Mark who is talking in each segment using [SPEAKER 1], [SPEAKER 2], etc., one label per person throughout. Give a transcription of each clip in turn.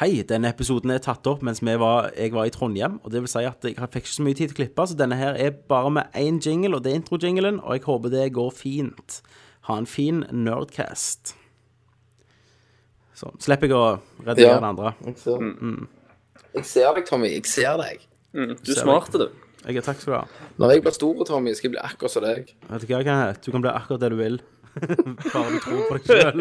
[SPEAKER 1] Hei, denne episoden er tatt opp mens vi var, jeg var i Trondheim. Og det vil si at jeg fikk ikke så mye tid til å klippe, så denne her er bare med én jingle, og det er introjinglen. Og jeg håper det går fint. Ha en fin nerdcast. Så slipper jeg å redigere
[SPEAKER 2] Ja.
[SPEAKER 1] det andre.
[SPEAKER 2] Jeg ser,
[SPEAKER 3] Mm,
[SPEAKER 2] jeg ser deg, Tommy. Jeg ser deg.
[SPEAKER 3] Du smarte, du.
[SPEAKER 1] Jeg er takk skal du ha.
[SPEAKER 2] Når jeg blir stor, Tommy, skal jeg bli akkurat som deg.
[SPEAKER 1] Vet du hva, Kenneth? Du kan bli akkurat det du vil. bare du tror på deg sjøl.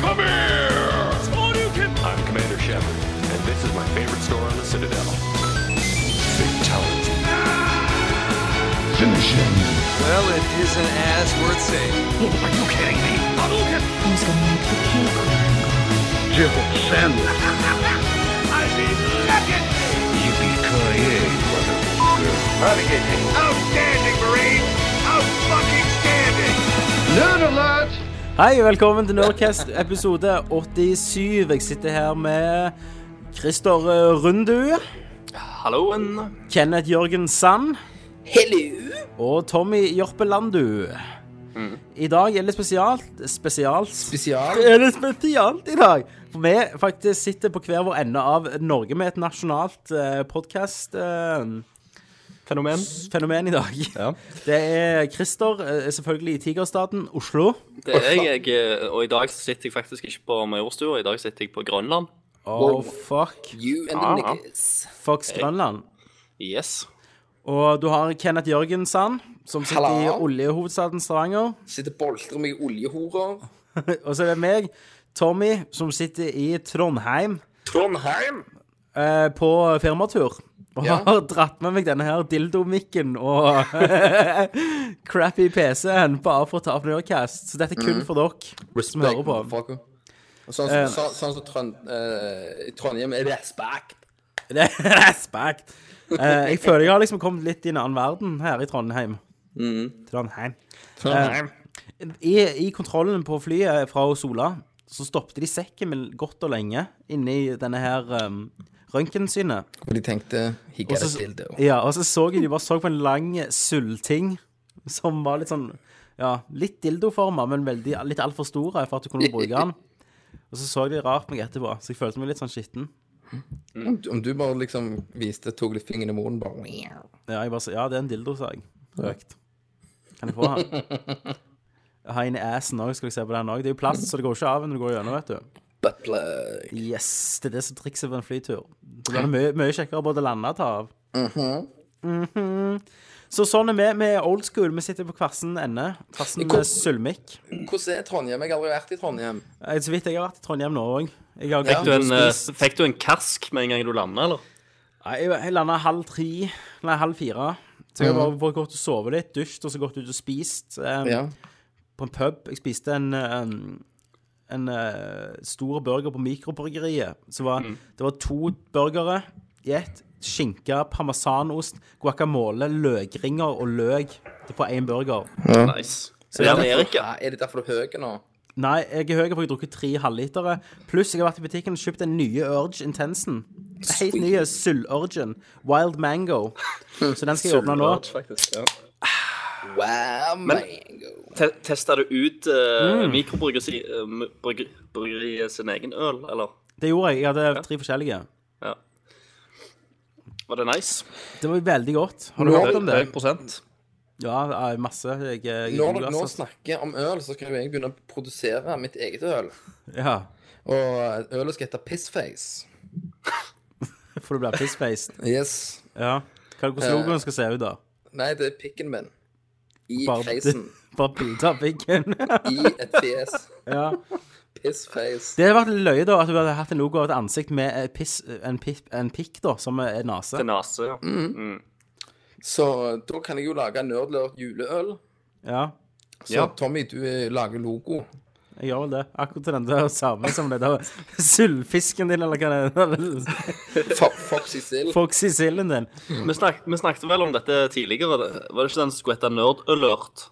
[SPEAKER 4] Come here! I'm Commander Shepard, and this is my favorite store on the Citadel. Fatality. Finish him.
[SPEAKER 5] Well, it is an ass worth saving.
[SPEAKER 4] Are you kidding me?
[SPEAKER 6] Who's gonna make the cake?
[SPEAKER 4] I mean, legacy! Yippee-ki-yay, motherfucker. Outstanding, Marine! Out-fucking-standing!
[SPEAKER 1] Hei, velkommen til Nerdcast episode 87. Jeg sitter her med Christer eh, Rundu,
[SPEAKER 3] Halloen.
[SPEAKER 1] Kenneth Jørgen Sand
[SPEAKER 2] Hello!
[SPEAKER 1] og Tommy Jørpelandu.
[SPEAKER 7] Mm.
[SPEAKER 1] I dag er det spesialt Spesialt?
[SPEAKER 2] Spesial.
[SPEAKER 1] Er det spesialt i dag? For vi faktisk sitter på hver vår ende av Norge med et nasjonalt eh, podcast podcast-fenomen
[SPEAKER 7] Fenomen.
[SPEAKER 1] i dag.
[SPEAKER 7] Ja.
[SPEAKER 1] Det er Christer, eh, selvfølgelig i Tigerstaten, Oslo.
[SPEAKER 3] Det er jeg, jeg, og i dag så sitter jeg faktisk ikke på Majorstua, i dag sitter jeg på Grønland.
[SPEAKER 1] Oh, fuck.
[SPEAKER 2] You and the
[SPEAKER 3] Ah.
[SPEAKER 2] niggas.
[SPEAKER 1] Fox Grønland.
[SPEAKER 3] Yes.
[SPEAKER 1] Og du har Kenneth Jørgen Sand, som sitter
[SPEAKER 2] Hallo.
[SPEAKER 1] i oljehovedstaden Stavanger.
[SPEAKER 2] Sitter og boltrer meg i oljehorer.
[SPEAKER 1] Og så er det meg, Tommy, som sitter i Trondheim
[SPEAKER 3] Trondheim!
[SPEAKER 1] eh, på firmatur. Og
[SPEAKER 2] Ja.
[SPEAKER 1] har dratt med meg denne her dildomikken og crappy PC-en bare for å ta opp Nerdcast. Så dette er kun for dere som hører på.
[SPEAKER 2] Motherfucker. Og Sånn som sånn, sånn, som Trond- eh, i Trondheim er respekt.
[SPEAKER 1] Det er Respekt. Eh, jeg føler jeg har liksom kommet litt i en annen verden her i Trondheim. Mm. Trondheim. Eh, I, I kontrollen på flyet fra Sola så stoppet de sekken min godt og lenge inni denne her um, røntgensynet.
[SPEAKER 2] Og de tenkte He
[SPEAKER 1] Og
[SPEAKER 2] got a
[SPEAKER 1] så-
[SPEAKER 2] dildo.
[SPEAKER 1] Ja, og så så jeg de bare så på en lang sullting som var litt sånn Ja, litt dildoforma, men veldig, litt altfor store for at du kunne bruke den. Og så så de rart meg etterpå, så jeg følte meg litt sånn skitten.
[SPEAKER 2] Om, om du bare liksom viste, tok litt fingeren i munnen, bare
[SPEAKER 1] Ja, jeg bare sa Ja, det er en dildo, sa jeg. Økt. Kan jeg få den? Jeg har en i assen òg, skal jeg se på den òg. Det er jo plast, så det går ikke av når du går gjennom, vet du.
[SPEAKER 2] Butt plug.
[SPEAKER 1] Yes, det er det som trikset på en flytur. Så blir det mye, mye kjekkere både å lande og ta av. Mhm. Så sånn er vi med old school. Vi sitter på hver sin ende. Hver sin
[SPEAKER 2] Hvor-
[SPEAKER 1] eh, sølvmikk.
[SPEAKER 2] Hvordan er Trondheim? Jeg har aldri vært i Trondheim.
[SPEAKER 1] Eh, Så vidt jeg har vært i Trondheim nå òg. Jeg har
[SPEAKER 3] Fikk du, en, eh,
[SPEAKER 1] spist.
[SPEAKER 3] fikk du en karsk med en gang du landa, eller?
[SPEAKER 1] Nei, Jeg, jeg landa halv tre, nei, halv fire. Så jeg har bare bare gått og sovet litt, dusjt, og så gått ut og spist eh,
[SPEAKER 2] Ja.
[SPEAKER 1] på en pub. Jeg spiste en, eh, en, en eh, stor burger på mikrobryggeriet. Så var,
[SPEAKER 2] Mm.
[SPEAKER 1] det var to burgere i ett. Skinke, parmesanost, guacamole, løkringer og løk på én burger.
[SPEAKER 3] Nice. Så det er Erik, ja.
[SPEAKER 2] Ja, er det derfor du er høy nå?
[SPEAKER 1] Nei, jeg er høy, for jeg har drukket tre halvlitere. Pluss jeg har vært i butikken og kjøpt den nye Urge Intensen. Den Helt nye Sull-Urgen. Wild Mango. Så den skal jeg åpne nå.
[SPEAKER 3] faktisk. Ja.
[SPEAKER 2] Wow, mango.
[SPEAKER 3] Te- Testa du ut uh, mikrobryggeriet sin egen øl, eller?
[SPEAKER 1] Det gjorde jeg. Jeg hadde tre forskjellige.
[SPEAKER 3] Ja. Var det nice?
[SPEAKER 1] Det var veldig godt. Har du hørt om det?
[SPEAKER 7] prosent.
[SPEAKER 1] Ja, eh, masse. Jeg, jeg,
[SPEAKER 2] Når dere nå snakker om øl, så skal jo jeg begynne å produsere mitt eget øl.
[SPEAKER 1] ja.
[SPEAKER 2] Og ølet skal hete Pissface.
[SPEAKER 1] For du blir pissfaced.
[SPEAKER 2] Yes.
[SPEAKER 1] Ja. Hva er sloganen skal se ut, da?
[SPEAKER 2] Nei, det er pikken min. I
[SPEAKER 1] Bare-
[SPEAKER 2] facen.
[SPEAKER 1] Bare bilde av piggen.
[SPEAKER 2] I et fjes.
[SPEAKER 1] ja.
[SPEAKER 2] Pissface.
[SPEAKER 1] Det hadde vært løye, da, at du hadde hatt en logo av et ansikt med eh, piss, en, piss, en pikk, da, som er nase.
[SPEAKER 3] Til nase, ja.
[SPEAKER 2] Så da kan jeg jo lage nerdlørt juleøl.
[SPEAKER 1] Ja.
[SPEAKER 2] Så Tommy, du eh, lager logo.
[SPEAKER 1] Jeg gjør vel det. Akkurat til den der samme som den der sølvfisken din, eller hva det er.
[SPEAKER 2] Fo- Foxy Sill.
[SPEAKER 1] Foxy-silden din.
[SPEAKER 3] Vi, snak vi snakket vel om dette tidligere. det- Var det ikke den som skulle hete Nerd Alert?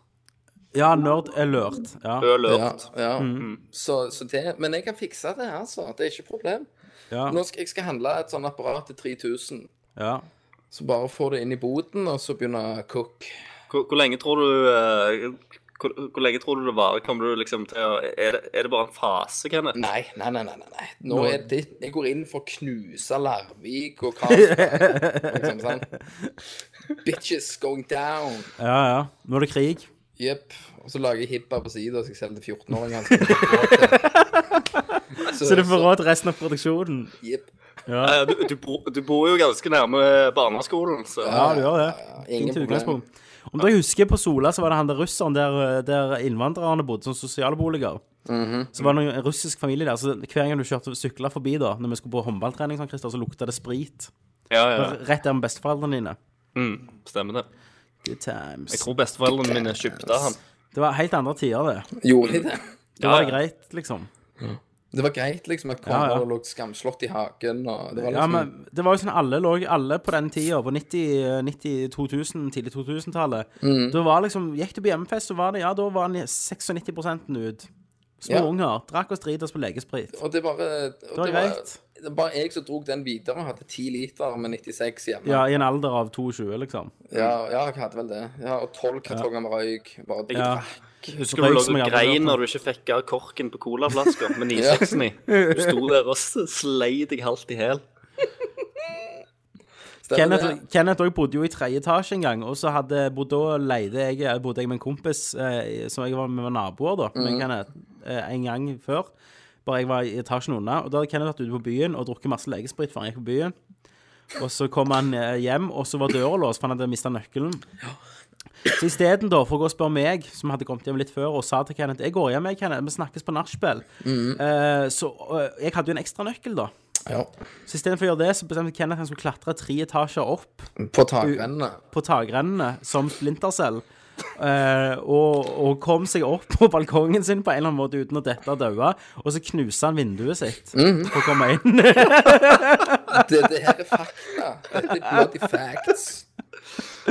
[SPEAKER 1] Ja, nerd alert. Ja.
[SPEAKER 2] Ja,
[SPEAKER 3] Alert.
[SPEAKER 2] ja.
[SPEAKER 1] Mm-hmm.
[SPEAKER 2] Så, så det, men jeg kan fikse det, altså. Det er ikke et problem.
[SPEAKER 1] Ja.
[SPEAKER 2] Nå skal jeg skal handle et sånt apparat til 3000.
[SPEAKER 1] ja.
[SPEAKER 2] Så bare få det inn i boden, og så begynner cook.
[SPEAKER 3] Hvor, hvor lenge tror du eh, Hvor, hvor lenge tror du det varer? Kommer du liksom til å Er det, er det bare en fase, Kenneth?
[SPEAKER 2] Nei, nei, nei. nei, nei, nei. Nå er det, jeg går inn for å knuse Larvik og Karlsberg. liksom, sant? Bitches going down.
[SPEAKER 1] Ja, ja. Nå er det krig.
[SPEAKER 2] Jepp. Og så lager jeg hippa på sida og skal selge til 14-åringer. som ikke har råd til-
[SPEAKER 1] Så du får råd til resten av produksjonen.
[SPEAKER 2] Jepp.
[SPEAKER 3] Eh, Du, du, bor, du bor jo ganske nærme barneskolen, så
[SPEAKER 1] Ja, du gjør det.
[SPEAKER 2] Ingen
[SPEAKER 1] Fint
[SPEAKER 2] problem.
[SPEAKER 1] utgangspunkt. Om dere husker på Sola, så var det han der russeren der, eh, der innvandrerne bodde, sånn sosialboliger. Så var det noen- en russisk familie der, så hver gang du kjørte sykla forbi da, når vi skulle på håndballtrening, sånn, Christer, så lukta det sprit.
[SPEAKER 3] ja, ja.
[SPEAKER 1] Rett der med besteforeldrene dine.
[SPEAKER 3] Stemmer det.
[SPEAKER 1] Good times.
[SPEAKER 3] Jeg tror besteforeldrene mine kjøpte han.
[SPEAKER 1] Det var helt andre tider, det.
[SPEAKER 2] Gjorde de det?
[SPEAKER 1] Da var
[SPEAKER 3] Ja,
[SPEAKER 1] det
[SPEAKER 3] ja.
[SPEAKER 1] greit, liksom.
[SPEAKER 2] Det var greit liksom at
[SPEAKER 1] Ja,
[SPEAKER 2] konger
[SPEAKER 1] ja.
[SPEAKER 2] og lå skamslått i haken. og det var
[SPEAKER 1] Ja,
[SPEAKER 2] liksom...
[SPEAKER 1] men det var jo sånn alle lå alle på den tida, på 90, 90 2000, tidlig 2000-tallet.
[SPEAKER 3] Mm.
[SPEAKER 1] Da var liksom Gikk du på hjemmefest, så var det ja, da var ni- 96 ut. Små
[SPEAKER 2] Ja.
[SPEAKER 1] unger. Drakk og strid og spilte legesprit.
[SPEAKER 2] Og det, bare, og
[SPEAKER 1] var
[SPEAKER 2] det, var,
[SPEAKER 1] greit.
[SPEAKER 2] det var bare jeg som drog den videre. Hadde ti liter med 96 hjemme.
[SPEAKER 1] Ja, i en alder av 22, liksom.
[SPEAKER 2] ja, ja, jeg hadde vel det. Ja, Og tolv kartonger med røyk. Bare det.
[SPEAKER 1] Ja.
[SPEAKER 3] Husker du
[SPEAKER 1] Røyk
[SPEAKER 3] lå
[SPEAKER 1] som
[SPEAKER 3] og
[SPEAKER 1] jeg aldri
[SPEAKER 3] grein
[SPEAKER 1] hørte om.
[SPEAKER 3] når du ikke fikk av korken på colaflasker med 96 i? Du sto der og slei deg halvt i hæl.
[SPEAKER 2] Stemmer
[SPEAKER 1] Kenneth,
[SPEAKER 2] det?
[SPEAKER 1] Kenneth også bodde jo i tredje etasje en gang, og så hadde bodde, da leide jeg, eh, bodde jeg med en kompis eh, som jeg var med var naboer da, med
[SPEAKER 2] Mm.
[SPEAKER 1] Kenneth, eh, en gang før. Bare jeg var i etasjen unna, og da hadde Kenneth vært ute på byen og drukket masse legesprit før han gikk på byen. Og så kom han eh, hjem, og så var døra låst, for han hadde mista nøkkelen. Så isteden da, for å gå og spørre meg, som hadde kommet hjem litt før, og sa til Kenneth Jeg går hjem, jeg, Kenneth, vi snakkes på nachspiel.
[SPEAKER 2] Mm.
[SPEAKER 1] Eh, så eh, jeg hadde jo en ekstra nøkkel, da.
[SPEAKER 2] Ja.
[SPEAKER 1] Så istedenfor å gjøre det, så bestemte Kenneth at han skulle klatre tre etasjer opp
[SPEAKER 2] På takrennene.
[SPEAKER 1] på takrennene som splintercell. eh, og, og kom seg opp på balkongen sin på en eller annen måte uten å dette og daue. Og så knuste han vinduet sitt for å komme inn.
[SPEAKER 2] Det, det her er fakta. Dette er bloody facts.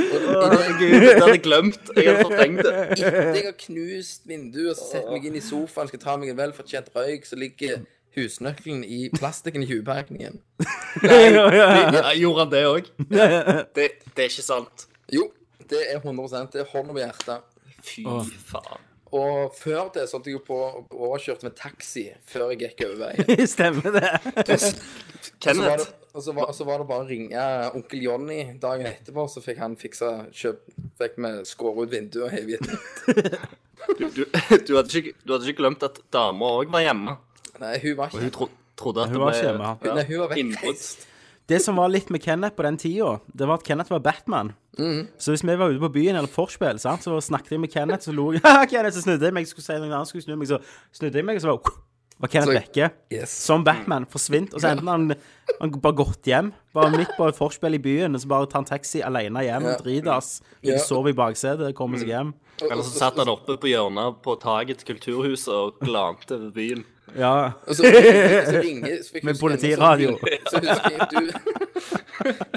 [SPEAKER 2] Og i
[SPEAKER 3] Herregud, det hadde jeg glemt. Jeg hadde fortrengt det.
[SPEAKER 2] det- Etter jeg har knust vinduet og setter meg inn i sofaen, skal ta meg en velfortjent røyk, så ligger husnøkkelen i plastikken i tjuvpakningen.
[SPEAKER 3] Ja, gjorde han det òg? Det, det er ikke sant.
[SPEAKER 2] Jo, det er 100 Det er hånda på hjertet.
[SPEAKER 3] Fy faen.
[SPEAKER 2] Og før det så holdt jeg jo på å bli overkjørt med taxi før jeg gikk over veien.
[SPEAKER 1] Stemmer det?
[SPEAKER 2] Og så var det,
[SPEAKER 3] Kenneth,
[SPEAKER 2] og så var, så var det bare å ringe onkel Johnny dagen etterpå, så fikk han fiksa kjøp, fikk vi skåret ut vinduet og hevet etter.
[SPEAKER 3] du, du, du, hadde ikke, du hadde ikke glemt at dama òg var hjemme.
[SPEAKER 2] Nei, hun var
[SPEAKER 3] Og hun
[SPEAKER 2] ikke
[SPEAKER 3] tro, trodde at
[SPEAKER 1] Hun
[SPEAKER 3] det
[SPEAKER 1] var
[SPEAKER 3] ble-
[SPEAKER 1] ikke hjemme.
[SPEAKER 2] Nei, hun var
[SPEAKER 3] Innbrudd.
[SPEAKER 2] vekkreist.
[SPEAKER 1] Det som var litt med Kenneth på den tida, det var at Kenneth var Batman. Så hvis vi var ute på byen eller forspill, sant, så snakket jeg med Kenneth, så lo jeg. «Haha, Kenneth, så snudde jeg meg, skulle si noe annet, skulle snu meg, så snudde jeg meg, og så var, var Kenneth
[SPEAKER 2] Så-
[SPEAKER 1] vekke.
[SPEAKER 2] Yes.
[SPEAKER 1] Som Batman forsvint, og så enten han, han bare gått hjem, bare midt på et forspill i byen, og så bare tar han taxi alene hjem,
[SPEAKER 2] Ja.
[SPEAKER 1] dritas,
[SPEAKER 2] Ja. Mm.
[SPEAKER 1] sover i baksetet, kommer seg hjem.
[SPEAKER 3] Eller så satt han oppe på hjørnet på taket til kulturhuset og glante ved byen.
[SPEAKER 1] Ja,
[SPEAKER 2] Og så, og så ringer så fikk jeg
[SPEAKER 1] Med
[SPEAKER 2] huske- sånn
[SPEAKER 1] politiradio.
[SPEAKER 2] Så husker jeg du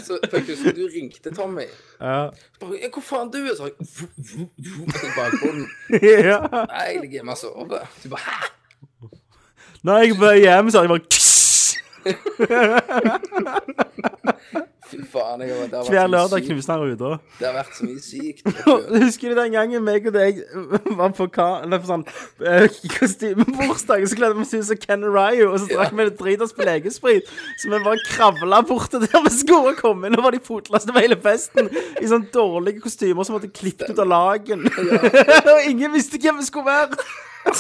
[SPEAKER 2] Så fikk jeg huske du ringte Tommy.
[SPEAKER 1] Ja.
[SPEAKER 2] Bare, ja, 'Hvor faen du er?' Så jeg vuh, vuh, vuh, og så bare på den.
[SPEAKER 1] ja.
[SPEAKER 2] Nei, jeg ligger hjemme og sover. Du bare 'hæ?'
[SPEAKER 1] Når jeg var hjemme, så hadde jeg bare kss!
[SPEAKER 2] Fy faen. Jeg, har- det, har
[SPEAKER 1] Hver
[SPEAKER 2] vært så
[SPEAKER 1] lørdag
[SPEAKER 2] mye sykt,
[SPEAKER 1] knuste han ruta.
[SPEAKER 2] det har vært så mye sykt.
[SPEAKER 1] Husker du den gangen meg og deg var på ka- eller på sånn eh, kostymebursdag, og så kledde vi oss ut som Ken og Ryu, og så drakk vi det dritas på legesprit, så vi bare kravla borte der vi skulle komme inn, og var de fotløse på hele festen i sånne dårlige kostymer som måtte klippe ut av lagen. og ingen visste hvem vi skulle være.
[SPEAKER 2] Og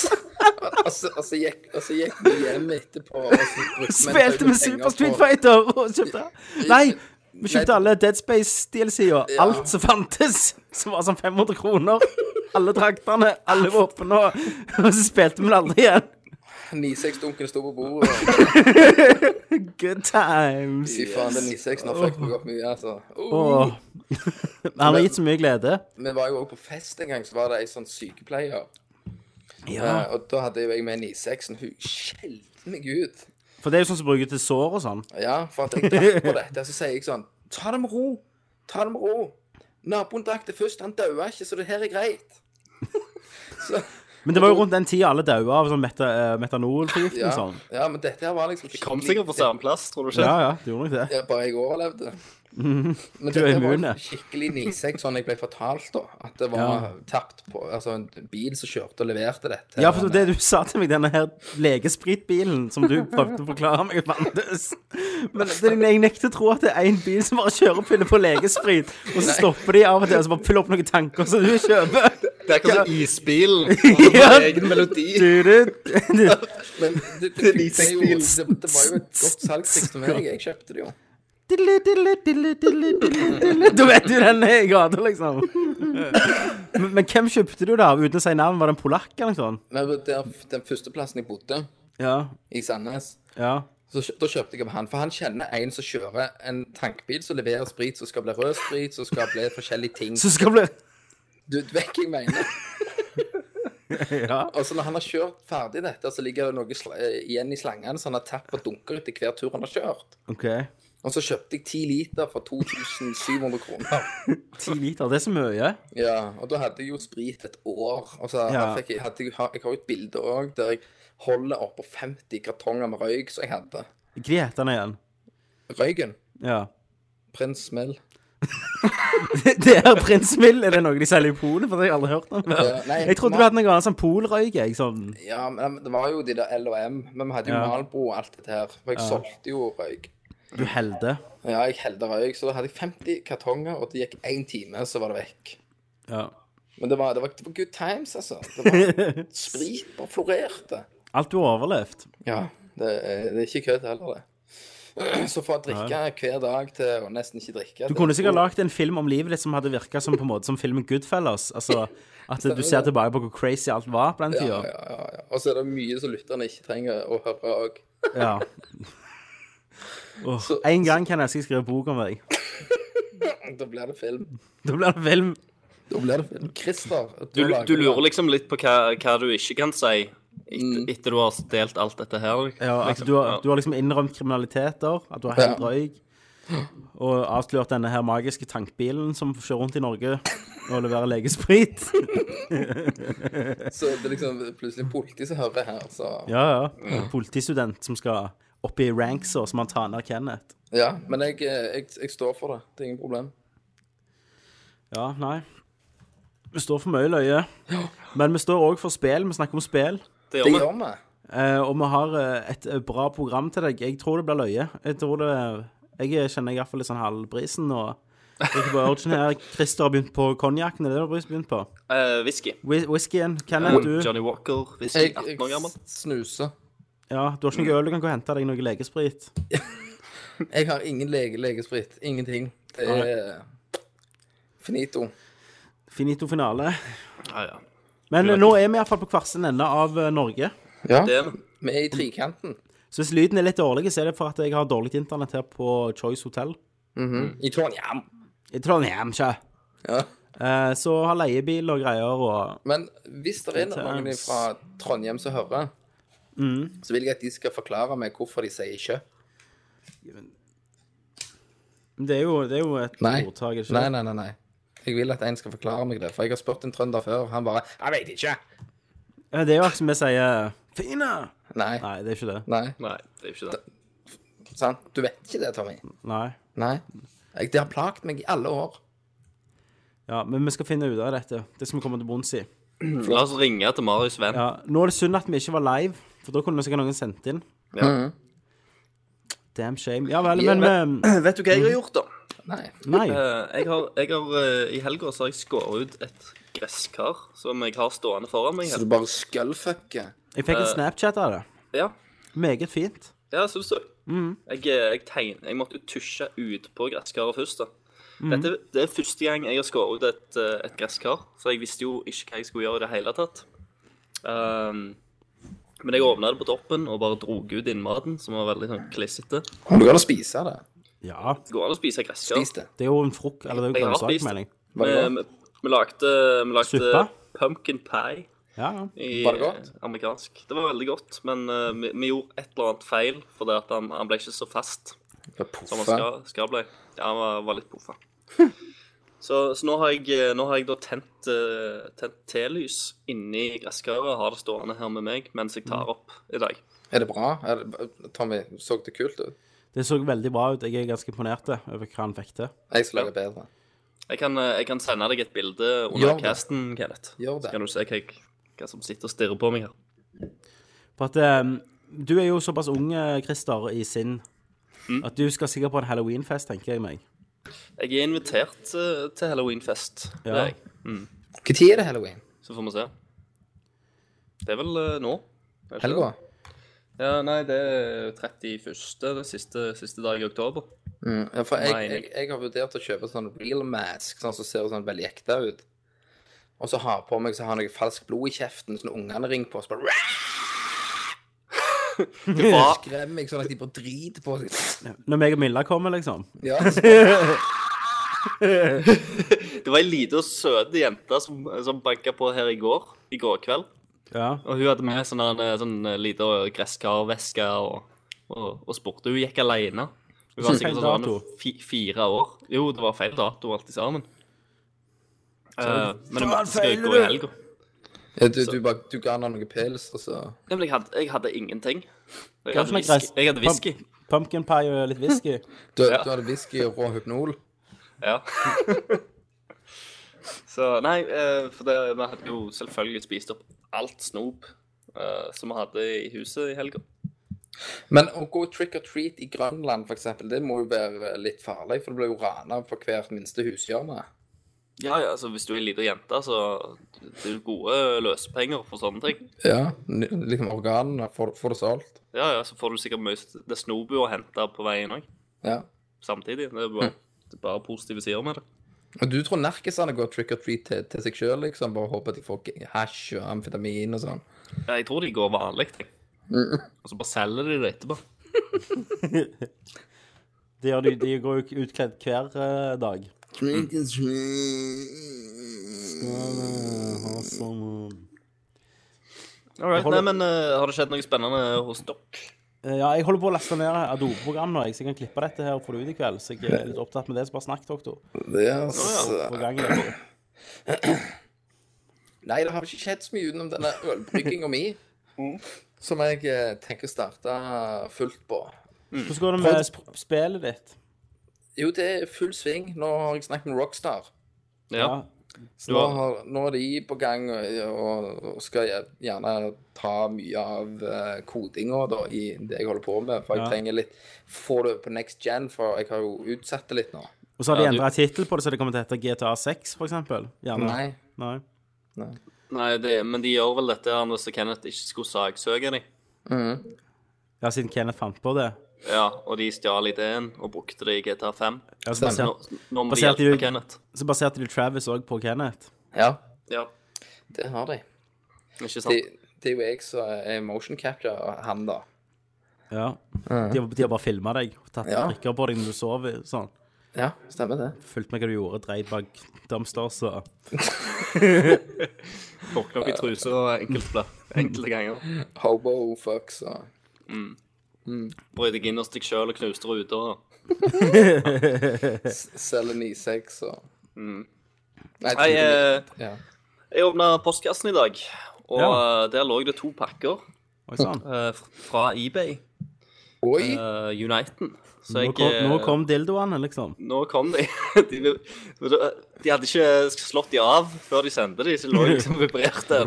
[SPEAKER 2] så, og så gikk, og så gikk vi hjem etterpå og så brukte vi en
[SPEAKER 1] Spilte
[SPEAKER 2] haug
[SPEAKER 1] med
[SPEAKER 2] med penger
[SPEAKER 1] Super
[SPEAKER 2] på-
[SPEAKER 1] Street Fighter og kjøpte Nei! Vi kjøpte alle Dead Space-DLC-er.
[SPEAKER 2] Ja.
[SPEAKER 1] Alt som fantes, som var sånn 500 kroner. Alle traktene, alle våpnene. Og så spilte vi det aldri igjen.
[SPEAKER 2] 96-dunken sto på bordet. og
[SPEAKER 1] Good times.
[SPEAKER 2] Fy faen, den 96 nå fucket meg opp mye, altså. Oh.
[SPEAKER 1] Åh. Han har gitt så mye glede.
[SPEAKER 2] Vi var jo også på fest en gang, så var det ei sånn sykepleier. Eh, og da hadde jo jeg med 96-en. Hun skjelte meg ut.
[SPEAKER 1] For det er jo sånn som bruker til sår og sånn.
[SPEAKER 2] Ja, for at jeg drakk på dette. Så sier jeg sånn Ta det med ro. Ta det med ro. Naboen drakk det først. Han daua ikke, så det her er greit. Så,
[SPEAKER 1] Men det var jo rundt den tida alle daua av sånn meta, eh, metanolforgiftning
[SPEAKER 2] ja,
[SPEAKER 1] og sånn.
[SPEAKER 2] ja, men dette her var liksom
[SPEAKER 3] Kom sikkert fra samme plass, tror du ikke?
[SPEAKER 1] Ja, ja, det gjorde nok det.
[SPEAKER 2] Ja, Bare jeg overlevde. Men
[SPEAKER 1] Du er
[SPEAKER 2] dette
[SPEAKER 1] immune.
[SPEAKER 2] var skikkelig nisegg, sånn jeg ble fortalt, da. At det var tapt på Altså, en bil som kjørte og leverte dette.
[SPEAKER 1] Ja, for det du sa til meg, denne her legespritbilen som du prøvde å forklare meg fantes. Men det, jeg nekter å tro at det er én bil som bare kjører og fyller på legesprit, og så stopper de av og til og så bare fyller opp noen tanker som du kjøper.
[SPEAKER 8] Det er ikke sånn isbilen. Altså,
[SPEAKER 1] Ja.
[SPEAKER 8] bare egen melodi.
[SPEAKER 1] Du, du, du.
[SPEAKER 2] Men det, det, det, det, er jo- det, det var jo et godt salgstriks til meg. Jeg kjøpte det jo.
[SPEAKER 1] Dille, dille, dille, dille, dille, dille. Da vet du den er i gata, liksom. Men, men hvem kjøpte du, da? Uten å si navn, var det en polakk eller noe sånt?
[SPEAKER 2] Nei, men der, den første plassen jeg bodde,
[SPEAKER 1] Ja.
[SPEAKER 2] i Sandnes,
[SPEAKER 1] Ja.
[SPEAKER 2] så, kjø- da kjøpte jeg av han. For han kjenner en som kjører en tankbil som leverer sprit, som skal bli rød sprit, som skal bli forskjellige ting.
[SPEAKER 1] Så skal bli
[SPEAKER 2] Du vet hva jeg mener.
[SPEAKER 1] Ja.
[SPEAKER 2] Og så når han har kjørt ferdig dette, så ligger det noe sl eh, igjen i slangene, så han har tappet og dunker etter hver tur han har kjørt.
[SPEAKER 1] OK.
[SPEAKER 2] Og så kjøpte jeg 10 liter for 2700 kroner.
[SPEAKER 1] Ti liter, det er så mye.
[SPEAKER 2] Ja, og da hadde jeg jo sprit et år. Og så
[SPEAKER 1] Ja.
[SPEAKER 2] fikk jeg, hadde, jeg har jeg har jo et bilde òg der jeg holder oppå 50 kartonger med røyk som jeg hadde.
[SPEAKER 1] Hva heter den igjen?
[SPEAKER 2] Røyken.
[SPEAKER 1] Ja.
[SPEAKER 2] Prins Smell.
[SPEAKER 1] Det er prins Mill, er det noe de selger i polet? For det har jeg aldri hørt om før.
[SPEAKER 2] Ja, nei,
[SPEAKER 1] Jeg trodde du
[SPEAKER 2] ma-
[SPEAKER 1] hadde noe annet som polrøyk, jeg. Sånn.
[SPEAKER 2] Ja, men det var jo de der L og M, men vi hadde jo
[SPEAKER 1] Ja.
[SPEAKER 2] Malbro og alt dette her. For jeg solgte jo røyk.
[SPEAKER 1] Du helde.
[SPEAKER 2] Ja, jeg helte røyk, så da hadde jeg 50 kartonger, og det gikk én time, så var det vekk.
[SPEAKER 1] Ja.
[SPEAKER 2] Men det var, det var, det var good times, altså. Det var sprit bare florerte.
[SPEAKER 1] Alt du har overlevd.
[SPEAKER 2] Ja, det, er- det er ikke kødd heller, det. Så fra å drikke hver dag til å nesten ikke drikke
[SPEAKER 1] Du kunne sikkert lagd en film om livet ditt som hadde virka som på en måte som filmen Goodfellas. Altså at du ser tilbake på hvor crazy alt var på den
[SPEAKER 2] ja, ja,
[SPEAKER 1] tida.
[SPEAKER 2] ja, ja. Og så er det mye som lytterne ikke trenger å høre òg.
[SPEAKER 1] Ja. Åh, en gang kan jeg skal skrive bok om deg.
[SPEAKER 2] Da blir det film.
[SPEAKER 1] Da blir det film.
[SPEAKER 2] Da blir det film. Christer,
[SPEAKER 9] Du,
[SPEAKER 2] lager
[SPEAKER 9] du
[SPEAKER 2] det.
[SPEAKER 9] lurer liksom litt på hva, hva du ikke kan si etter, etter du har delt alt dette her.
[SPEAKER 1] Ja, at
[SPEAKER 9] liksom.
[SPEAKER 1] du, har, du har liksom innrømt kriminaliteter, at du har helt røyk, og avslørt denne her magiske tankbilen som kjører rundt i Norge og leverer legesprit.
[SPEAKER 2] Så det er liksom plutselig politi som hører her, så
[SPEAKER 1] Ja, ja. En politistudent som skal opp i ranks og som han tar ned Kenneth.
[SPEAKER 2] Ja, men jeg, jeg, jeg står for det. Det er ingen problem.
[SPEAKER 1] Ja, nei. Vi står for mye løye. Men vi står òg for spill. Vi snakker om spill.
[SPEAKER 9] Det
[SPEAKER 2] Det
[SPEAKER 9] gjør vi.
[SPEAKER 2] gjør vi.
[SPEAKER 1] Eh, og vi har eh, et eh, bra program til deg. Jeg tror det blir løye. Jeg tror det Jeg kjenner iallfall litt sånn halvbrisen og drikker på Urgent her. Christer har begynt på konjakken. Er det det du har begynt på?
[SPEAKER 9] Eh, whisky.
[SPEAKER 1] Whis- Whiskyen. Kenneth, du
[SPEAKER 9] Johnny Walker, whisky,
[SPEAKER 2] Jeg,
[SPEAKER 9] 18 år
[SPEAKER 2] jeg
[SPEAKER 9] gammel.
[SPEAKER 2] snuser.
[SPEAKER 1] Ja, du har ikke noe øl du kan gå og hente deg noe legesprit?
[SPEAKER 2] Jeg har ingen lege, legesprit. Ingenting. Det er finito.
[SPEAKER 1] Finito finale.
[SPEAKER 9] Ja, ja.
[SPEAKER 1] Men eh, nå er vi iallfall på hver sin ende av eh, Norge.
[SPEAKER 2] Ja.
[SPEAKER 9] Det er vi.
[SPEAKER 2] Vi er i trekanten.
[SPEAKER 1] Så hvis lyden er litt dårlig, så er det for at jeg har dårlig internett her på Choice Hotel.
[SPEAKER 2] I Trondheim.
[SPEAKER 1] I Trondheim, ikke?
[SPEAKER 2] Ja.
[SPEAKER 1] Eh, så har leiebil og greier og
[SPEAKER 2] Men hvis det er noen
[SPEAKER 1] Trondheim.
[SPEAKER 2] fra Trondheim som hører,
[SPEAKER 1] Mm.
[SPEAKER 2] så vil jeg at de skal forklare meg hvorfor de sier ikke.
[SPEAKER 1] Men Det er jo, det er jo et
[SPEAKER 2] Nei.
[SPEAKER 1] ordtak, ikke
[SPEAKER 2] Nei, nei, nei. nei. Jeg vil at en skal forklare meg det, for jeg har spurt en trønder før. Han bare 'Jeg veit ikke'.
[SPEAKER 1] Eh, Det er jo akkurat som vi sier Fina!
[SPEAKER 2] Nei.
[SPEAKER 1] Nei, det er ikke det.
[SPEAKER 2] Nei.
[SPEAKER 9] Nei, det er jo ikke det.
[SPEAKER 2] Sant? Du vet ikke det, Tommy.
[SPEAKER 1] Nei.
[SPEAKER 2] Nei. Jeg, det har plaget meg i alle år.
[SPEAKER 1] Ja, Men vi skal finne ut av dette. Det skal vi komme til bunns i.
[SPEAKER 9] La oss ringe til Marius venn.
[SPEAKER 1] Ja, Nå er det synd at vi ikke var live, for da kunne vi sikkert noen sendt inn.
[SPEAKER 9] Ja.
[SPEAKER 1] Damn shame. Ja vel,
[SPEAKER 2] Ja,
[SPEAKER 1] men eh,
[SPEAKER 9] Vet du hva jeg har gjort, da?
[SPEAKER 2] Nei.
[SPEAKER 1] Nei.
[SPEAKER 9] Eh, jeg har, jeg har eh, I helga så har jeg skåret ut et gresskar som jeg har stående foran meg.
[SPEAKER 2] Så
[SPEAKER 9] her.
[SPEAKER 2] du bare skullfucker.
[SPEAKER 1] Jeg fikk en
[SPEAKER 9] eh.
[SPEAKER 1] Snapchat av det.
[SPEAKER 9] Ja,
[SPEAKER 1] Meget fint.
[SPEAKER 9] ja syns du?
[SPEAKER 2] Mm.
[SPEAKER 9] Jeg, eh, jeg, tegn, jeg måtte jo tusje utpå gresskaret først. da.
[SPEAKER 2] Mm.
[SPEAKER 9] Dette, det er første gang jeg har skåret ut et, eh, et gresskar, så jeg visste jo ikke hva jeg skulle gjøre i det hele tatt. Ehm, men jeg åpna det på toppen og bare drog ut innmaten, som var veldig sånn klissete. Det
[SPEAKER 2] Om du kan spise det.
[SPEAKER 1] Ja.
[SPEAKER 9] går an å spise gresskar.
[SPEAKER 2] Spis det.
[SPEAKER 1] Det er jo en frukt, eller det er
[SPEAKER 9] Jeg
[SPEAKER 1] jo
[SPEAKER 9] har
[SPEAKER 1] grønnsak,
[SPEAKER 9] spist
[SPEAKER 1] mener jeg.
[SPEAKER 2] Var det godt?
[SPEAKER 9] Vi, vi lagde, vi lagde
[SPEAKER 1] Suppe?
[SPEAKER 9] pumpkin pie.
[SPEAKER 1] Ja, ja.
[SPEAKER 9] I, eh,
[SPEAKER 2] Var det godt?
[SPEAKER 9] Amerikansk. Det var veldig godt, men eh, vi, vi gjorde et eller annet feil. Fordi at han, han ble ikke så fast
[SPEAKER 2] Det var
[SPEAKER 9] som han
[SPEAKER 2] puffa.
[SPEAKER 9] skal, skal bli. Ja, han var, var litt poffa. Så, så nå, har jeg, eh, nå har jeg da tent, eh, tent telys inni gresskaret og har det
[SPEAKER 2] Mm.
[SPEAKER 9] stående her med meg mens jeg tar opp i dag.
[SPEAKER 2] Er det bra? Er det, Tommy, så det kult ut?
[SPEAKER 1] Det så veldig bra ut. Jeg er ganske imponert over hva han fikk til.
[SPEAKER 2] Jeg skal lage bedre.
[SPEAKER 9] Jeg kan, eh, jeg kan sende deg et bilde under
[SPEAKER 2] Gjør det.
[SPEAKER 9] casten, Kenneth.
[SPEAKER 2] Gjør det.
[SPEAKER 9] Så kan du se hva, jeg, hva som sitter og stirrer på meg her.
[SPEAKER 1] For at eh, du er jo såpass ung, eh, Christer, i sinn,
[SPEAKER 9] Mm.
[SPEAKER 1] at du skal sikkert på en halloweenfest, tenker jeg meg.
[SPEAKER 9] Jeg er invitert eh, til halloweenfest. Det
[SPEAKER 1] Ja.
[SPEAKER 9] er jeg.
[SPEAKER 2] Når er det halloween?
[SPEAKER 9] Så får vi se. Det er vel eh, nå? er det ikke
[SPEAKER 2] Helga?
[SPEAKER 9] det? Ja, nei, det er 31. Det er siste, siste dag i oktober.
[SPEAKER 2] Mm, ja, for jeg,
[SPEAKER 9] Nei,
[SPEAKER 2] jeg,
[SPEAKER 9] jeg-
[SPEAKER 2] jeg har vurdert å kjøpe sånn real mask, sånn som ser sånn veldig ekte ut. Og så har på meg så har jeg falskt blod i kjeften, så når ungene ringer på, så bare
[SPEAKER 9] Hva?
[SPEAKER 2] skremmer jeg sånn at de bare driter på seg.
[SPEAKER 1] Når meg og Milla kommer, liksom.
[SPEAKER 2] Ja,
[SPEAKER 9] Det var ei lita og søt jente som, som banka på her i går. I går kveld.
[SPEAKER 1] Ja.
[SPEAKER 9] Og hun hadde med sånn der, eh, sånn eh, lita gresskarveske og, og, og spurte. Hun gikk alene. Hun var sikkert
[SPEAKER 1] Feil
[SPEAKER 9] sånn
[SPEAKER 1] dato.
[SPEAKER 9] fi, fire år. Jo, det var feil dato alt sammen. Eh, men det
[SPEAKER 1] Faen,
[SPEAKER 9] meste skal
[SPEAKER 1] feiler
[SPEAKER 9] jo gå i
[SPEAKER 1] du?
[SPEAKER 9] helga.
[SPEAKER 2] Ja, du, du, bare, du ga henne noen pils, og så
[SPEAKER 9] Ja, men jeg hadde, jeg hadde ingenting. Jeg
[SPEAKER 1] Hva
[SPEAKER 9] hadde
[SPEAKER 1] som er
[SPEAKER 9] whisky.
[SPEAKER 1] gress-
[SPEAKER 9] Jeg hadde whisky.
[SPEAKER 1] Pump- Pumpkin pie og litt whisky.
[SPEAKER 2] Du,
[SPEAKER 9] Ja.
[SPEAKER 2] du hadde whisky og rå hypnol.
[SPEAKER 9] Ja. så nei, eh, for det, vi hadde jo selvfølgelig spist opp alt snop eh, som vi hadde i huset i helga.
[SPEAKER 2] Men å gå trick or treat i Grønland, for eksempel, det må jo være litt farlig, for det blir jo rana på hvert minste hushjørne.
[SPEAKER 9] Ja, ja, altså hvis du er ei lita jente, så det er jo gode løsepenger for sånne ting.
[SPEAKER 2] Ja. n- Liksom organene får, får det solgt.
[SPEAKER 9] Ja, ja, så får du sikkert mye Det er snop jo å hente på veien òg,
[SPEAKER 2] Ja.
[SPEAKER 9] samtidig. Det er bare, det er bare positive sider med det.
[SPEAKER 2] Og du tror narkisene går trick or treat til, til seg sjøl, liksom? Bare håper at de får g- hasj og amfetamin og sånn.
[SPEAKER 9] Ja, jeg tror de går vanlig, jeg. Og så bare selger de det etterpå.
[SPEAKER 1] De, gjør, de, de går jo utkledd hver eh, dag. sånn, eh,
[SPEAKER 9] All right,
[SPEAKER 1] Holder-
[SPEAKER 9] nei, men eh, har det skjedd noe spennende hos dere?
[SPEAKER 1] Eh, Ja, jeg holder på å laste ned Adobe-program nå, jeg, så jeg kan klippe dette her og få det ut i kveld. Så jeg er litt opptatt med det, så bare snakk, doktor.
[SPEAKER 2] Det er altså-
[SPEAKER 9] så-
[SPEAKER 1] På gangen.
[SPEAKER 2] Nei, det har ikke skjedd så mye utenom denne ølbrygginga mi. Mm. Som jeg eh, tenker å starte fullt på.
[SPEAKER 1] Hvordan går det med sp spillet ditt?
[SPEAKER 2] Jo, det er full sving. Nå har jeg snakket med Rockstar.
[SPEAKER 9] Ja.
[SPEAKER 2] Så
[SPEAKER 9] Du
[SPEAKER 2] nå,
[SPEAKER 9] har-
[SPEAKER 2] har, nå er de på gang og, og- og skal jeg gjerne ta mye av eh, kodinga da, i det jeg holder på med. For jeg
[SPEAKER 1] Ja.
[SPEAKER 2] trenger litt Få det på next gen, for jeg har jo utsatt det litt nå.
[SPEAKER 1] Og så har de
[SPEAKER 9] Ja, du-
[SPEAKER 1] endra tittel på det, så det kommer til å hete GTA 6, for eksempel. Gjerne.
[SPEAKER 2] Nei.
[SPEAKER 1] Nei.
[SPEAKER 9] Nei, det, men de gjør vel dette her så Kenneth ikke skulle saksøke dem.
[SPEAKER 1] Ja, siden Kenneth fant på det.
[SPEAKER 9] Ja, og de stjal ideen og brukte det i GTA 5.
[SPEAKER 1] Ja, så,
[SPEAKER 9] Nå,
[SPEAKER 1] baserte,
[SPEAKER 9] nå må de
[SPEAKER 1] Basert i-
[SPEAKER 9] hjelpe Kenneth.
[SPEAKER 1] så baserte de Travis òg på Kenneth.
[SPEAKER 2] Ja,
[SPEAKER 9] Ja,
[SPEAKER 2] det har de.
[SPEAKER 9] ikke sant?
[SPEAKER 2] Det, det er jo jeg som er eh, motion capture, og han, da.
[SPEAKER 1] Ja. De, har- de har bare filma deg og tatt
[SPEAKER 2] Ja.
[SPEAKER 1] prikker på deg når du sover. Sånn.
[SPEAKER 2] Ja, stemmer det.
[SPEAKER 1] Fulgt med hva du gjorde, dreid bak dumpsters og
[SPEAKER 9] Våkne opp i truse og enkelte, enkelte ganger.
[SPEAKER 2] Hobo fucks og
[SPEAKER 9] Brøy deg inn hos deg sjøl og knuste ruter. og-
[SPEAKER 2] selger 96 og mm. Nei,
[SPEAKER 9] Nei,
[SPEAKER 2] tydeligvis.
[SPEAKER 9] eh,
[SPEAKER 2] Ja.
[SPEAKER 9] jeg åpna postkassen i dag, og
[SPEAKER 1] Ja.
[SPEAKER 9] eh, der lå det to pakker
[SPEAKER 1] Oi sann.
[SPEAKER 9] eh, fr- fra eBay,
[SPEAKER 2] Oi!
[SPEAKER 9] uh, Uniten. Så
[SPEAKER 1] Nå,
[SPEAKER 9] jeg
[SPEAKER 1] kom- nå
[SPEAKER 9] eh,
[SPEAKER 1] kom dildoene, liksom.
[SPEAKER 9] Nå kom de. de. De hadde ikke slått de av før de sendte de, så lå de liksom og vibrerte.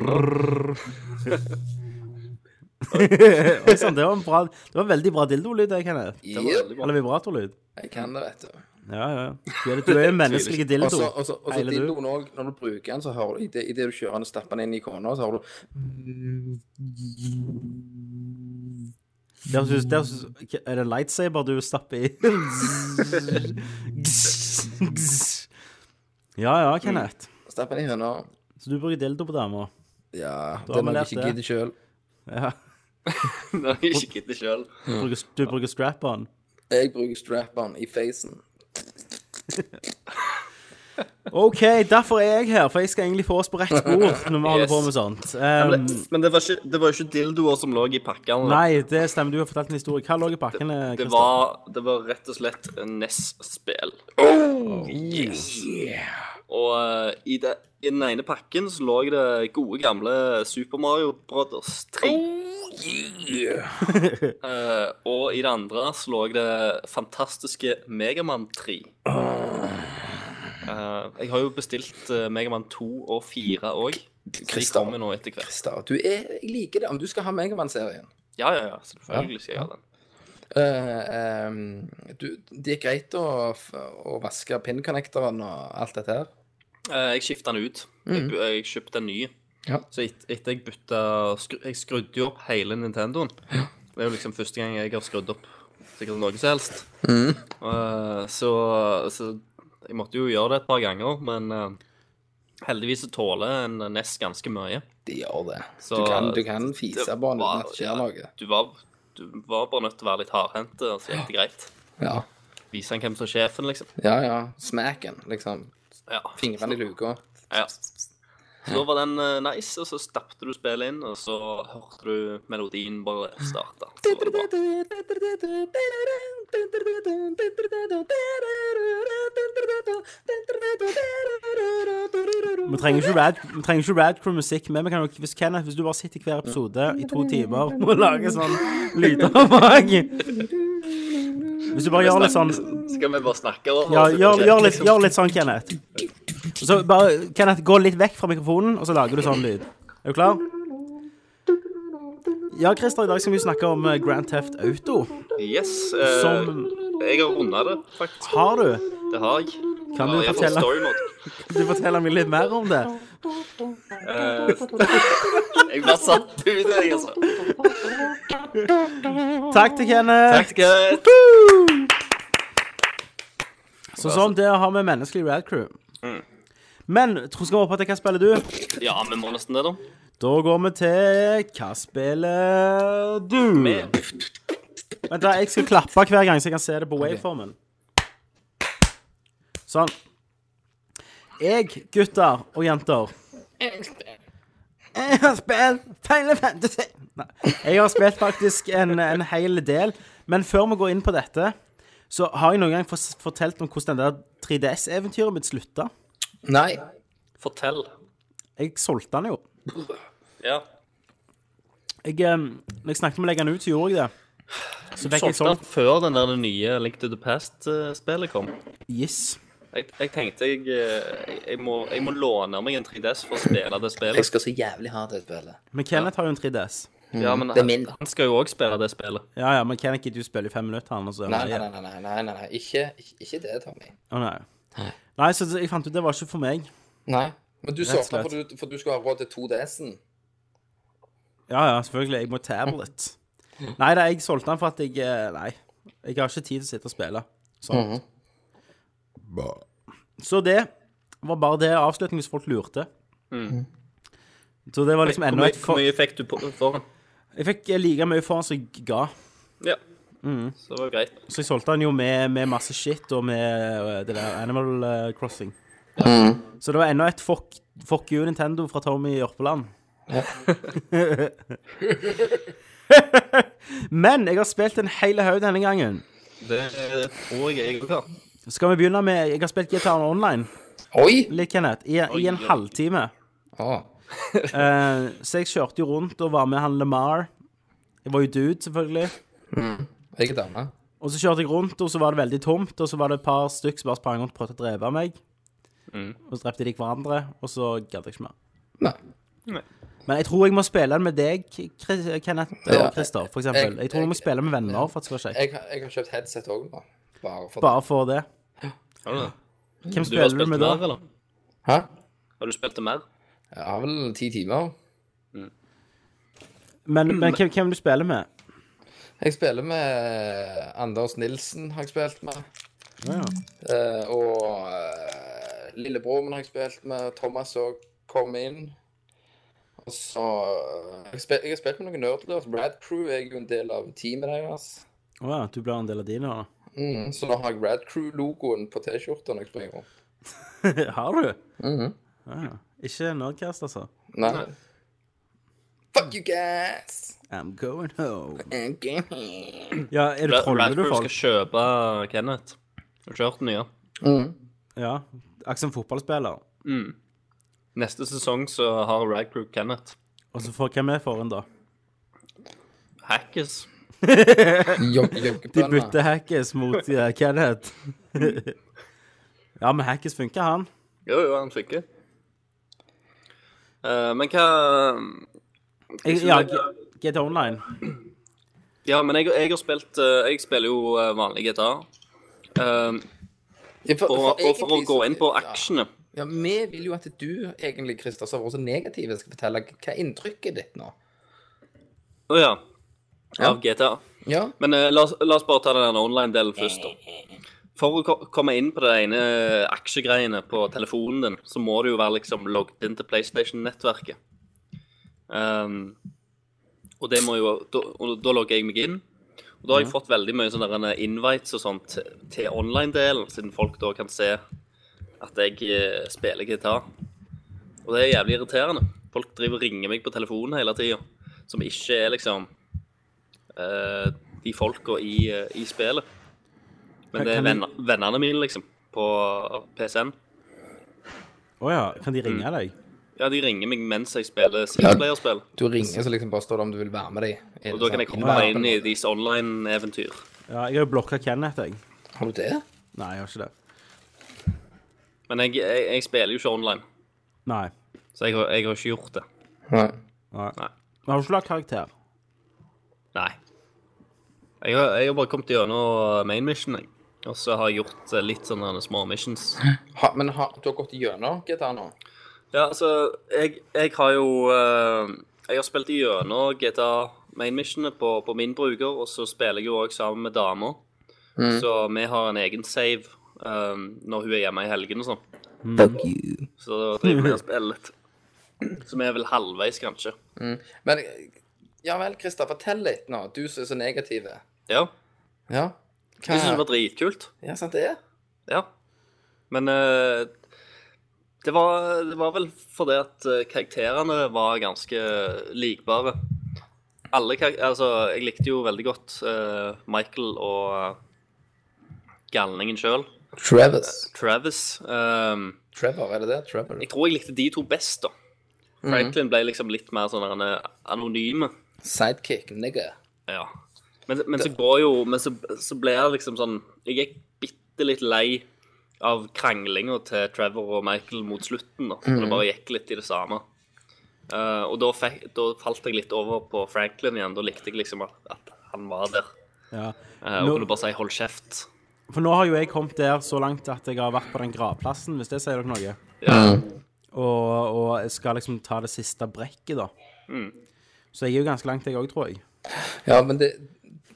[SPEAKER 1] Oi sann, det var en bra Det var en veldig bra dildolyd, det, Kenneth.
[SPEAKER 9] Det var veldig bra.
[SPEAKER 1] Eller vibratorlyd.
[SPEAKER 2] Jeg kan det, vet du.
[SPEAKER 1] Ja, ja. Du er- Du er en menneskelig dildo.
[SPEAKER 2] Og så-
[SPEAKER 9] Altså-
[SPEAKER 2] og så og så
[SPEAKER 1] Hele du.
[SPEAKER 2] dildoen òg. Når du bruker den, så hører du i det, i det du kjører den og stapper den inn i kona, så hører du
[SPEAKER 1] Det høres ut- det høres ut- Er det en lightsaber du stapper i? ja ja, Kenneth.
[SPEAKER 2] Stapp den i høna.
[SPEAKER 1] Så du bruker dildo på damer? Da
[SPEAKER 2] Ja,
[SPEAKER 1] har
[SPEAKER 2] den
[SPEAKER 1] vi
[SPEAKER 2] jeg
[SPEAKER 1] lært
[SPEAKER 2] ikke
[SPEAKER 1] det.
[SPEAKER 2] gidder sjøl.
[SPEAKER 1] Ja.
[SPEAKER 9] Nå har jeg ikke giddet sjøl.
[SPEAKER 1] Du bruker, du bruker strap-on?
[SPEAKER 2] Jeg bruker strap-on i facen.
[SPEAKER 1] OK, derfor er jeg her, for jeg skal egentlig få oss på rett spor når vi holder
[SPEAKER 9] Yes.
[SPEAKER 1] på med sånt.
[SPEAKER 9] Men,
[SPEAKER 1] Um,
[SPEAKER 9] det- men det var ikke, det var ikke dildoer som lå i pakkene.
[SPEAKER 1] nei, det stemmer. Du har fortalt en historie. Hva lå i eh, pakkene?
[SPEAKER 9] Det
[SPEAKER 1] Christer? Oh,
[SPEAKER 9] E var, det var rett og slett NES-spill. Og eh, i, det, i den ene pakken så lå det gode gamle Super Mario Brothers 3.
[SPEAKER 1] Oh.
[SPEAKER 9] Eh, og i det andre så lå det fantastiske Megaman 3.
[SPEAKER 1] Oh.
[SPEAKER 9] Eh, jeg har jo bestilt uh, Megaman 2 og 4 òg. De
[SPEAKER 2] Christer.
[SPEAKER 9] kommer nå etter hvert.
[SPEAKER 2] Christer, du er, jeg liker det. Om du skal ha Megaman-serien
[SPEAKER 9] Ja, ja, ja. Selvfølgelig skal jeg ha den.
[SPEAKER 2] Eh, ehm, du- Det er greit å, f- å vaske pinnconnecteren og alt dette her.
[SPEAKER 9] Eh, Jeg skifta den ut. Jeg, bu- eh, jeg kjøpte en ny.
[SPEAKER 2] Mm. Ja.
[SPEAKER 9] Så et, etter jeg bytta skru, Jeg skrudde jo opp hele Nintendoen. Det er jo liksom første gang jeg har skrudd opp sikkert noe som helst.
[SPEAKER 2] Mm.
[SPEAKER 9] Eh, så, så jeg måtte jo gjøre det et par ganger, men eh, heldigvis så tåler en NES ganske mye.
[SPEAKER 2] Det gjør det.
[SPEAKER 9] Så
[SPEAKER 2] du, kan, du kan fise
[SPEAKER 9] det
[SPEAKER 2] på den uten
[SPEAKER 9] var-
[SPEAKER 2] at det skjer
[SPEAKER 9] ja.
[SPEAKER 2] noe.
[SPEAKER 9] Du var, du var bare nødt til å være litt hardhendt, og så gikk det greit.
[SPEAKER 2] Ja.
[SPEAKER 9] Vise han hvem som er sjefen, liksom.
[SPEAKER 2] ja, ja. Smaken, liksom.
[SPEAKER 9] Ja.
[SPEAKER 2] Fingrene i luka.
[SPEAKER 9] Ja. Så da var den eh, nice, og så stappte du spillet inn, og så hørte du melodien bare starte. Så var det bra.
[SPEAKER 1] Vi trenger ikke rad, vi trenger ikke radcrew-musikk, men vi kan jo, hvis, Kenneth, hvis du bare sitter i hver episode i to timer og lager sånn lyder bak Hvis du bare gjør litt sånn
[SPEAKER 9] Skal vi bare snakke liksom- over
[SPEAKER 1] Ja,
[SPEAKER 9] det?
[SPEAKER 1] gjør, gjør, litt, gjør litt sånn, Kenneth. Og Så bare, Kenneth, gå litt vekk fra mikrofonen, og så lager du sånn lyd. Er du klar? Ja, Christer, i dag skal vi snakke om eh, Grand Theft Auto.
[SPEAKER 9] Yes. eh,
[SPEAKER 1] Som-
[SPEAKER 9] Jeg har runda det, faktisk.
[SPEAKER 1] Har du?
[SPEAKER 9] Det har jeg.
[SPEAKER 1] Kan
[SPEAKER 9] Ja,
[SPEAKER 1] du
[SPEAKER 9] jeg har fått
[SPEAKER 1] fortelle,
[SPEAKER 9] story mode.
[SPEAKER 1] kan du fortelle meg litt mer om det?
[SPEAKER 9] Jeg bare satt ut, jeg, altså.
[SPEAKER 1] Takk til Kenneth.
[SPEAKER 9] Takk skal du
[SPEAKER 1] Så sånn, der har vi menneskelig Rad Crew. Men tror skal vi håpe at hva spiller du?
[SPEAKER 9] Ja, vi må nesten det, da.
[SPEAKER 1] Da går vi til Hva spiller du?
[SPEAKER 9] Vi-
[SPEAKER 1] Vent, da, jeg skal klappe hver gang, så jeg kan se det på waveformen. Sånn. Jeg, gutter og jenter Jeg har spilt Final Fantasy Nei. Jeg har spilt faktisk en, en hel del. Men før vi går inn på dette, så har jeg noen gang fors- fortalt om hvordan den der 3DS-eventyret mitt slutta.
[SPEAKER 2] Nei.
[SPEAKER 9] Fortell.
[SPEAKER 1] Jeg solgte den jo.
[SPEAKER 9] Ja.
[SPEAKER 1] Jeg, eh, når jeg snakket med legge den ut, så gjorde jeg det. Så fikk jeg
[SPEAKER 9] Solgte den
[SPEAKER 1] solgt.
[SPEAKER 9] før den der nye Link to the Past-spillet kom.
[SPEAKER 1] Yes.
[SPEAKER 9] Jeg, jeg tenkte jeg, eh, jeg, må, jeg må låne meg en 3DS for å spille det
[SPEAKER 2] Jeg
[SPEAKER 9] spillet.
[SPEAKER 2] skal så jævlig ha det spillet.
[SPEAKER 1] Men Kenneth har jo en 3DS.
[SPEAKER 9] Ja, men
[SPEAKER 2] Mm. Det er min.
[SPEAKER 9] han, han skal jo òg spille det spillet.
[SPEAKER 1] Ja, ja, men Kenneth gidder jo spille i fem minutter, han. Og så,
[SPEAKER 2] Nei, nei, nei. nei, nei, nei, nei. Ikke, ikke- ikke det, Tommy.
[SPEAKER 1] Å, nei. Nei, så jeg fant ut det var ikke for meg.
[SPEAKER 2] Nei. Men du
[SPEAKER 1] Rett og
[SPEAKER 2] sovna
[SPEAKER 1] slett.
[SPEAKER 2] for, du- for du skulle ha råd til 2DS-en.
[SPEAKER 1] Ja, ja, selvfølgelig. Jeg må tablet. Nei da, jeg solgte den for at jeg eh, Nei. Jeg har ikke tid til å sitte og spille. Sånn. Mhm. Så det var bare det avslutningen, hvis folk lurte. Så det var liksom
[SPEAKER 9] Hvor
[SPEAKER 1] enda
[SPEAKER 9] mye,
[SPEAKER 1] et
[SPEAKER 9] hvor
[SPEAKER 1] for...
[SPEAKER 9] mye fikk du på, for den?
[SPEAKER 1] Jeg fikk eh, like mye for den som jeg ga.
[SPEAKER 9] Ja.
[SPEAKER 1] Mm.
[SPEAKER 9] Så det var greit.
[SPEAKER 1] Så jeg solgte den jo med, med masse shit og med eh, det der Animal eh, Crossing. Så det var enda et fuck, fuck you Nintendo fra Tommy Jørpeland. Men jeg har spilt en hel haug denne gangen.
[SPEAKER 9] Det eh, tror jeg jeg òg har.
[SPEAKER 1] Skal vi begynne med Jeg har spilt gitar online
[SPEAKER 2] Oi!
[SPEAKER 1] litt, Kenneth, i, i en
[SPEAKER 9] Oi, oi.
[SPEAKER 1] halvtime.
[SPEAKER 2] Å,
[SPEAKER 1] Eh, så jeg kjørte jo rundt og var med han LeMar. Jeg var jo dude, selvfølgelig.
[SPEAKER 2] jeg er dame.
[SPEAKER 1] Og så kjørte jeg rundt, og så var det veldig tomt, og så var det et par stykk som bare sprang rundt og prøvde å drepe meg. Og så drepte de hverandre, og så gadd jeg ikke mer.
[SPEAKER 2] Nei.
[SPEAKER 1] Men jeg tror jeg må spille den med deg, Chris, Kenneth
[SPEAKER 2] Ja.
[SPEAKER 1] og Christer, for eksempel.
[SPEAKER 2] Jeg-
[SPEAKER 1] Jeg tror jeg må
[SPEAKER 2] jeg-
[SPEAKER 1] spille med venner for at det skal være kjekt.
[SPEAKER 2] Jeg, har- jeg har kjøpt headset òg nå. Bare for
[SPEAKER 1] Bare for det.
[SPEAKER 9] Har du det?
[SPEAKER 1] Hvem
[SPEAKER 9] Du har
[SPEAKER 1] spiller du
[SPEAKER 9] spilt
[SPEAKER 1] med
[SPEAKER 9] mer,
[SPEAKER 1] da?
[SPEAKER 9] eller?
[SPEAKER 2] Hæ?
[SPEAKER 9] Har du spilt det mer?
[SPEAKER 2] Jeg har vel ti timer.
[SPEAKER 1] Men, men hvem, hvem du spiller med?
[SPEAKER 2] Jeg spiller med eh, Anders Nilsen, har jeg spilt med.
[SPEAKER 1] Ja.
[SPEAKER 2] Eh, og eh, lillebror min har jeg spilt med. Thomas òg kom inn. Og så eh, jeg, spil, jeg har spilt med noen nerdler. Rad Crew er jo en del av teamet deres.
[SPEAKER 1] Å ja, du blir en del av de nå? da.
[SPEAKER 2] Mm, så da har jeg Rad Crew-logoen på T-skjorta når jeg springer rundt.
[SPEAKER 1] Har du? ja. Ikke Nerdcast, altså.
[SPEAKER 2] Nei. Fuck you guys! Eh,
[SPEAKER 1] I'm going home.
[SPEAKER 2] And go home.
[SPEAKER 1] Ja, er du troller du
[SPEAKER 9] Radcrew skal
[SPEAKER 1] folk?
[SPEAKER 9] kjøpe Kenneth. Har du ikke hørt den nye?
[SPEAKER 1] Ja. Akkurat som fotballspiller.
[SPEAKER 9] Neste sesong så har Rag Crew Kenneth.
[SPEAKER 1] Og så får, hvem er foran, da?
[SPEAKER 9] Hackes.
[SPEAKER 1] De
[SPEAKER 2] Joggebønner.
[SPEAKER 1] bytter Hackis mot eh, Kenneth. ja, men Hackis funker, han.
[SPEAKER 9] Jo, jo, han funker. Eh, men hva
[SPEAKER 1] Jeg, ja, G- GTA Online.
[SPEAKER 9] Ja, men jeg, jeg har spilt eh, Jeg spiller jo eh, vanlig GTA. Eh,
[SPEAKER 2] Ja, for-
[SPEAKER 9] og,
[SPEAKER 2] for
[SPEAKER 9] og for å
[SPEAKER 2] egentlig
[SPEAKER 9] gå
[SPEAKER 2] så-
[SPEAKER 9] inn på
[SPEAKER 2] ja.
[SPEAKER 9] actionet
[SPEAKER 2] Ja, vi vil jo at du egentlig, Christer, som har vært så negativ, skal fortelle hva er inntrykket ditt nå.
[SPEAKER 9] Å ja. Av GTA.
[SPEAKER 2] Ja,
[SPEAKER 9] Men eh, la, oss, la oss bare ta den online-delen først, da. For å ko- komme inn på det ene eh, aksjegreiene på telefonen din, så må du jo være liksom logget inn til PlayStation-nettverket. Ehm, og det må jo Da, og da logger jeg meg inn. Og da har jeg fått veldig mye sånne derne invites og sånt til, til online-delen, siden folk da kan se at jeg eh, spiller gitar. Og det er jævlig irriterende. Folk driver og ringer meg på telefonen hele tida, som ikke er liksom eh, de folka i, eh, i spillet. Men det er
[SPEAKER 1] Kan- kan
[SPEAKER 9] venner, vennene mine, liksom, på PCN.
[SPEAKER 1] Å ja, kan de ringe deg?
[SPEAKER 9] Ja, de ringer meg mens jeg spiller singleplayerspill.
[SPEAKER 2] du ringer, så liksom bare står det om du vil være med dem.
[SPEAKER 9] Og da kan jeg komme meg inn i deres online-eventyr.
[SPEAKER 1] Ja, jeg har jo blokka Kenneth, jeg.
[SPEAKER 2] Har du det?
[SPEAKER 1] Nei, jeg har ikke det.
[SPEAKER 9] Men jeg, jeg, jeg spiller jo ikke online,
[SPEAKER 1] Nei.
[SPEAKER 9] så jeg, har- jeg har ikke gjort det.
[SPEAKER 2] Nei.
[SPEAKER 1] Men har du ikke lagt karakter?
[SPEAKER 9] Nei. Jeg har, jeg har bare kommet gjennom main mission, jeg. Og så har jeg gjort eh, litt sånne små missions.
[SPEAKER 2] Ha, men ha, du har gått gjennom GTA nå?
[SPEAKER 9] Ja, altså, jeg, jeg har jo eh, Jeg har spilt gjennom GTA Main Missionet på, på min bruker, og så spiller jeg jo òg sammen med dama. Så vi har en egen save eh, når hun er hjemme i helgen og sånn. Så da driver vi og spiller litt. Så vi er vel halvveis, kanskje.
[SPEAKER 2] Men ja vel, Christer, fortell litt nå. Du som er så negativ.
[SPEAKER 9] Ja.
[SPEAKER 2] Ja.
[SPEAKER 9] Jeg syns det var dritkult.
[SPEAKER 2] Ja, sant det er?
[SPEAKER 9] Ja. Men eh, det, var, det var vel fordi at eh, karakterene var ganske likbare. Alle karak altså, jeg likte jo veldig godt eh, Michael og eh, galningen sjøl,
[SPEAKER 2] Travis.
[SPEAKER 9] Travis. Ehm,
[SPEAKER 2] Trevor, er det det? Trevor.
[SPEAKER 9] jeg tror jeg likte de to best, da.
[SPEAKER 2] Mhm.
[SPEAKER 9] Franklin ble liksom litt mer sånn han er anonyme.
[SPEAKER 2] Sidekick, nigga.
[SPEAKER 9] Ja. Men, men så går jo Men så, så ble jeg liksom sånn Jeg er bitte litt lei av kranglinga til Trevor og Michael mot slutten. da For Det bare gikk litt i det samme. Eh, og da, fikk, da falt jeg litt over på Franklin igjen. Da likte jeg liksom at, at han var der.
[SPEAKER 1] Ja.
[SPEAKER 9] Eh, og
[SPEAKER 1] Nå-
[SPEAKER 9] kunne bare si 'hold kjeft'.
[SPEAKER 1] For nå har jo jeg kommet der så langt at jeg har vært på den gravplassen, hvis det sier dere noe.
[SPEAKER 9] Ja.
[SPEAKER 1] Og, og jeg skal liksom ta det siste brekket, da.
[SPEAKER 9] Mm.
[SPEAKER 1] Så jeg er jo ganske langt, jeg òg, tror jeg.
[SPEAKER 2] Ja, men det,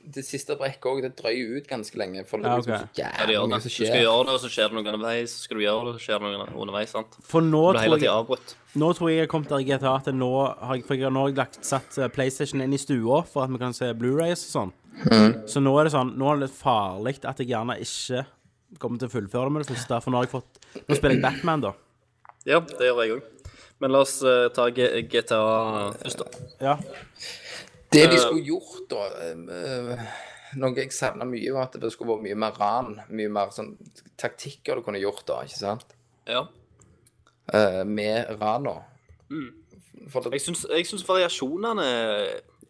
[SPEAKER 2] det siste brekket òg, det drøyer ut ganske lenge. For det
[SPEAKER 1] Ja,
[SPEAKER 2] er liksom
[SPEAKER 1] ok.
[SPEAKER 2] så
[SPEAKER 9] Ja,
[SPEAKER 2] jævlig
[SPEAKER 9] det gjør
[SPEAKER 2] mye
[SPEAKER 9] det. Du
[SPEAKER 2] som
[SPEAKER 9] skal
[SPEAKER 2] skjer.
[SPEAKER 9] gjøre det, og så skjer det noe underveis. Så skal du gjøre det, og så skjer det noe underveis. sant? Du
[SPEAKER 1] For nå
[SPEAKER 9] ble
[SPEAKER 1] tror
[SPEAKER 9] hele
[SPEAKER 1] jeg,
[SPEAKER 9] tiden avbrutt.
[SPEAKER 1] nå tror jeg jeg har kommet der i GTA at nå har jeg, for jeg har nå lagt, satt eh, PlayStation inn i stua for at vi kan se Blu-rays og sånn. Så nå er det sånn, nå er det litt farlig at jeg gjerne ikke kommer til å fullføre det med det første. For nå har jeg fått Nå spiller jeg Batman, da.
[SPEAKER 9] Ja, det gjør jeg òg. Men la oss eh, ta G GTA først, da.
[SPEAKER 1] Ja.
[SPEAKER 2] Det de skulle gjort, da eh, eh, Noe jeg savna mye, var at det skulle vært mye mer ran. Mye mer sånn taktikker du kunne gjort da, ikke sant?
[SPEAKER 9] Ja.
[SPEAKER 2] Eh, med rana. For det,
[SPEAKER 9] Jeg syns, jeg syns variasjonene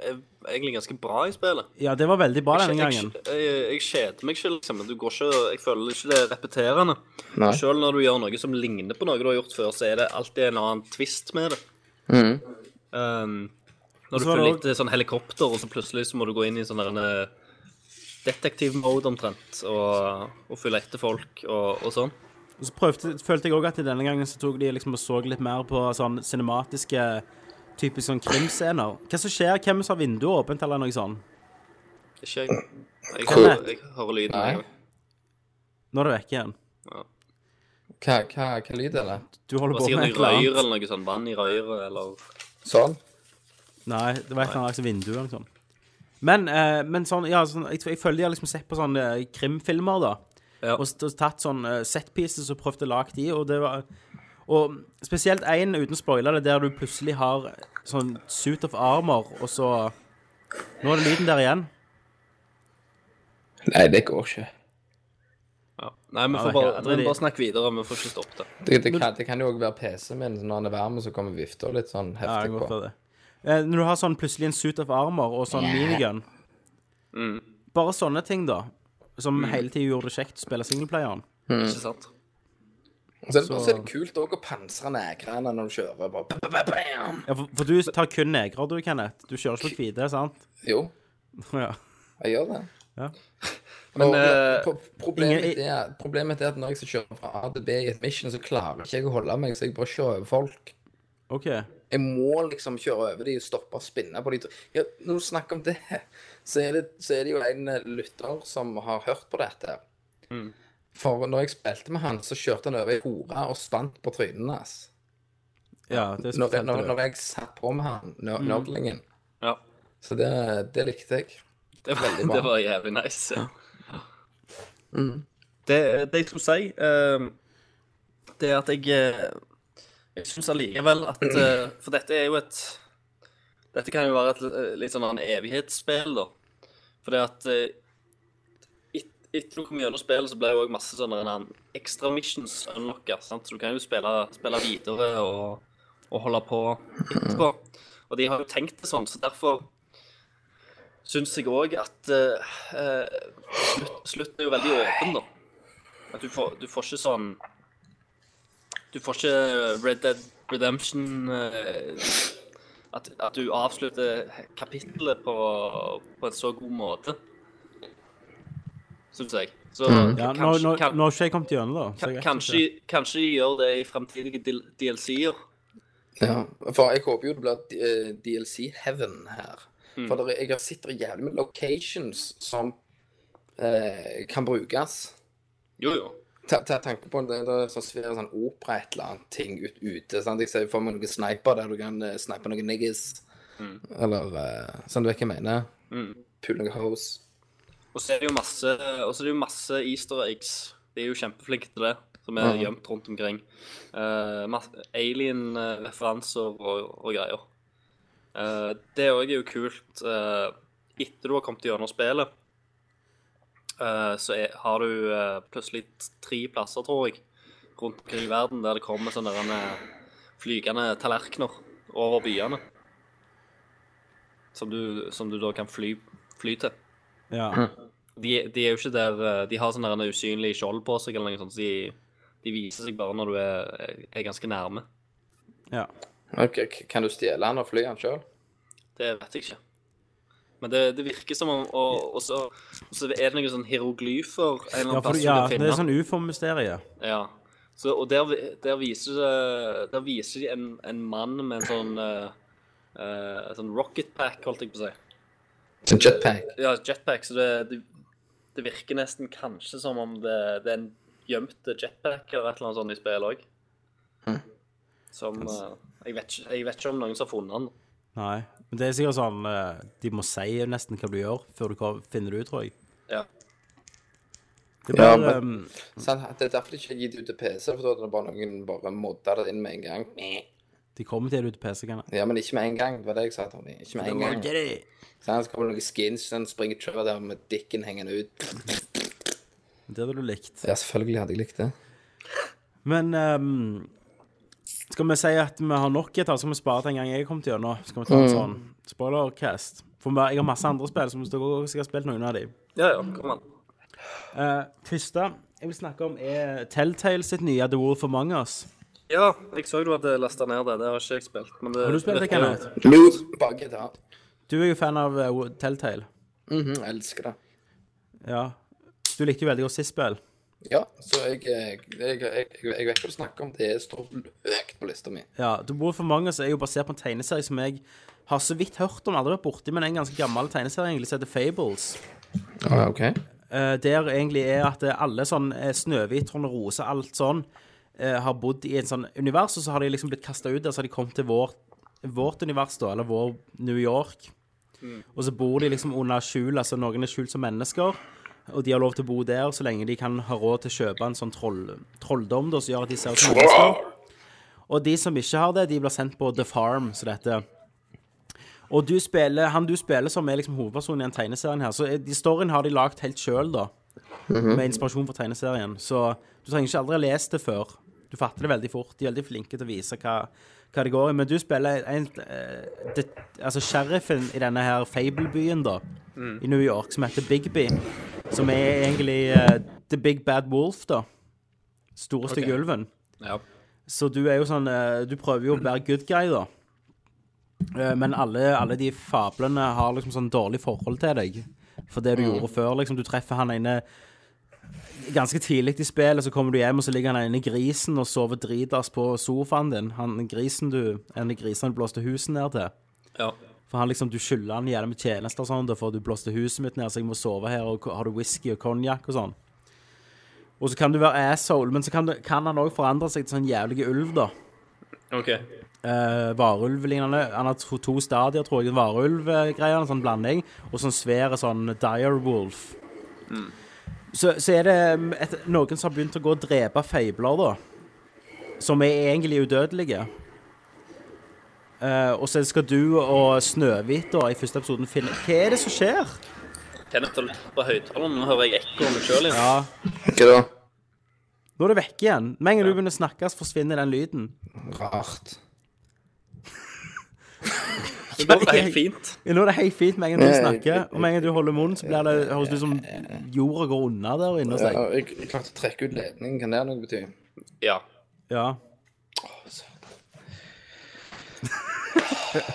[SPEAKER 9] er egentlig ganske bra i spillet.
[SPEAKER 1] ja, det var veldig bra
[SPEAKER 9] Jeg,
[SPEAKER 1] denne
[SPEAKER 9] jeg,
[SPEAKER 1] gangen.
[SPEAKER 9] jeg, jeg kjeder meg ikke, liksom. Du går ikke, jeg føler ikke det er repeterende.
[SPEAKER 2] Nei.
[SPEAKER 9] Selv når du gjør noe som ligner på noe du har gjort før, så er det alltid en annen twist med det. Um, når du
[SPEAKER 1] så var det
[SPEAKER 9] følger etter sånn helikopter, og så plutselig så må du gå inn i sånn der en eh, detektiv-mode omtrent, og, og følge etter folk og, og sånn.
[SPEAKER 1] Og så prøvde, følte jeg òg at denne gangen så tok de liksom og så litt mer på sånn cinematiske Typisk sånn krimscener. Hva som skjer? Hvem som har vinduet åpent, eller noe sånt?
[SPEAKER 9] Ikke jeg. Jeg,
[SPEAKER 1] Cool.
[SPEAKER 9] jeg hører lyden.
[SPEAKER 2] Nei.
[SPEAKER 9] jeg.
[SPEAKER 1] Nå er det vekk igjen.
[SPEAKER 2] hva, hva, hva lyd er det?
[SPEAKER 1] Du
[SPEAKER 9] Det
[SPEAKER 1] holder
[SPEAKER 9] var
[SPEAKER 1] på med
[SPEAKER 9] sikkert
[SPEAKER 1] et
[SPEAKER 9] noe
[SPEAKER 1] eller
[SPEAKER 9] røyr
[SPEAKER 1] annet.
[SPEAKER 9] eller noe sånn vann i røyret, eller
[SPEAKER 2] Sånn?
[SPEAKER 1] Nei, det var et eller annet slags vindu eller noe sånt. Men, eh, men sånn, ja, sånn, jeg, jeg føler de har liksom sett på sånne eh, krimfilmer, da.
[SPEAKER 9] Ja.
[SPEAKER 1] Og, s- og tatt sånn eh, set pieces og prøvd å lage de, og det var Og spesielt én, uten spoiler, det der du plutselig har sånn suit of armor, og så Nå er det lyden der igjen.
[SPEAKER 2] Nei, det går ikke.
[SPEAKER 9] Nei, vi
[SPEAKER 1] det
[SPEAKER 9] får
[SPEAKER 1] er
[SPEAKER 9] bare,
[SPEAKER 1] helt-
[SPEAKER 9] vi må bare snakke videre. Vi får ikke stoppe det.
[SPEAKER 2] Det, det, kan, det kan jo også være PC-en min. så Når den er varm, så kommer vifta litt sånn
[SPEAKER 1] Ja, jeg
[SPEAKER 2] heftig
[SPEAKER 1] går
[SPEAKER 2] på.
[SPEAKER 1] for det. Eh, når du har sånn plutselig en suit of armor og sånn minigun Mm. Bare sånne ting, da. Som hele tida gjorde det kjekt å spille singleplayeren.
[SPEAKER 9] Ikke sant?
[SPEAKER 2] Så er det, så er det kult også å pansre negrene når du kjører. Bare, ba, ba, bam.
[SPEAKER 1] Ja, for, for du tar kun negrer, du, Kenneth. Du kjører ikke på hvite, sant?
[SPEAKER 2] Jo,
[SPEAKER 1] Ja.
[SPEAKER 2] jeg gjør det.
[SPEAKER 1] Ja.
[SPEAKER 2] Men,
[SPEAKER 9] eh,
[SPEAKER 1] ingen-
[SPEAKER 2] problemet, mitt er, problemet mitt er at når jeg skal kjøre fra A til B i et mission, så klarer ikke jeg å holde meg, så jeg bare kjører over folk.
[SPEAKER 1] OK.
[SPEAKER 2] Jeg må liksom kjøre over de og stoppe og spinne på de. Ja, når du snakker om det, så er det, så er det jo en eh, lytter som har hørt på dette.
[SPEAKER 1] Mm.
[SPEAKER 2] For når jeg spilte med han, så kjørte han over ei hore og spant på trynene hans.
[SPEAKER 1] Ja, det Mm.
[SPEAKER 2] Når,
[SPEAKER 1] fortalte
[SPEAKER 2] når,
[SPEAKER 1] du.
[SPEAKER 2] når jeg satt på med han, nø- nerdlingen.
[SPEAKER 9] Ja.
[SPEAKER 2] Så det, det likte jeg.
[SPEAKER 9] Det var,
[SPEAKER 2] Veldig bra.
[SPEAKER 9] det var jævlig nice. Ja. Det, det jeg skulle si, ehm, det er at jeg eh, Jeg syns allikevel at eh, For dette er jo et Dette kan jo være et eh, litt sånn en evighetsspill, da. For det at eh, et- etter du kom gjennom spillet, så ble det jo også masse sånne en annen ekstra missions unlocka. sant? Så du kan jo spille, spille videre og, og holde på etterpå. Og de har jo tenkt det sånn, så derfor syns jeg òg at eh, eh, slutt, slutten er jo veldig åpen, da. At du får, du får ikke sånn Du får ikke Red Dead Redemption eh, at, at du avslutter kapittelet på, på en så god måte, syns jeg. Så
[SPEAKER 1] Ja, nå,
[SPEAKER 9] kanskje-
[SPEAKER 1] nå,
[SPEAKER 9] kan-
[SPEAKER 1] nå har ikke jeg kommet gjennom, da. så
[SPEAKER 9] Ka-
[SPEAKER 1] jeg vet
[SPEAKER 9] Kanskje, kanskje de gjør det i fremtidige dil- DLC-er.
[SPEAKER 2] Ja, for jeg håper jo det blir eh, DLC heaven her. For der, er- jeg sitter jævlig med locations som eh, kan brukes.
[SPEAKER 9] Jo, jo.
[SPEAKER 2] Ta, ta tanke på det, det er sånn svær sånn opera et eller annet ting ut, ute. Sant? Jeg ser for meg noen sniper der du kan eh, snipe noen niggas. Eller eh, sånn du vet hva jeg mener. Pull noen hoes.
[SPEAKER 9] Og så er det jo masse, og så er det jo masse easter eggs. De er jo kjempeflinke til det, som er gjemt rundt omkring. Eh, masse Alien-referanser og, og greier. Eh, det òg er jo kult. eh, etter du har kommet gjennom spillet, eh, så er, har du eh, plutselig t- tre plasser, tror jeg, rundt omkring i verden der det kommer sånne der, eh, flygende tallerkener over byene. Som du, som du da kan fly, fly til.
[SPEAKER 1] ikke. Ja.
[SPEAKER 9] De, de er jo ikke der eh, De har sånn der en usynlig skjold på seg, eller noe sånt, så de, de viser seg bare når du er, er ganske nærme.
[SPEAKER 1] ja.
[SPEAKER 2] Ok, k- Kan du stjele han og fly han sjøl?
[SPEAKER 9] Det vet jeg ikke. Men det, det virker som om Og, og, så, og så er det noen sånn hieroglyfer en eller annen
[SPEAKER 1] Ja, for,
[SPEAKER 9] plass du
[SPEAKER 1] ja,
[SPEAKER 9] kan
[SPEAKER 1] det
[SPEAKER 9] finne.
[SPEAKER 1] er sånn ufo-mysterie.
[SPEAKER 9] Ja. Så, og der, vi- der viser det- Der viser de en, en mann med en sånn eh, eh, en Sånn rocket pack, holdt jeg på å si.
[SPEAKER 2] Jetpack.
[SPEAKER 9] Ja, jetpack, så det, det, det virker nesten kanskje som om det, det er en gjemte jetpack eller et eller annet sånt i spillet òg. Som eh, jeg, vet ikke, jeg vet ikke om noen som har funnet den.
[SPEAKER 1] Nei. Men det er sikkert sånn eh, De må si nesten hva du gjør, før du kom- finner det ut, tror jeg.
[SPEAKER 9] Ja.
[SPEAKER 1] Det
[SPEAKER 2] Ja,
[SPEAKER 1] blir
[SPEAKER 2] men-
[SPEAKER 1] ehm,
[SPEAKER 2] Sant? Det er derfor de ikke har gitt ut til PC, for da hadde det bare noen bare modda det inn med en gang.
[SPEAKER 1] De kommer til det ut på PC, kan jeg.
[SPEAKER 2] Ja, men ikke med en gang. Det var det jeg sa, Tony. Ikke med en gang. Sant? Så kommer det noen skins, den springer Trevor der med dikken hengende ut.
[SPEAKER 1] Det hadde du likt.
[SPEAKER 2] Ja, selvfølgelig hadde jeg likt det.
[SPEAKER 1] Men ehm, skal vi si at vi har nok gitar, så må vi spare til en gang jeg kom til gjennom. Så kan vi ta en sånn spoilercast. For vi- jeg har masse andre spill, så dere også skal spille noen av dem.
[SPEAKER 9] Ja, ja, kom an.
[SPEAKER 1] Uh, første jeg vil snakke om, er Telltale sitt nye The Wolf Among Us.
[SPEAKER 9] Ja, jeg så du hadde lasta ned det. Det har ikke jeg spilt. Men det,
[SPEAKER 1] Har du spilt det,
[SPEAKER 9] virker jo-
[SPEAKER 1] Kenneth?
[SPEAKER 2] Lut! Bare gitar.
[SPEAKER 1] Du er jo fan av eh, Wo- Telltale.
[SPEAKER 2] Mhm, elsker det.
[SPEAKER 1] Ja. Du likte jo veldig godt sist spill.
[SPEAKER 2] Ja, så jeg, eh, jeg, jeg, jeg, jeg vet hva du snakker om. Det står høyt på lista mi.
[SPEAKER 1] Ja, The Wolf Among Us er jo basert på en tegneserie som jeg har så vidt hørt om, aldri vært borti, men det er en ganske gammel tegneserie egentlig, som heter Fables.
[SPEAKER 2] Ah, ok.
[SPEAKER 1] Eh, der egentlig er at eh, alle sånn eh, Snøhvit, Trond og Rose, alt sånn, eh, har bodd i en sånn univers, og så har de liksom blitt kasta ut der, så har de kommet til vårt, vårt univers, da, eller vår New York. Og så bor de liksom under skjul, altså noen er skjult som mennesker, og de har lov til å bo der så lenge de kan ha råd til å kjøpe en sånn troll, trolldom, da, som gjør at de ser ut som mennesker. Og de som ikke har det, de blir sendt på The Farm, så dette og du spiller, han du spiller som er liksom hovedpersonen i den tegneserien her, så er- de storyen har de lagd helt sjøl, da. med inspirasjon fra tegneserien. Så du trenger ikke aldri ha lest det før. Du fatter det veldig fort. De er veldig flinke til å vise hva, hva det går i. Men du spiller en, eh, det, altså sheriffen i denne her Fable-byen, da, i New York, som heter Bigby. Som er egentlig eh, The Big Bad Wolf, da. Store, stygge ulven.
[SPEAKER 3] Ja.
[SPEAKER 1] Så du er jo sånn eh, Du prøver jo å være good guy, da. Eh, Men alle, alle de fablene har liksom sånn dårlig forhold til deg. For det du gjorde før, liksom. Du treffer han ene ganske tidlig i spillet, så kommer du hjem, og så ligger han ene grisen og sover dritas på sofaen din. Han grisen du En av grisene du blåste huset ned til.
[SPEAKER 3] ja.
[SPEAKER 1] For han liksom, du skylder han gjerne med tjenester og sånn, da, for du blåste huset mitt ned, så jeg må sove her, og har du whisky og konjakk og sånn. Og så kan du være asshole, men så kan, du, kan han òg forandre seg til sånn jævlig ulv, da.
[SPEAKER 3] OK.
[SPEAKER 1] Uh, varulv-lignende. Han har to, to stadier, tror jeg. Varulv-greier, en sånn blanding, og sånn svære sånn direwolf. Så, så er det mm, et, noen som har begynt å gå og drepe feibler, da. Som er egentlig udødelige. Eh, og så skal du og Snøhvit da, i første episoden finne Hva er det som skjer?
[SPEAKER 3] Kenneth har tatt på høyttaleren. Nå hører jeg ekko av meg sjøl igjen.
[SPEAKER 1] Ja,
[SPEAKER 2] Hva da?
[SPEAKER 1] Nå er det vekk igjen. Med en gang du begynner å snakke, så forsvinner den lyden.
[SPEAKER 2] Rart.
[SPEAKER 3] Det låter helt fint.
[SPEAKER 1] Nå er det helt fint med en gang du
[SPEAKER 2] Nei.
[SPEAKER 1] snakker, og med en gang du holder munnen, så blir det, høres det ut som jorda går unna der inne hos
[SPEAKER 2] Ja,
[SPEAKER 1] deg.
[SPEAKER 2] jeg, jeg klarte å trekke ut ledningen. Kan det ha noe bety?
[SPEAKER 3] Ja.
[SPEAKER 1] Ja.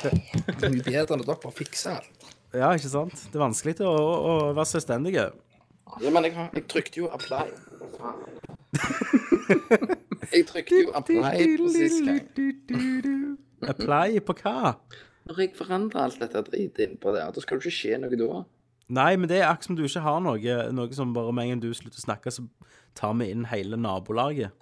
[SPEAKER 2] Myndighetene dere bare fikser alt.
[SPEAKER 1] ja, ikke sant? Det er vanskelig å, å, å være selvstendig.
[SPEAKER 2] Ja, men jeg, har- jeg trykte jo apply. Jeg trykte jo apply på sist gang.
[SPEAKER 1] Apply på hva?
[SPEAKER 2] Når jeg forandrer alt dette dritet innpå der, da skal det ikke skje noe da.
[SPEAKER 1] Nei, men det er akkurat som du ikke har noe, noe som bare med en gang du slutter å snakke, så tar vi inn hele nabolaget.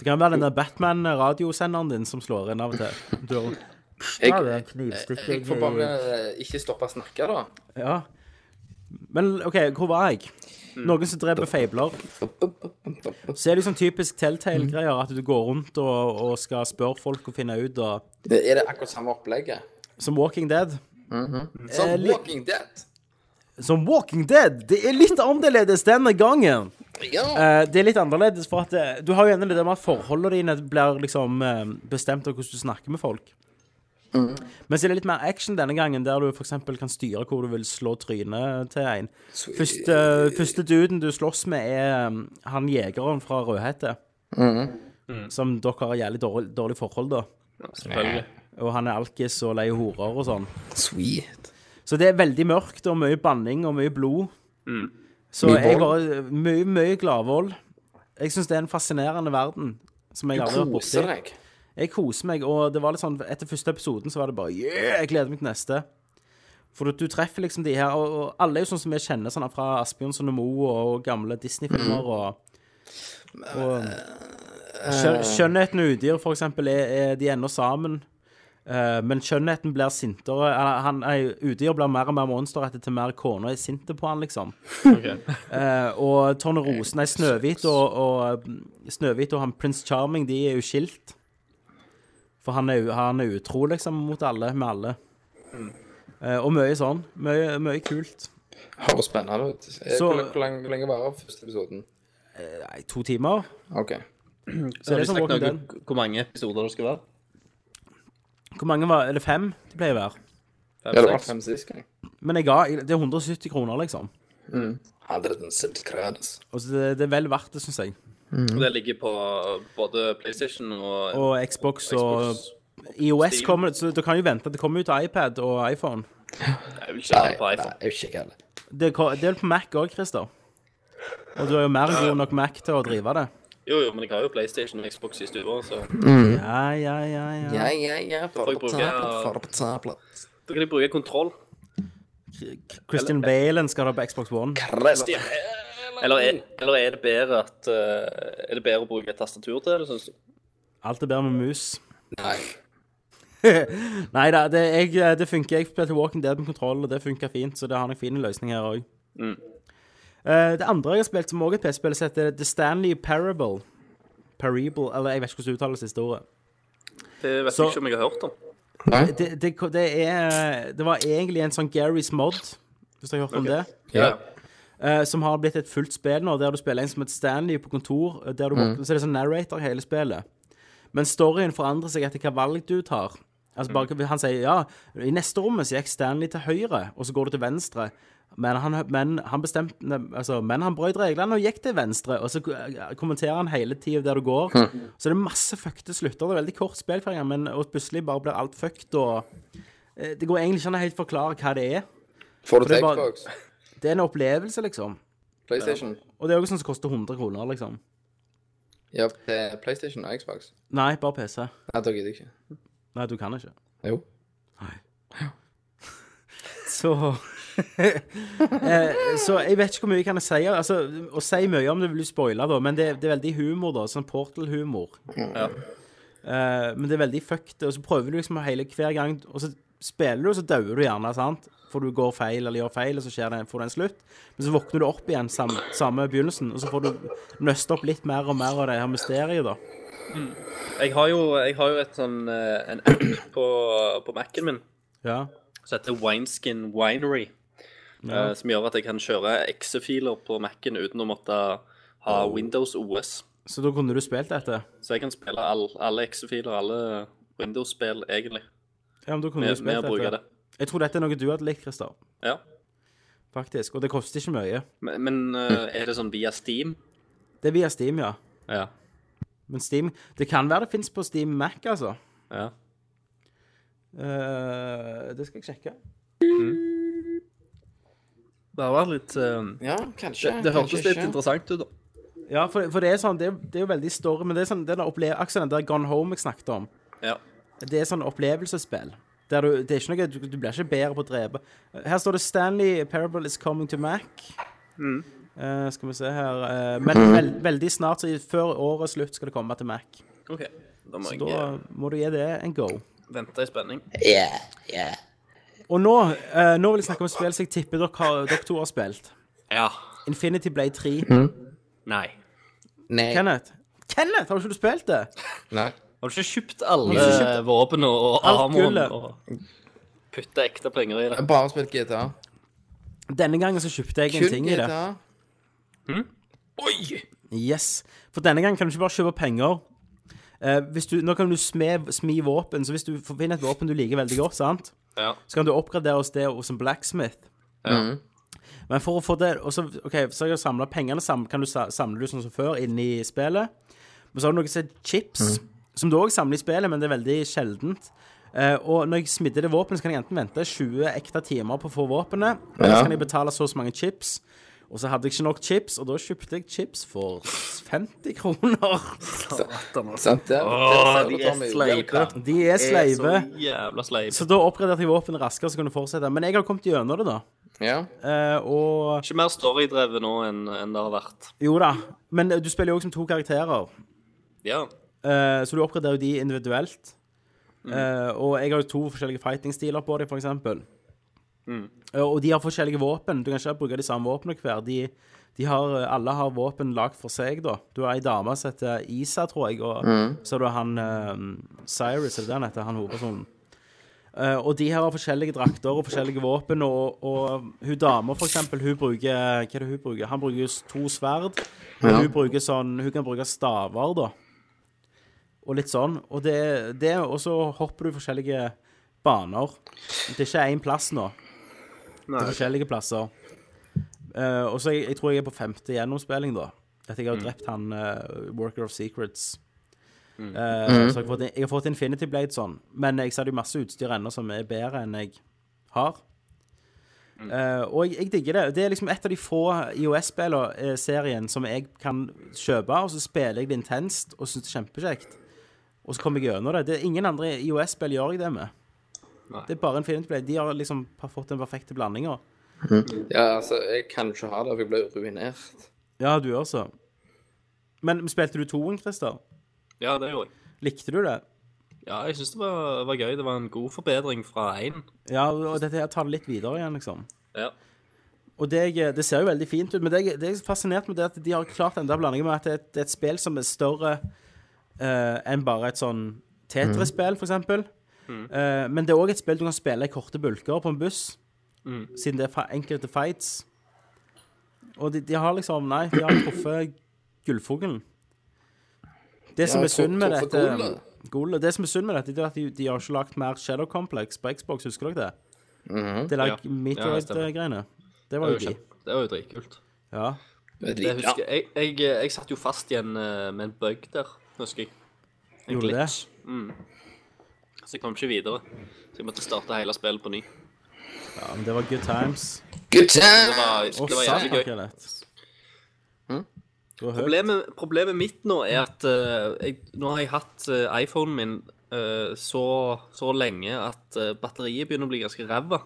[SPEAKER 1] Det kan være den der Batman-radiosenderen din som slår inn av og til. Du- Ja, det er
[SPEAKER 2] Jeg,
[SPEAKER 1] knivstikk.
[SPEAKER 2] jeg får bare eh, ikke stoppe å snakke, da.
[SPEAKER 1] Ja. Men OK, hvor var jeg? Noen som dreper feibler. Så er det jo sånn typisk Telltale-greier at du går rundt og, og skal spørre folk og finne ut og
[SPEAKER 2] Det er det akkurat samme opplegget.
[SPEAKER 1] Som Walking Dead.
[SPEAKER 2] Som
[SPEAKER 1] Eh, li-
[SPEAKER 2] Walking Dead.
[SPEAKER 1] Som Walking Dead! Det er litt annerledes denne gangen.
[SPEAKER 2] Ja.
[SPEAKER 1] Eh, det er litt annerledes, for at eh, du har jo gjerne det der med at forholdene dine blir liksom eh, bestemt av hvordan du snakker med folk. Men så er det litt mer action denne gangen, der du f.eks. kan styre hvor du vil slå trynet til en. Første, eh, første duden du slåss med, er um, han jegeren fra Rødhette. Som dere har jævlig dårlig, dårlig forhold, da.
[SPEAKER 3] Selvfølgelig.
[SPEAKER 1] Og han er alkis og leier horer og sånn.
[SPEAKER 2] Sweet.
[SPEAKER 1] Så det er veldig mørkt og mye banning og mye blod. Så
[SPEAKER 2] Mye
[SPEAKER 1] jeg
[SPEAKER 2] vold.
[SPEAKER 1] bare Mye, mye gladvold. Jeg syns det er en fascinerende verden. Som jeg aldri har vært borti.
[SPEAKER 2] Koser deg.
[SPEAKER 1] Jeg koser meg, og det var litt sånn Etter første episoden så var det bare Yeah, jeg gleder meg til neste. For du, du treffer liksom de her, og, og alle er jo sånn som vi kjenner sånn fra Asbjørnsen og Moe og, og gamle Disney-filmer og, og um, skjøn- Skjønnheten og udyr, for eksempel, er, er de ennå sammen. Eh, men skjønnheten blir sintere. eller Han, nei, udyr blir mer og mer monster etter til mer kona er sinte på han, liksom.
[SPEAKER 3] Ok.
[SPEAKER 1] Eh, og Tornerose, nei, Snøhvit og, og um, Snøhvit og han prins Charming, de er jo skilt. For han er, u- han er utro, liksom, mot alle, med alle.
[SPEAKER 3] Mm.
[SPEAKER 1] Eh, og mye sånn. Mye, mye kult.
[SPEAKER 2] Høres spennende ut. Eh,
[SPEAKER 1] Så-
[SPEAKER 2] Hvor lang- hvor lang- hvor lenge varer første episoden?
[SPEAKER 1] Nei, to timer.
[SPEAKER 2] OK.
[SPEAKER 1] Så
[SPEAKER 3] Har
[SPEAKER 1] det
[SPEAKER 3] de
[SPEAKER 1] er som
[SPEAKER 3] sagt noe
[SPEAKER 1] Walking Dead.
[SPEAKER 3] hvor mange episoder det skal være?
[SPEAKER 1] Hvor mange var Er det fem det pleier å være?
[SPEAKER 2] Ja, det var
[SPEAKER 3] seks?
[SPEAKER 2] fem sist gang.
[SPEAKER 1] Men jeg ga Det er 170 kroner, liksom.
[SPEAKER 2] 170 credits.
[SPEAKER 1] Og så det, det er vel verdt det, syns jeg.
[SPEAKER 3] Og Det ligger på både PlayStation og,
[SPEAKER 1] Og Xbox og
[SPEAKER 3] Xbox.
[SPEAKER 1] IOS
[SPEAKER 3] Steam.
[SPEAKER 1] kommer Så du kan jo vente. Det kommer jo til iPad og iPhone.
[SPEAKER 3] Jeg vil ikke ha det på
[SPEAKER 2] nei,
[SPEAKER 3] iPhone.
[SPEAKER 2] jeg er ikke gæren.
[SPEAKER 1] Det, ko- det er vel på Mac òg, Christer. Og du har jo mer enn god nok Mac til å drive det.
[SPEAKER 3] Jo, jo, men jeg har jo PlayStation og Xbox i stua, så
[SPEAKER 1] Ja, ja, ja, ja.
[SPEAKER 2] Ja, ja, ja. Få det
[SPEAKER 3] jeg
[SPEAKER 2] på
[SPEAKER 3] bruke-
[SPEAKER 2] tablet, få det på tablet.
[SPEAKER 3] da kan jeg bruke kontroll.
[SPEAKER 1] Christian Balen skal da på Xbox One.
[SPEAKER 2] Christian.
[SPEAKER 3] Eller er, eller er det bedre at eh, Er det bedre å bruke et tastatur til det, syns du?
[SPEAKER 1] Alt er bedre med mus.
[SPEAKER 2] Nei.
[SPEAKER 1] Nei da, det, jeg- eh, det funker. Jeg spilte Walking Dead med kontroll, og det funka fint, så det har nok fin løsning her òg. det andre jeg har spilt som også er et PC-spill, så heter The Stanley Parable. Parable, eller jeg vet ikke hvordan det uttales siste ordet.
[SPEAKER 3] Det vet
[SPEAKER 1] Så-
[SPEAKER 3] jeg ikke om jeg har hørt om.
[SPEAKER 1] Det, det, det, er, det var egentlig en sånn Garys Mod, hvis dere har hørt om det.
[SPEAKER 3] Ja.
[SPEAKER 1] eh, som har blitt et fullt spill nå, der du spiller en som heter Stanley på kontor. eh, Der du våkner, Så det er sånn narrator i hele spillet. Men storyen forandrer seg etter hva valg du tar. Altså bare, Han sier ja, i neste rommet så gikk Stanley til høyre, og så går du til venstre. Men han, men han bestemte ne, altså, Men han brøt reglene og gikk til venstre, og så eh, kommenterer han hele tida der du går. Så det er masse fuckte slutter. Det er veldig kort spill, for en gang, men og plutselig bare blir alt fucked, og eh, Det går egentlig ikke an å helt forklare hva det er.
[SPEAKER 2] Får du
[SPEAKER 1] det
[SPEAKER 2] til
[SPEAKER 1] er bare-
[SPEAKER 2] Xbox?
[SPEAKER 1] Det er en opplevelse, liksom.
[SPEAKER 2] PlayStation?
[SPEAKER 1] Og det er jo sånn som koster 100 kroner, liksom.
[SPEAKER 2] Ja, det er PlayStation og Xbox.
[SPEAKER 1] Nei, bare PC.
[SPEAKER 2] Nei, da gidder jeg ikke.
[SPEAKER 1] Nei, du kan ikke.
[SPEAKER 2] Jo.
[SPEAKER 1] Så eh, Så jeg vet ikke hvor mye kan jeg si. Altså, å si mye om det vil bli spoila, da, men det, det er veldig humor, da. Sånn Portal-humor. Eh, men det er veldig fucked, og så prøver du liksom hele hver gang Og så spiller du, og så dauer du gjerne, sant? For du går feil eller gjør feil, og så skjer det, får det en slutt. Men så våkner du opp igjen sam, samme begynnelsen, og så får du nøste opp litt mer og mer av det her mysteriet, da.
[SPEAKER 3] Jeg har jo, jeg har jo et sånn, eh, en app på, på Mac-en min
[SPEAKER 1] Ja.
[SPEAKER 3] som heter Wineskin Winery, eh, som gjør at jeg kan kjøre exe-filer på Mac-en uten å måtte ha Windows OS.
[SPEAKER 1] Så da kunne du spilt dette?
[SPEAKER 3] Så jeg kan spille all, alle exe-filer, alle Windows-spill, egentlig,
[SPEAKER 1] Ja, men da kunne
[SPEAKER 3] med, med
[SPEAKER 1] du spilt
[SPEAKER 3] å bruke
[SPEAKER 1] dette.
[SPEAKER 3] det.
[SPEAKER 1] Jeg tror dette er noe du hadde likt, Christer.
[SPEAKER 3] Ja.
[SPEAKER 1] Faktisk. Og det koster ikke mye.
[SPEAKER 3] Men, men eh, er det sånn via Steam?
[SPEAKER 1] Det er via Steam, ja.
[SPEAKER 3] Ja.
[SPEAKER 1] Men Steam Det kan være det fins på Steam Mac, altså.
[SPEAKER 3] ja.
[SPEAKER 1] Eh, det skal jeg sjekke.
[SPEAKER 3] Det var litt eh,
[SPEAKER 2] Ja, kanskje.
[SPEAKER 3] Det hørtes
[SPEAKER 2] kanskje
[SPEAKER 3] litt
[SPEAKER 2] ikke.
[SPEAKER 3] interessant ut, da.
[SPEAKER 1] Ja, for, for det er sånn Det er, det er jo veldig story, men det er sånn den opple- akkurat den der Gone Home jeg snakket om.
[SPEAKER 3] Ja.
[SPEAKER 1] Det er sånn opplevelsesspill. Der du, det er ikke noe, du, du blir ikke bedre på å drepe. Her står det 'Stanley Parable is coming to Mac'. Eh, skal vi se her eh, Men vel, veldig snart, så i- før årets slutt, skal det komme til Mac.
[SPEAKER 3] OK. Da må
[SPEAKER 1] Så
[SPEAKER 3] jeg
[SPEAKER 1] da må du gi det en go.
[SPEAKER 3] eh, vente i spenning.
[SPEAKER 1] Og nå, eh, nå vil jeg snakke om spill som jeg tipper dere, har, dere to har spilt.
[SPEAKER 3] Ja.
[SPEAKER 1] Infinity Blade 3.
[SPEAKER 3] Nei.
[SPEAKER 2] Nei.
[SPEAKER 1] Kenneth, Kenneth, har du ikke du spilt det?
[SPEAKER 2] Nei.
[SPEAKER 3] Har du ikke kjøpt alle
[SPEAKER 1] Har du ikke kjøpt-
[SPEAKER 3] våpnene og
[SPEAKER 1] Alt
[SPEAKER 3] armoren
[SPEAKER 1] gullet.
[SPEAKER 3] og putta ekte penger i det?
[SPEAKER 2] Jeg har bare spilt GTA.
[SPEAKER 1] Denne gangen så kjøpte jeg en
[SPEAKER 2] Kun
[SPEAKER 1] ting i det.
[SPEAKER 2] GTA.
[SPEAKER 1] Yes. For denne gangen kan du ikke bare kjøpe penger. Eh, hvis du, nå kan du sme, smi våpen, så hvis du får- finner et våpen du liker veldig godt, sant?
[SPEAKER 3] Ja.
[SPEAKER 1] så kan du oppgradere oss det og som blacksmith. Men for å få det og så- OK, så har jeg samla pengene sammen, kan du sa- samle det sånn som før inni spillet. Men så har du noe som heter chips, som du òg samler i spillet, men det er veldig sjeldent. Eh, og når jeg smidde det våpenet, så kan jeg enten vente 20 ekte timer på å få våpenet, eller så kan jeg betale så og så mange chips. Og så hadde jeg ikke nok chips, og da kjøpte jeg chips for 50 kroner.
[SPEAKER 2] Sant det?
[SPEAKER 3] Åh,
[SPEAKER 2] det
[SPEAKER 3] de er
[SPEAKER 2] ser ut som vi-
[SPEAKER 3] sleipe.
[SPEAKER 1] De er sleive.
[SPEAKER 3] Så jævla
[SPEAKER 1] Så
[SPEAKER 3] sleipe.
[SPEAKER 1] da oppgraderte jeg våpenet raskere, så kan du fortsette. Men jeg har kommet gjennom det, da.
[SPEAKER 2] Ja.
[SPEAKER 1] Eh, og
[SPEAKER 3] Ikke mer storydrevet nå enn enn det har vært.
[SPEAKER 1] Jo da, men du spiller jo også som to karakterer,
[SPEAKER 3] Ja.
[SPEAKER 1] eh, så du oppgraderer jo de individuelt. Eh, og jeg har jo to forskjellige fighting-stiler på dem, for eksempel. Eh, og de har forskjellige våpen. Du kan ikke bruke de samme våpnene hver. De, de har, eh, alle har våpen lagd for seg, da. Du har ei dame som heter Isa, tror jeg, og så har du han eh, Cyrus, er det det han heter? Han hovedpersonen. Eh, og de her har forskjellige drakter og forskjellige våpen, og, og hun dama, for eksempel, hun bruker Hva er det hun bruker? Han bruker s- to sverd, og hun bruker sånn Hun kan bruke staver, da. Og litt sånn. Og det, det Og så hopper du i forskjellige baner. Det er ikke én plass nå. Det er forskjellige plasser. Eh, og så jeg, jeg tror jeg er på femte gjennomspilling, da. Etter jeg har drept han eh, Worker of Secrets. Eh, Så jeg har, fått, jeg har fått Infinity Blade sånn, men jeg ser det jo masse utstyr ennå som er bedre enn jeg har. Eh, og jeg, jeg digger det. Det er liksom et av de få IOS-spillene, eh, serien, som jeg kan kjøpe, og så spiller jeg det intenst og syns det er kjempekjekt. Og så kommer jeg gjennom det. det er ingen andre IOS-spill gjør jeg det med.
[SPEAKER 3] Nei.
[SPEAKER 1] Det er bare Infinity Blade. De har liksom pa- fått den perfekte blandinga.
[SPEAKER 2] ja, altså, jeg kan ikke ha det, for jeg ble ruinert.
[SPEAKER 1] Ja, du også. Men spilte du toen, Christer?
[SPEAKER 3] ja, det gjorde jeg.
[SPEAKER 1] Likte du det?
[SPEAKER 3] Ja, jeg syns det var, var gøy. Det var en god forbedring fra én.
[SPEAKER 1] Ja, og dette her tar det litt videre igjen, liksom.
[SPEAKER 3] Ja.
[SPEAKER 1] Og det, jeg- det ser jo veldig fint ut, men det, jeg- det jeg er fascinert med, det er at de har klart den der blandingen med at det er et, det er et spill som er større eh, enn bare et sånn Tetris-spill, for eksempel. Eh, men det er òg et spill du kan spille i korte bulker på en buss, siden det er fa enkelte fights. Og de, de har liksom Nei, de har truffet gullfuglen. Det som
[SPEAKER 2] Ja,
[SPEAKER 1] er synd med
[SPEAKER 2] truffet
[SPEAKER 1] dette
[SPEAKER 2] gullet.
[SPEAKER 1] Gullet. Det som er synd med dette, det er at de, de har ikke lagt mer Shadow Complex på Xbox, husker dere det? Det
[SPEAKER 9] Ja.
[SPEAKER 1] lag
[SPEAKER 9] Ja, det stemmer.
[SPEAKER 1] Metroid-greiene. Det var jo de.
[SPEAKER 9] kjempe- det var jo dritkult.
[SPEAKER 1] Ja.
[SPEAKER 2] Det er
[SPEAKER 9] Jeg,
[SPEAKER 2] drit-
[SPEAKER 9] husker, jeg, jeg, eh, jeg satt jo fast i en, eh, med en bug der, husker jeg. En
[SPEAKER 1] Gjorde det?
[SPEAKER 9] glitch. Mm. Så jeg kom ikke videre. Så jeg måtte starte hele spillet på ny.
[SPEAKER 1] ja, men det var good times.
[SPEAKER 2] Good
[SPEAKER 9] Det
[SPEAKER 2] time!
[SPEAKER 9] var,
[SPEAKER 1] Å,
[SPEAKER 9] det var jævlig gøy.
[SPEAKER 1] satan,
[SPEAKER 9] Hm?
[SPEAKER 1] Du har hørt.
[SPEAKER 9] Problemet, problemet mitt nå er at eh, jeg, nå har jeg hatt eh, iPhonen min eh, så, så lenge at eh, batteriet begynner å bli ganske ræva.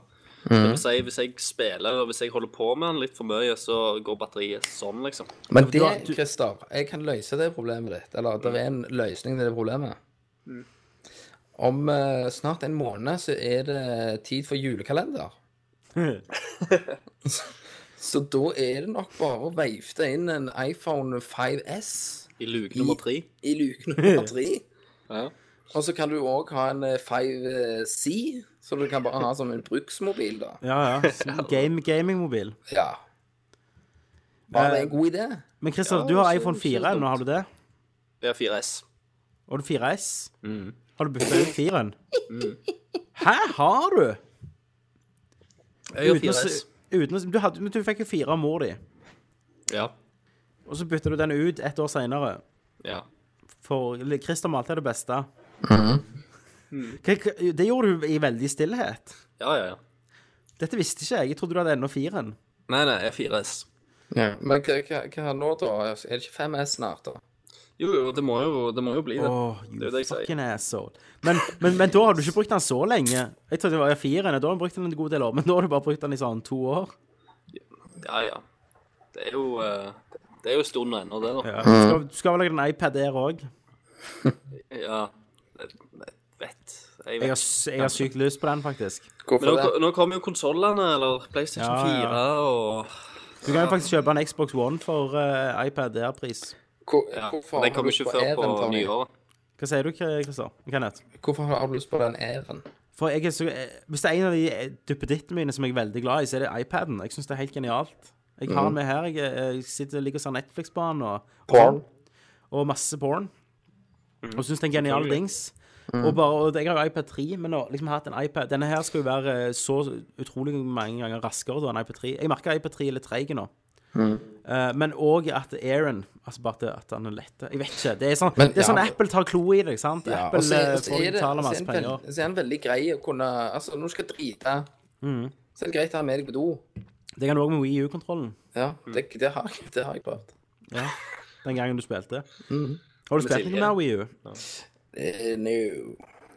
[SPEAKER 9] Det vil si, hvis jeg spiller eller hvis jeg holder på med den litt for mye, så går batteriet sånn, liksom.
[SPEAKER 2] Men
[SPEAKER 1] du har-
[SPEAKER 2] det, Christer, jeg kan løse det problemet ditt. Eller det er en løsning til det problemet. Om eh, snart en måned så er det tid for julekalender. Så da er det nok bare å veifte inn en iPhone 5S
[SPEAKER 9] I luke nummer tre.
[SPEAKER 2] i luke nummer 3.
[SPEAKER 9] Ja.
[SPEAKER 2] Og så kan du òg ha en eh, 5C, så du kan bare ha som en bruksmobil, da.
[SPEAKER 1] Ja, ja. som Game, gamingmobil.
[SPEAKER 2] Ja. Var det en god idé?
[SPEAKER 1] Men Christer,
[SPEAKER 9] Ja,
[SPEAKER 1] du har
[SPEAKER 9] så-
[SPEAKER 1] iPhone
[SPEAKER 9] så
[SPEAKER 1] 4
[SPEAKER 9] dumt.
[SPEAKER 1] nå, har du det?
[SPEAKER 9] Det er 4S.
[SPEAKER 1] Og du 4S?
[SPEAKER 9] Mm.
[SPEAKER 1] Har du bytta ut 4-en? Hæ, har du?
[SPEAKER 9] Jeg har
[SPEAKER 1] Uten å
[SPEAKER 9] 4S.
[SPEAKER 1] s- Uten å, s- du, hadde, men du fikk jo fire av mor di,
[SPEAKER 9] Ja.
[SPEAKER 1] og så bytta du den ut et år seinere.
[SPEAKER 9] ja.
[SPEAKER 1] For eller, Christer malte det beste.
[SPEAKER 9] Mm.
[SPEAKER 1] Hva- hva- Det gjorde du i veldig stillhet.
[SPEAKER 9] Ja, ja, ja.
[SPEAKER 1] Dette visste ikke jeg. Jeg trodde du hadde ennå 4-en.
[SPEAKER 9] Nei, nei, jeg er 4S.
[SPEAKER 2] Ja. Men hva, hva, hva nå, da? Er det ikke 5S snart, da?
[SPEAKER 9] Jo, jo, det må jo, det må jo bli det.
[SPEAKER 1] Åh,
[SPEAKER 9] Det er jo
[SPEAKER 1] you
[SPEAKER 9] det jeg sier.
[SPEAKER 1] fucking asshole. Men, men, men da har du ikke brukt den så lenge. Jeg trodde det var 4-en, og da har du brukt den en god del år, men nå har du bare brukt den i sånn to år.
[SPEAKER 9] Ja, ja. Det er jo eh, Det er jo stunden ennå, det, da.
[SPEAKER 1] Ja. Du, skal, du skal vel lage en iPad der òg?
[SPEAKER 9] Ja. Jeg vet Jeg
[SPEAKER 1] Jeg, har
[SPEAKER 9] vet.
[SPEAKER 1] s- jeg har sykt lyst på den, faktisk.
[SPEAKER 9] Men
[SPEAKER 2] Hvorfor
[SPEAKER 9] nå,
[SPEAKER 2] det?
[SPEAKER 9] nå kommer jo konsollene, eller PlayStation
[SPEAKER 1] Ja, ja.
[SPEAKER 9] 4 og
[SPEAKER 1] Du kan jo faktisk kjøpe en Xbox One for eh, iPad Air-pris.
[SPEAKER 2] Hvor,
[SPEAKER 9] ja.
[SPEAKER 2] hvorfor,
[SPEAKER 9] Den
[SPEAKER 2] har du
[SPEAKER 9] kommer
[SPEAKER 2] lyst
[SPEAKER 9] ikke
[SPEAKER 2] på
[SPEAKER 9] før på
[SPEAKER 2] æren, Tommy?
[SPEAKER 9] nyåret.
[SPEAKER 1] Hva sier du, Christer? Kenneth?
[SPEAKER 2] hvorfor har du lyst på den æren?
[SPEAKER 1] For jeg er så, eh, hvis det er en av de eh, duppedittene mine som jeg er veldig glad i, så er det iPaden. Jeg syns det er helt genialt. Jeg
[SPEAKER 2] Mhm.
[SPEAKER 1] har den med her. Jeg, eh, jeg sitter, ligger og ser Netflix på den, og,
[SPEAKER 2] Porn?
[SPEAKER 1] og masse porn. Og syns det er en genial dings.
[SPEAKER 2] Mhm.
[SPEAKER 1] Og bare, og jeg har jo iPad 3, men å liksom ha hatt en iPad Denne her skal jo være eh, så utrolig mange ganger raskere da enn iPad 3. Jeg merker iPad 3 er litt treig nå.
[SPEAKER 2] Mhm.
[SPEAKER 1] Eh, men òg at Aaron Altså bare at, at han er lett. Jeg vet ikke. Det er sånn,
[SPEAKER 2] Men,
[SPEAKER 1] det er sånn
[SPEAKER 2] ja.
[SPEAKER 1] Apple tar klo i deg, sant?
[SPEAKER 2] Ja,
[SPEAKER 1] Apple
[SPEAKER 2] og så,
[SPEAKER 1] eh,
[SPEAKER 2] og så,
[SPEAKER 1] får
[SPEAKER 2] er det, altså,
[SPEAKER 1] betale
[SPEAKER 2] så, er
[SPEAKER 1] masse
[SPEAKER 2] den
[SPEAKER 1] penger.
[SPEAKER 2] veld, så er den veldig grei å kunne Altså, når du skal drite, så er det greit å ha med deg på do.
[SPEAKER 1] Det kan du òg med Wii U-kontrollen.
[SPEAKER 2] Ja, det, det, har, jeg- det har jeg prøvd.
[SPEAKER 1] Ja, den gangen du spilte.
[SPEAKER 9] Mhm.
[SPEAKER 1] Har du spilt noe
[SPEAKER 9] Silje.
[SPEAKER 1] mer Wii U?
[SPEAKER 2] Eh, No.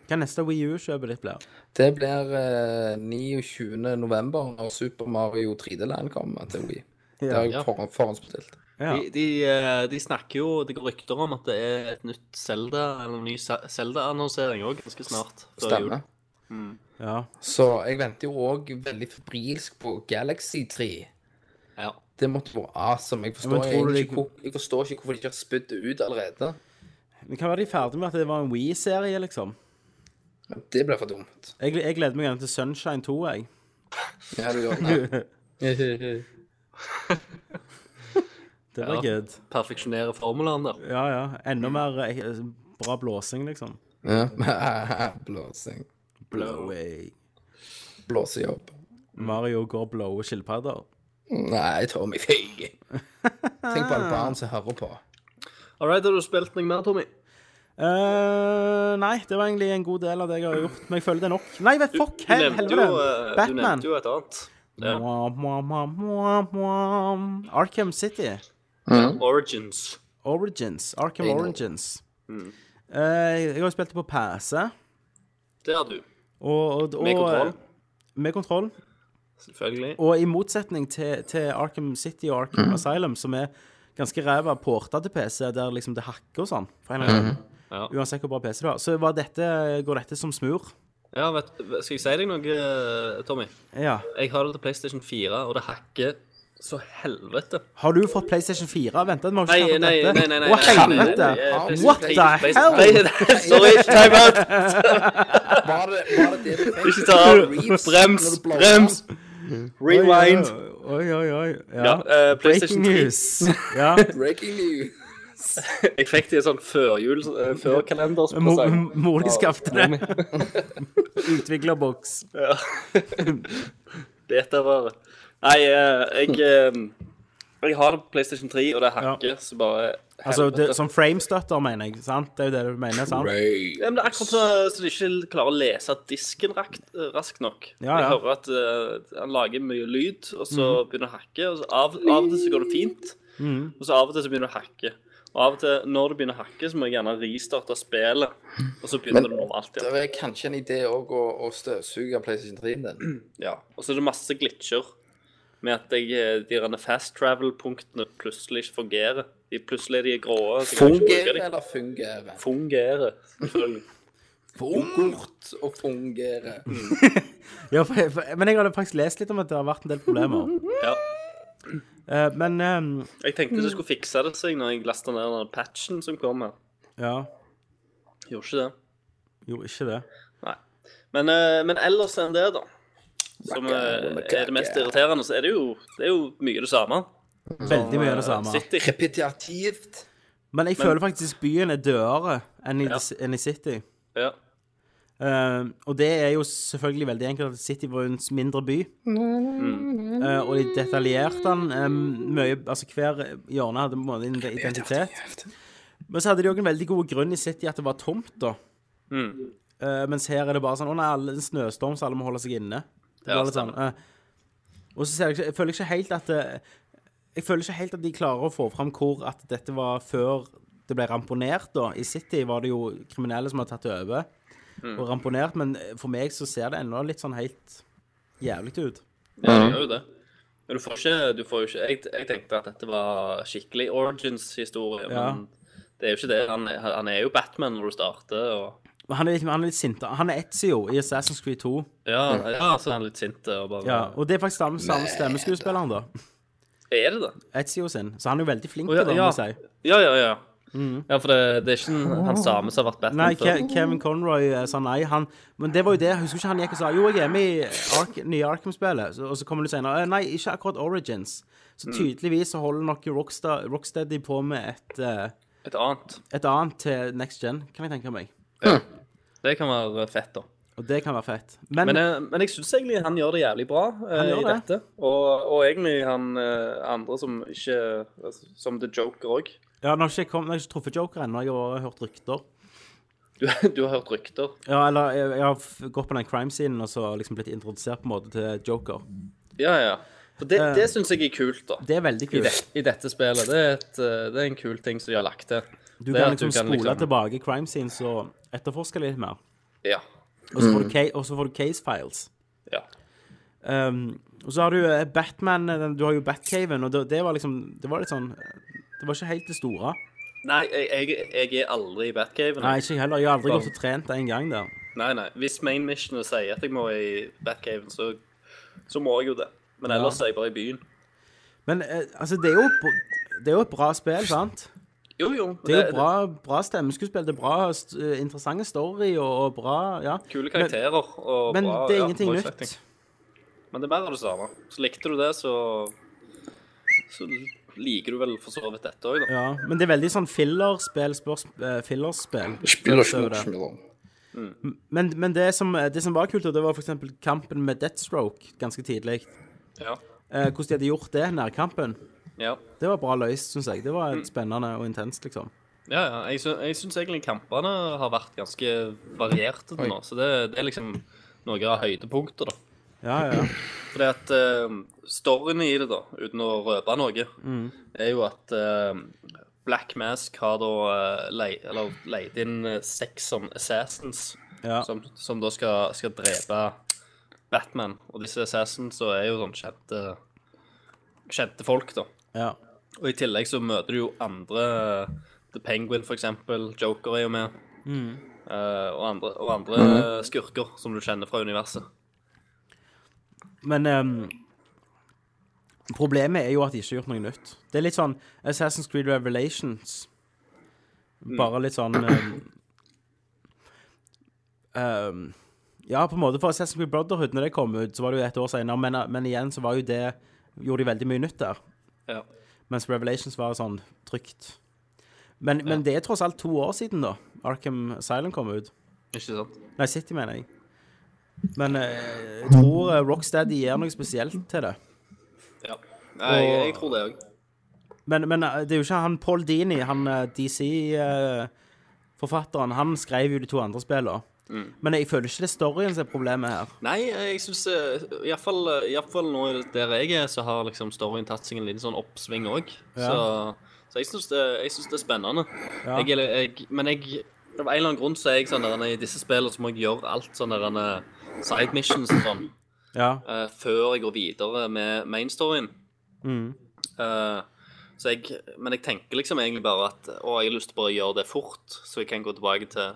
[SPEAKER 1] Hva neste Wii U-kjøpet ditt blir?
[SPEAKER 2] Det blir eh, 29. november når Super Mario 3D-land kommer til Wii. Det har
[SPEAKER 9] Ja.
[SPEAKER 2] jeg for, forhåndsbestilt.
[SPEAKER 1] Ja.
[SPEAKER 9] De, de, eh, de snakker jo Det går rykter om at det er et nytt Zelda, eller en ny Zelda-annonsering òg, ganske snart. før jul.
[SPEAKER 2] Stemmer.
[SPEAKER 1] ja.
[SPEAKER 2] Så jeg venter jo òg veldig febrilsk på Galaxy 3.
[SPEAKER 9] Ja.
[SPEAKER 2] Det måtte være awesome. Jeg
[SPEAKER 1] men
[SPEAKER 2] forstår,
[SPEAKER 1] tror du
[SPEAKER 2] egentlig
[SPEAKER 1] det-
[SPEAKER 2] ikke, hvor- jeg forstår ikke hvorfor de ikke har spydd det ut allerede.
[SPEAKER 1] Men Kan være de ferdig med at det var en Wii-serie, liksom.
[SPEAKER 2] Det blir for dumt.
[SPEAKER 1] Jeg, jeg gleder meg gjerne til Sunshine 2, jeg.
[SPEAKER 2] Ja, det gjør det.
[SPEAKER 1] Det blir
[SPEAKER 9] Ja.
[SPEAKER 1] good.
[SPEAKER 9] Perfeksjonere formelen der.
[SPEAKER 1] Ja, ja. Enda mer eh, bra blåsing, liksom.
[SPEAKER 2] Ja. Blåsing.
[SPEAKER 1] Blowaway.
[SPEAKER 2] Blåse jobb.
[SPEAKER 1] Mario går og blower skilpadder.
[SPEAKER 2] Nei, Tommy, fy. Tenk på alle barn som hører på.
[SPEAKER 9] All right, har du spilt noe mer, Tommy?
[SPEAKER 1] eh nei, det var egentlig en god del av det jeg har gjort, men jeg føler det er nok. Nei, vet fuck!
[SPEAKER 9] Du
[SPEAKER 1] Hel,
[SPEAKER 9] nevnte jo,
[SPEAKER 1] helvete.
[SPEAKER 9] eh, du
[SPEAKER 1] Batman.
[SPEAKER 9] nevnte jo eh, et annet. Ja.
[SPEAKER 1] Mwah, mwah, mwah, mwah, mwah. Arkham City.
[SPEAKER 9] Origins.
[SPEAKER 1] Origins. Arkham
[SPEAKER 2] Hey, no.
[SPEAKER 1] Origins.
[SPEAKER 9] Hmm.
[SPEAKER 1] Eh, jeg har jo spilt det på PC.
[SPEAKER 9] Det har du.
[SPEAKER 1] Og, og, og, eh,
[SPEAKER 9] Med kontroll,
[SPEAKER 1] Med kontroll.
[SPEAKER 9] selvfølgelig.
[SPEAKER 1] Og i motsetning til, til Arkham City og Arkham Asylum, som er ganske ræva porta til PC, der liksom det hakker og sånn, for en eller annen grunn,
[SPEAKER 9] Hmm. Ja.
[SPEAKER 1] uansett hvor bra PC du har, så var dette, går dette som smur.
[SPEAKER 9] Ja, vet, skal jeg si deg noe, eh, Tommy?
[SPEAKER 1] Ja.
[SPEAKER 9] Jeg har det til PlayStation 4, og det hakker så helvete.
[SPEAKER 1] Har du fått PlayStation 4? Vent, vi har
[SPEAKER 9] Nei,
[SPEAKER 1] ikke
[SPEAKER 9] nei, nei. nei, nei, nei,
[SPEAKER 1] Å, helvete!
[SPEAKER 9] nei, nei, nei,
[SPEAKER 1] What the hell?
[SPEAKER 9] PlayStation- Nei, Sorry, time out!
[SPEAKER 2] Var det var det det du tenkte?
[SPEAKER 9] Ikke ta av.
[SPEAKER 2] Reeves,
[SPEAKER 9] Brems,
[SPEAKER 2] når du blåser.
[SPEAKER 9] brems! Rewind.
[SPEAKER 1] Oi, oi, Oi, oi, oi.
[SPEAKER 9] Ja, eh, PlayStation
[SPEAKER 1] Breaking
[SPEAKER 9] 3.
[SPEAKER 1] news. ja.
[SPEAKER 2] Breaking news.
[SPEAKER 9] Jeg fikk det i en sånn førjul, eh,
[SPEAKER 1] Mo-
[SPEAKER 9] førkalenderspresang.
[SPEAKER 1] m- Mor di skapte det. Utviklerboks.
[SPEAKER 9] Beta bare. Nei, eh, jeg eh, Jeg har PlayStation 3, og det hakker, så bare
[SPEAKER 1] Altså, det,
[SPEAKER 9] Helvete.
[SPEAKER 1] som framestøtter, mener jeg. sant? Det er jo det du mener, sant?
[SPEAKER 2] Ray.
[SPEAKER 9] Ja, men det er akkurat så- så de ikke klarer å lese disken rakt, eh, raskt nok.
[SPEAKER 1] Ja, ja. Mhm.
[SPEAKER 9] Jeg hører at eh, han lager mye lyd, og så begynner det å hakke. Og så av, av og til så går det fint, og så av og til så begynner det å hakke. Og av og til når det begynner å hakke, så må jeg gjerne restarte spillet. Og så begynner det normalt igjen.
[SPEAKER 2] Det er kanskje en idé òg å, å støvsuge PlayStation 3-en din.
[SPEAKER 9] Ja. Og så er det masse glitcher med at jeg, eh, de rene fast travel-punktene plutselig ikke fungerer. De plutselig er de grå. så kan jeg ikke bruke
[SPEAKER 2] Fungerer
[SPEAKER 9] dem.
[SPEAKER 2] eller fungerer?
[SPEAKER 9] Fungerer. selvfølgelig.
[SPEAKER 2] Fungert og fungerer.
[SPEAKER 1] Ja, for, for, men jeg hadde faktisk lest litt om at det har vært en del problemer.
[SPEAKER 9] Ja.
[SPEAKER 1] Eh, men eh,
[SPEAKER 9] Jeg tenkte det skulle fikse det seg når jeg lasta ned den patchen som kom her.
[SPEAKER 1] Ja,
[SPEAKER 9] Gjorde ikke det.
[SPEAKER 1] jo, ikke det.
[SPEAKER 9] Men, eh, men ellers enn det, da, som eh, er det mest irriterende, så er det jo, det er jo mye det samme.
[SPEAKER 1] Veldig mye av det samme.
[SPEAKER 9] City.
[SPEAKER 2] Repetitivt.
[SPEAKER 1] Men jeg føler faktisk byen er dødere enn i, enn i City.
[SPEAKER 9] Ja.
[SPEAKER 1] Eh, og det er jo selvfølgelig veldig enkelt at City var en mindre by. Eh, og de detaljerte den eh, mye Altså hver hjørne hadde på en måte en identitet. Men så hadde de òg en veldig god grunn i City at det var tomt, da. Eh, mens her er det bare sånn Å nei, alle- en snøstorm, så alle må holde seg inne. Det
[SPEAKER 9] Ja,
[SPEAKER 1] var litt sånn, eh, og så ser jeg, ikke- jeg føler ikke helt at eh, Jeg føler ikke helt at de klarer å få fram hvor at dette var før det ble ramponert, da. I City var det jo kriminelle som hadde tatt det over og ramponert, men for meg så ser det ennå litt sånn helt jævlig ut.
[SPEAKER 9] Ja, det gjør jo det. Men du får ikke, du får jo ikke jeg, jeg tenkte at dette var skikkelig Origins-historie,
[SPEAKER 1] Ja.
[SPEAKER 9] men det er jo ikke det. Han, er- han er jo Batman når du starter, og
[SPEAKER 1] Men Han er litt, han er litt sint. Han er Ezio i Assassin's Creed 2.
[SPEAKER 9] ja, ja, så er han litt sint og bare
[SPEAKER 1] Ja, og det er faktisk samme, samme stemmeskuespilleren, da.
[SPEAKER 9] Er det det?
[SPEAKER 1] Ezio sin. Så han er jo veldig flink
[SPEAKER 9] Å, ja,
[SPEAKER 1] til det, må
[SPEAKER 9] ja. Mm.
[SPEAKER 1] jeg si.
[SPEAKER 9] Ja, ja, ja. Ja, for det, det er ikke den- han samme som har vært Batman
[SPEAKER 1] Nei,
[SPEAKER 9] før.
[SPEAKER 1] Ke Kevin Conroy eh, sa nei. Han, men det var jo det. Jeg husker ikke han gikk og sa Jo, jeg er med i Ark, nye Arkham-spillet. Så- Og så kommer du senere. «Eh, Nei, ikke akkurat Origins.
[SPEAKER 9] Mm.
[SPEAKER 1] Så tydeligvis så holder nok Rockstar, Rocksteady på med et, eh,
[SPEAKER 9] Et annet.
[SPEAKER 1] et annet til next gen, kan jeg tenke meg.
[SPEAKER 9] Det kan være fett, da.
[SPEAKER 1] Og det kan være fett.
[SPEAKER 9] Men, eh, men jeg syns egentlig han gjør det jævlig bra eh,
[SPEAKER 1] gjør
[SPEAKER 9] i
[SPEAKER 1] det.
[SPEAKER 9] dette. Og, og egentlig han eh, andre som ikke altså, Som The Joker òg.
[SPEAKER 1] Ja, nå har ikke jeg, kom, nå har jeg ikke truffet Joker ennå. Jeg har hørt rykter.
[SPEAKER 9] Du, du har hørt rykter.
[SPEAKER 1] Ja, eller jeg, jeg har f- gått på den crime-scenen og så liksom blitt introdusert på en måte til Joker.
[SPEAKER 9] Ja, ja. Og det,
[SPEAKER 1] Eh.
[SPEAKER 9] det syns jeg er kult, da.
[SPEAKER 1] Det er veldig
[SPEAKER 9] I, det,
[SPEAKER 1] kult.
[SPEAKER 9] I dette spillet. Det er, et, eh, det er en kul ting som de har lagt til.
[SPEAKER 1] Du
[SPEAKER 9] Det er
[SPEAKER 1] kan
[SPEAKER 9] at du
[SPEAKER 1] liksom
[SPEAKER 9] kan
[SPEAKER 1] spole
[SPEAKER 9] liksom-
[SPEAKER 1] tilbake crime scenes og etterforske litt mer.
[SPEAKER 9] Ja.
[SPEAKER 1] Og så får du, ca- og så får du case files.
[SPEAKER 9] ja.
[SPEAKER 1] Um, og så har du eh, Batman eh, den- Du har jo Batcaven, og det, det var liksom Det var litt sånn Det var ikke helt det store.
[SPEAKER 9] Nei, jeg, jeg, jeg er aldri i Batcaven.
[SPEAKER 1] Nei, ikke jeg heller. Jeg har aldri gått og trent en gang der.
[SPEAKER 9] Nei, nei. Hvis main missionet sier at jeg må i Batcaven, så, så må jeg jo det. Men ellers er jeg bare i byen.
[SPEAKER 1] Men eh, altså, det er jo b- Det er jo et bra spill, sant?
[SPEAKER 9] Jo, jo. men
[SPEAKER 1] Det er jo bra, bra stemmeskuespill, det er bra st- eh, interessante story og, og bra Ja.
[SPEAKER 9] Kule karakterer og
[SPEAKER 1] Men, men
[SPEAKER 9] bra
[SPEAKER 1] det er
[SPEAKER 9] ja,
[SPEAKER 1] ingenting
[SPEAKER 9] voice acting.
[SPEAKER 1] nytt.
[SPEAKER 9] Men det er mer av det samme. Så likte du det, så Så liker du vel for så vidt dette òg, da.
[SPEAKER 1] Ja, men det er veldig sånn fillerspill, spørs, eh, fillerspill.
[SPEAKER 2] Spiller
[SPEAKER 1] Spiller
[SPEAKER 2] ikke noe
[SPEAKER 1] det.
[SPEAKER 2] som om.
[SPEAKER 1] Men, men det, som, det som var kult, og det var for eksempel kampen med Deathstroke ganske tidlig.
[SPEAKER 9] Ja.
[SPEAKER 1] Eh, hvordan de hadde gjort det, nærkampen.
[SPEAKER 9] Ja,
[SPEAKER 1] Det var bra løst, syns jeg. Det var spennende og intenst, liksom.
[SPEAKER 9] ja. ja. Jeg, sy jeg syns egentlig kampene har vært ganske varierte til nå. Så det, det er liksom noe av høydepunktet, da.
[SPEAKER 1] Ja, ja.
[SPEAKER 9] Fordi at eh, storyen i det, da, uten å røpe noe,
[SPEAKER 1] Mm.
[SPEAKER 9] er jo at eh, Black Mask har da eh, lei- eller leid inn eh, seks sånn assassins
[SPEAKER 1] Ja.
[SPEAKER 9] som, som da skal, skal drepe Batman. Og disse assassins så er jo sånn kjente, kjente folk, da.
[SPEAKER 1] ja.
[SPEAKER 9] Og i tillegg så møter du jo andre The Penguin, for eksempel. Joker er jo med. Eh, og andre, og andre skurker som du kjenner fra universet.
[SPEAKER 1] Men ehm, problemet er jo at de ikke har gjort noe nytt. Det er litt sånn Assassin's Creed Revelations. Bare litt sånn ehm, ehm, Ja, på en måte, for Assassin's Creed Brotherhood, når det kom ut, så var det jo et år senere, men, men igjen så var jo det gjorde de veldig mye nytt der.
[SPEAKER 9] Ja.
[SPEAKER 1] Mens Revelations var sånn trygt. Men, men det er tross alt to år siden, da. Arkham Asylum kom ut.
[SPEAKER 9] Ikke sant?
[SPEAKER 1] Nei, City, mener jeg. Men eh, jeg tror eh, Rocksteady gjør noe spesielt til det.
[SPEAKER 9] Ja. Nei, jeg, jeg tror det òg.
[SPEAKER 1] Men, men eh, det er jo ikke han Paul Dini, han eh, DC-forfatteren, eh, han skrev jo de to andre spillene. Men jeg føler ikke det er storyen som er problemet her.
[SPEAKER 9] Nei, jeg eh, syns iallfall, iallfall nå der jeg er, så har liksom storyen tatt seg en liten sånn oppsving òg. Så, så jeg syns det, jeg synes det er spennende. Jeg, er- jeg, men jeg av en eller annen grunn så er jeg sånn der, i disse spillene så må jeg gjøre alt sånn der side missions og sånn.
[SPEAKER 1] Ja.
[SPEAKER 9] eh, før jeg går videre med mainstoryen. Eh, så jeg, men jeg tenker liksom egentlig bare at å, jeg har lyst til bare å gjøre det fort, så jeg kan gå tilbake til,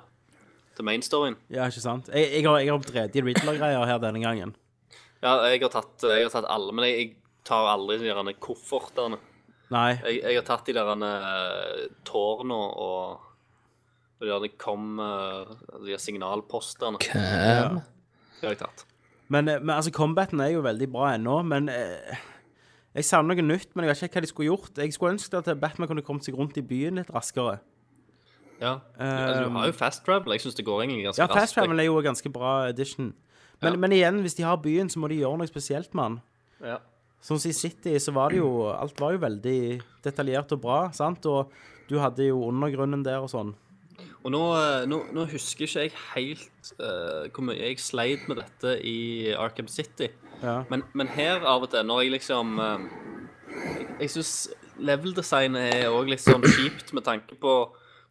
[SPEAKER 9] til mainstoryen.
[SPEAKER 1] Ja, ikke sant? Jeg, jeg har, jeg har drevet i Riddler-greier her denne gangen.
[SPEAKER 9] Ja, jeg har tatt, jeg har tatt alle, men jeg, jeg tar aldri de der koffertene.
[SPEAKER 1] Nei.
[SPEAKER 9] Jeg, jeg har tatt de der eh, tårna og, og de der kom, eh, de der signalpostene. Hva? Det har jeg tatt.
[SPEAKER 1] Men, eh, men altså, combaten er jo veldig bra ennå, men eh, Jeg savner noe nytt, men jeg vet ikke hva de skulle gjort. Jeg skulle ønske at Batman kunne kommet seg rundt i byen litt raskere.
[SPEAKER 9] Ja. altså, du har jo fast travel. Jeg synes det går egentlig ganske
[SPEAKER 1] Ja, Fast
[SPEAKER 9] raskt.
[SPEAKER 1] Travel er jo en ganske bra edition. Men, men igjen, hvis de har byen, så må de gjøre noe spesielt med den.
[SPEAKER 9] Ja.
[SPEAKER 1] Sånn som i City, så var det jo Alt var jo veldig detaljert og bra, sant? Og du hadde jo undergrunnen der og sånn.
[SPEAKER 9] Og nå, eh, nå, nå husker ikke jeg helt eh, hvor mye jeg sleit med dette i Arkham City.
[SPEAKER 1] Ja.
[SPEAKER 9] Men, men her av og til, når jeg liksom eh, Jeg, jeg syns level-designet er òg litt sånn kjipt med tanke på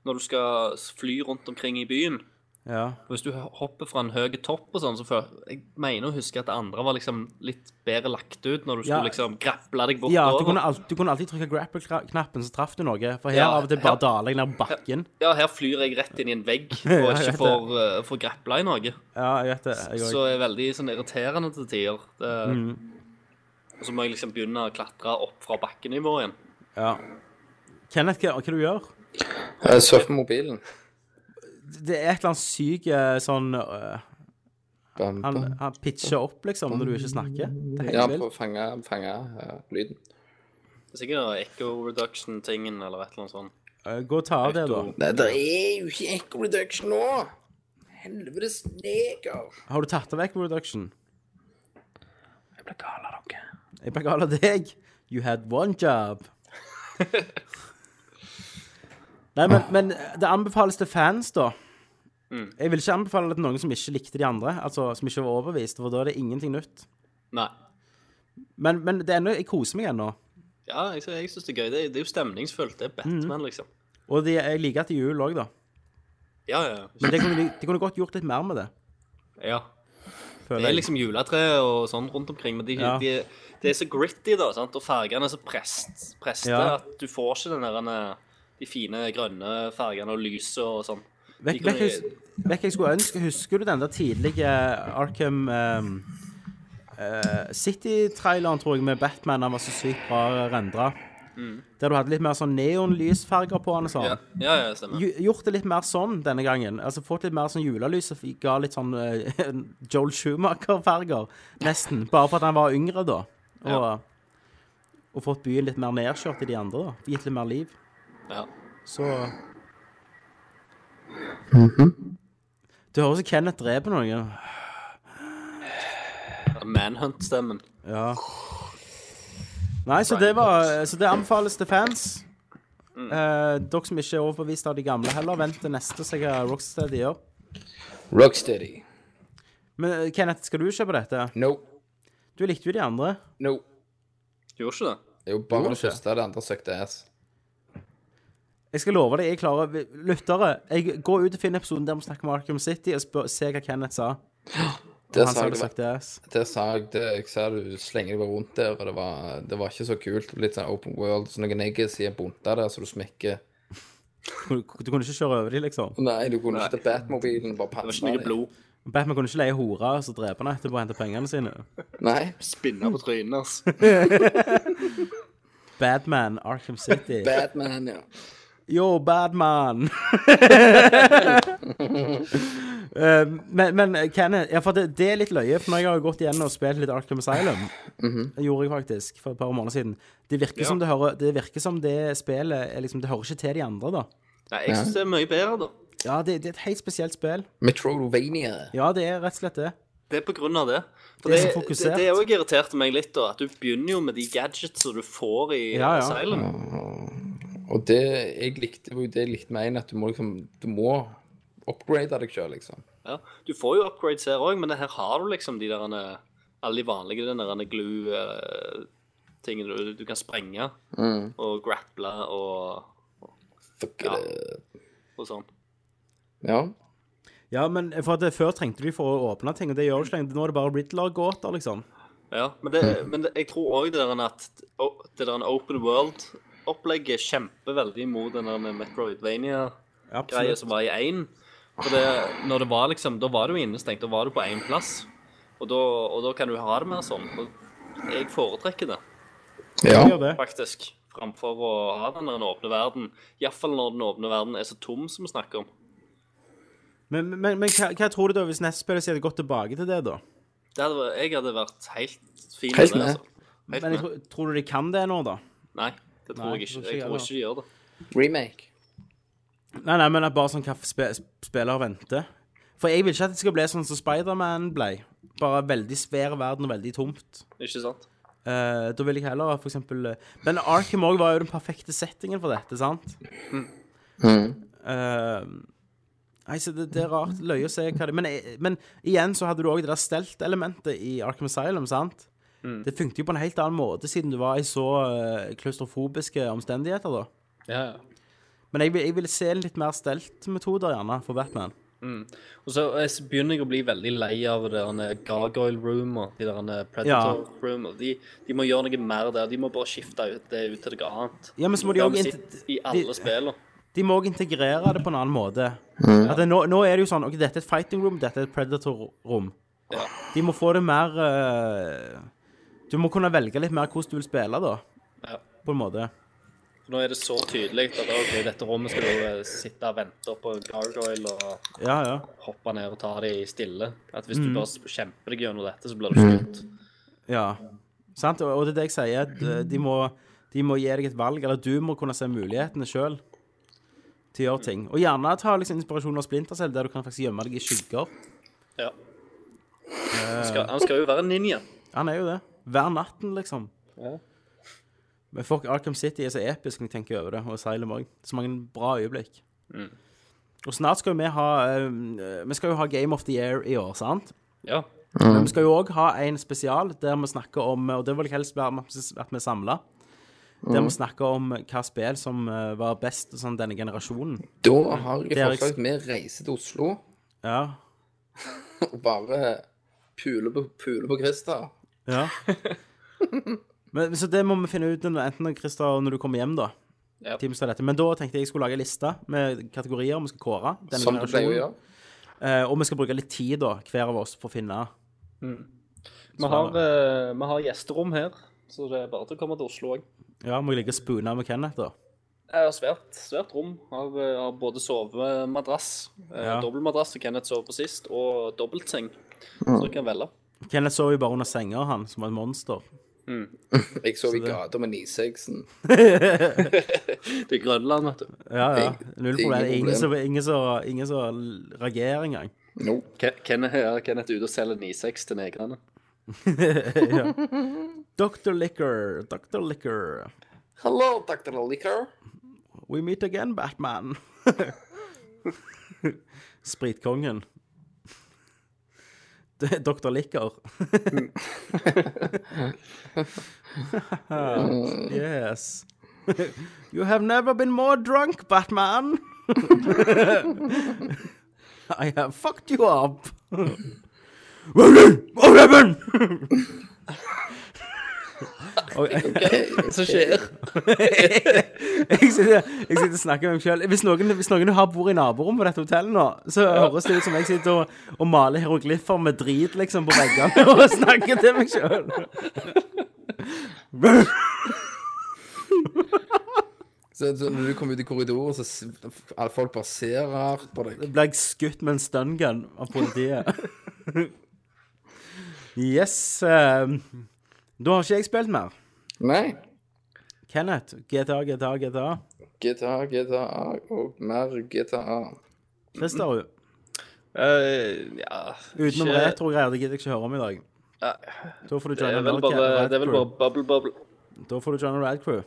[SPEAKER 9] når du skal fly rundt omkring i byen.
[SPEAKER 1] Ja.
[SPEAKER 9] Hvis du hopper fra en høy topp og sånn, så føler jeg mener å huske at det andre var liksom litt bedre lagt ut når
[SPEAKER 1] Ja.
[SPEAKER 9] du skulle liksom grapple deg
[SPEAKER 1] ja
[SPEAKER 9] bortover.
[SPEAKER 1] du, kunne alltid, du kunne alltid trykke grapple-knappen, så traff du noe. For her
[SPEAKER 9] Ja,
[SPEAKER 1] av og til
[SPEAKER 9] her-
[SPEAKER 1] bare daler jeg ned bakken.
[SPEAKER 9] Ja, her flyr jeg rett inn i en vegg
[SPEAKER 1] Ja,
[SPEAKER 9] og
[SPEAKER 1] jeg
[SPEAKER 9] ikke
[SPEAKER 1] vet
[SPEAKER 9] får, eh, får grappla i noe.
[SPEAKER 1] Ja, jeg vet det. Jeg Mm.
[SPEAKER 9] så er veldig sånn irriterende til tider. Det, Og så må jeg liksom begynne å klatre opp fra bakkenivå igjen.
[SPEAKER 1] Ja. Kenneth, hva, hva du gjør?
[SPEAKER 2] Eh, Surf på mobilen.
[SPEAKER 1] Det er et eller annet syk eh, sånn eh,
[SPEAKER 2] Bam,
[SPEAKER 1] han, eh,
[SPEAKER 2] bam.
[SPEAKER 1] han pitcher opp, liksom, når du ikke snakker. Det er helt
[SPEAKER 2] Ja, på
[SPEAKER 1] vilt.
[SPEAKER 2] å fange, fange eh, lyden.
[SPEAKER 9] Det er sikkert noe echo reduction-tingen eller et eller annet sånt.
[SPEAKER 1] Eh, Gå og ta av det, da.
[SPEAKER 2] Nei, det er jo ikke echo reduction nå! Helvetes neger!
[SPEAKER 1] Har du tatt av Echo Reduction? Jeg ble gal av dere. Jeg ble gal av deg. You had one job. Nei, men, men det anbefales til fans, da.
[SPEAKER 9] Mm.
[SPEAKER 1] Jeg vil ikke anbefale det til noen som ikke likte de andre, altså som ikke var overbevist, for da er det ingenting nytt.
[SPEAKER 9] Nei.
[SPEAKER 1] Men, men det er ennå, jeg koser meg ennå.
[SPEAKER 9] Ja, jeg, sy- jeg syns det er gøy. Det, er- det er jo stemningsfullt. Det er Batman,
[SPEAKER 1] Mhm.
[SPEAKER 9] liksom.
[SPEAKER 1] Og de, jeg liker at det er jul òg, da.
[SPEAKER 9] Ja, ja.
[SPEAKER 1] Men det kunne, de kunne godt gjort litt mer med det.
[SPEAKER 9] ja.
[SPEAKER 1] Føler
[SPEAKER 9] Det er
[SPEAKER 1] jeg.
[SPEAKER 9] liksom juletre og sånn rundt omkring, men de,
[SPEAKER 1] Ja.
[SPEAKER 9] de, det er så gritty, da, sant? og fargene er så prest, preste
[SPEAKER 1] Ja.
[SPEAKER 9] at du får ikke den der, denne- de fine grønne fargene og lyset og sånn.
[SPEAKER 1] Vet vet
[SPEAKER 9] de kunne-
[SPEAKER 1] jeg- vet jeg skulle ønske Husker du den der tidlige eh, Arkham ehm, eh, City-traileren, tror jeg, med Batman? Han var så sykt bra rendra. Der du hadde litt mer sånn neonlysfarger på han og sånn.
[SPEAKER 9] Ja, ja, ja stemmer.
[SPEAKER 1] Gj- Gjort det litt mer sånn denne gangen. Altså Fått litt mer sånn julelys og f- ga litt sånn eh, Joel Schumacher-farger, nesten. Bare for at han var yngre, da. Og, eh, og fått byen litt mer nedkjørt i de andre, da. Gitt litt mer liv.
[SPEAKER 9] Ja.
[SPEAKER 1] Så Du hører som Kenneth dreper noen.
[SPEAKER 9] Manhunt-stemmen.
[SPEAKER 1] Ja. Nei, så det, var, så det anbefales til fans.
[SPEAKER 2] Mm.
[SPEAKER 1] Eh, dere som ikke er overbevist av de gamle heller, vent til neste, så hva Rocksteady gjør.
[SPEAKER 2] Rocksteady.
[SPEAKER 1] Men eh, Kenneth, skal du kjøpe dette?
[SPEAKER 2] No.
[SPEAKER 1] Du likte jo de andre.
[SPEAKER 2] No.
[SPEAKER 9] Gjorde ikke det?
[SPEAKER 2] Det er jo bare det
[SPEAKER 1] ikke.
[SPEAKER 2] første. Det andre søkte ass.
[SPEAKER 1] Jeg skal love deg, jeg klarer vi- Lyttere, jeg går ut og finner episoden der vi snakker om Arkham City, og spør, se hva Kenneth sa.
[SPEAKER 2] Det
[SPEAKER 1] Han sa
[SPEAKER 2] sa
[SPEAKER 1] det
[SPEAKER 2] jeg, det,
[SPEAKER 1] sakte ass.
[SPEAKER 2] det sa jeg, det, jeg sa du slenger deg rundt der, og det var, det var ikke så kult. Det var Litt sånn open world, så noen eggs i en bunta der, så du smekker.
[SPEAKER 1] Du, du kunne ikke kjøre over de, liksom.
[SPEAKER 2] Nei, du kunne ikke til Batmobilen, bare
[SPEAKER 9] Det var
[SPEAKER 2] passe
[SPEAKER 9] ikke noe blod.
[SPEAKER 1] Batman kunne ikke leie hora og så drepe henne etterpå og hente pengene sine.
[SPEAKER 2] Nei.
[SPEAKER 9] Spinner på trynet, altså.
[SPEAKER 1] Badman, Arkham City.
[SPEAKER 2] Batman, ja.
[SPEAKER 1] Yo, Badman! Eh, men, men Kenneth, ja, for det, det er litt løye, for når jeg har gått igjennom og spilt litt Arkham Asylum, det gjorde jeg faktisk for et par måneder siden, det virker, som, det, hører, det virker som det spillet er liksom, Det hører ikke til de andre, da.
[SPEAKER 9] Nei, jeg syns det er mye bedre, da.
[SPEAKER 1] Ja, det, det er et helt spesielt spill.
[SPEAKER 2] Metrovania.
[SPEAKER 1] Ja, det er rett og slett det.
[SPEAKER 9] Det er på grunn av det. For
[SPEAKER 1] Det
[SPEAKER 9] det,
[SPEAKER 1] er så
[SPEAKER 9] det,
[SPEAKER 1] fokusert.
[SPEAKER 9] det òg irriterte meg litt, da. At du begynner jo med de gadgets som du får i
[SPEAKER 1] Ja, ja.
[SPEAKER 9] Asylum.
[SPEAKER 2] Og det jeg likte, var jo det jeg likte med en, at du må liksom Du må upgrade deg sjøl, liksom.
[SPEAKER 9] Ja. Du får jo upgrades her òg, men det her har du liksom de der alle de vanlige den der eh, glue-tingene du, du kan sprenge og grapple og,
[SPEAKER 2] Fuck
[SPEAKER 9] Ja.
[SPEAKER 2] det.
[SPEAKER 9] og sånn.
[SPEAKER 2] Ja.
[SPEAKER 1] Ja, men eh, for at det, Før trengte du de for å åpne ting, og det gjør du ikke lenger. Nå er det bare Riddler-gåter, liksom.
[SPEAKER 9] Ja, men, det, men det, jeg tror òg det der at å- det der open world-opplegget kjemper veldig mot den der Metroidvania-greia
[SPEAKER 1] Absolutt.
[SPEAKER 9] som var i én. For det, når det var liksom, da var du innestengt, da var du på én plass. Og da, og da kan du ha det mer sånn. Og jeg foretrekker det.
[SPEAKER 1] Ja.
[SPEAKER 2] ja.
[SPEAKER 1] Gjør det.
[SPEAKER 9] faktisk, framfor å ha den der åpne verden. Iallfall når den åpne verden er så tom som vi snakker om.
[SPEAKER 1] Men, men, men hva, hva tror du da hvis neste spiller sier gått tilbake til det, da?
[SPEAKER 9] Det hadde, vært- jeg hadde vært helt fin
[SPEAKER 2] Helt med.
[SPEAKER 9] med det. Altså. Helt
[SPEAKER 1] Men jeg
[SPEAKER 9] med.
[SPEAKER 1] tror, tror du de kan det nå, da?
[SPEAKER 9] Nei, det tror
[SPEAKER 1] Nei,
[SPEAKER 9] jeg
[SPEAKER 1] jeg tror
[SPEAKER 9] ikke.
[SPEAKER 1] ikke
[SPEAKER 9] Jeg tror ikke de gjør det.
[SPEAKER 2] Remake.
[SPEAKER 1] Nei, nei, men at bare sånn hva spe, spillere venter. For jeg vil ikke at det skal bli sånn som Spiderman ble. Bare veldig svær verden og veldig tomt.
[SPEAKER 9] Ikke sant?
[SPEAKER 1] Eh, da vil jeg heller ha for eksempel eh, Men Arkham òg var jo den perfekte settingen for dette, sant? Eh, Nei, så det, det er rart. Løye å se hva det men, eh, men igjen så hadde du òg det der stelt-elementet i Arkham Asylum, sant? Det funket jo på en helt annen måte, siden du var i så eh, klaustrofobiske omstendigheter, da.
[SPEAKER 9] Ja,
[SPEAKER 1] Men jeg, vil- jeg ville se litt mer stelt-metoder, gjerne, for Batman.
[SPEAKER 9] Og så eh, så begynner jeg å bli veldig lei av det der gargoyle room og de der predator
[SPEAKER 1] Ja.
[SPEAKER 9] room. og De, de må gjøre noe mer der. De må bare skifte ut det ut til noe annet.
[SPEAKER 1] Ja, men så må de
[SPEAKER 9] Det har
[SPEAKER 1] òg
[SPEAKER 9] vi
[SPEAKER 1] int-
[SPEAKER 9] sett i alle
[SPEAKER 1] de-
[SPEAKER 9] spillene.
[SPEAKER 1] De må også integrere det på en annen måte. At det, nå, nå er det jo sånn OK, dette er et fighting room, dette er et predator-rom.
[SPEAKER 9] Ja.
[SPEAKER 1] De må få det mer eh, Du må kunne velge litt mer hvordan du vil spille, da.
[SPEAKER 9] Ja.
[SPEAKER 1] På en måte.
[SPEAKER 9] Nå er det så tydelig at ok, i dette rommet skal du eh, sitte og vente på gargoyle og
[SPEAKER 1] Ja, ja.
[SPEAKER 9] hoppe ned og ta det i stille. At hvis
[SPEAKER 1] Mm.
[SPEAKER 9] du bare kjemper deg gjennom dette, så blir du skutt.
[SPEAKER 1] ja. Sant? Og, og det er det jeg sier. at, eh, De må, de må gi deg et valg, eller du må kunne se mulighetene sjøl til å gjøre ting. Og gjerne ta liksom, inspirasjon av Splintercell, der du kan faktisk gjemme deg i skygger.
[SPEAKER 9] Ja. Han skal, han skal jo være en ninja.
[SPEAKER 1] Han er jo det. Hver natten, liksom.
[SPEAKER 9] Ja.
[SPEAKER 1] Men fuck, Arkham City er så episk når jeg tenker over det, og Asylum òg. Så mange bra øyeblikk. Og snart skal jo vi ha um, eh, Vi skal jo ha Game of the Year i år, sant?
[SPEAKER 9] Ja.
[SPEAKER 1] Men vi skal jo òg ha en spesial der vi snakker om Og det vil jeg helst være at vi er samla. Der vi snakker om hva spill som eh, var best sånn, denne generasjonen.
[SPEAKER 2] Da har jeg
[SPEAKER 1] Det er
[SPEAKER 2] forslag at vi reiser til Oslo
[SPEAKER 1] Ja.
[SPEAKER 2] og bare puler på, puler på Christer.
[SPEAKER 1] ja. Men, så det må vi finne ut enten når Christer når du kommer hjem, da.
[SPEAKER 9] Ja.
[SPEAKER 1] Teams av dette. Men da tenkte jeg jeg skulle lage en liste med kategorier vi skal kåre. denne
[SPEAKER 2] Som du pleier å
[SPEAKER 1] generasjonen.
[SPEAKER 2] gjøre.
[SPEAKER 1] Eh, og vi skal bruke litt tid, da, hver av oss, for å finne
[SPEAKER 9] Vi har, eh, vi har gjesterom her, så det er bare til å komme til Oslo òg.
[SPEAKER 1] Ja, må jeg ligge og spoone med Kenneth, da?
[SPEAKER 9] Jeg har svært, svært rom. Har, eh, har både sovemadrass, eh,
[SPEAKER 1] Ja.
[SPEAKER 9] dobbeltmadrass som Kenneth sov på sist, og dobbeltseng. Så du kan velge.
[SPEAKER 1] Kenneth sov jo bare under senga, han, som var et monster.
[SPEAKER 2] Jeg sov i gata med Nisegsen.
[SPEAKER 9] Det er Grønland, vet du.
[SPEAKER 1] Ja, ja. Null
[SPEAKER 2] Ingen
[SPEAKER 1] problem. Ingen
[SPEAKER 2] problem.
[SPEAKER 1] som, ingen som, ingen som reagerer engang.
[SPEAKER 2] No.
[SPEAKER 9] Ke- Kenneth er Kenneth er ute og selger 96 til negrene.
[SPEAKER 1] Dr. Liquor, Dr. Liquor,
[SPEAKER 2] Hello, Dr. Liquor.
[SPEAKER 1] we meet again, Batman. Spritkongen. Det er Dr. Liquor. yes. You have never been more drunk, Batman. I have fucked you up. Robin! Oh, Robin! Oh,
[SPEAKER 9] Hva skjer?
[SPEAKER 1] jeg, sitter, jeg sitter og snakker med meg sjøl. Hvis, noen- hvis noen har bor i naborommet på dette hotellet nå, så høres det ut som jeg sitter og, og maler hieroglyffer med drit liksom på veggene og snakker til meg sjøl.
[SPEAKER 2] Så Så, så når du kommer ut i korridoren, så s- alle folk bare ser rart på deg.
[SPEAKER 1] Ble jeg skutt med en stungun av politiet. yes. eh, da har ikke jeg spilt mer.
[SPEAKER 2] Nei.
[SPEAKER 1] Kenneth, GTA, GTA, GTA.
[SPEAKER 2] GTA, GTA og mer GTA.
[SPEAKER 1] Christer, hun.
[SPEAKER 3] Eh, ja Mm.
[SPEAKER 1] utenom
[SPEAKER 3] ikke-
[SPEAKER 1] retrogreier, det gidder jeg ikke høre om i dag.
[SPEAKER 3] Nei.
[SPEAKER 1] Da får du
[SPEAKER 3] Det
[SPEAKER 1] joine
[SPEAKER 3] er vel
[SPEAKER 1] Rad-
[SPEAKER 3] bare,
[SPEAKER 1] Rad
[SPEAKER 3] det er vel
[SPEAKER 1] Crew.
[SPEAKER 3] bare bubble, bubble.
[SPEAKER 1] Da får du joine Rad Crew.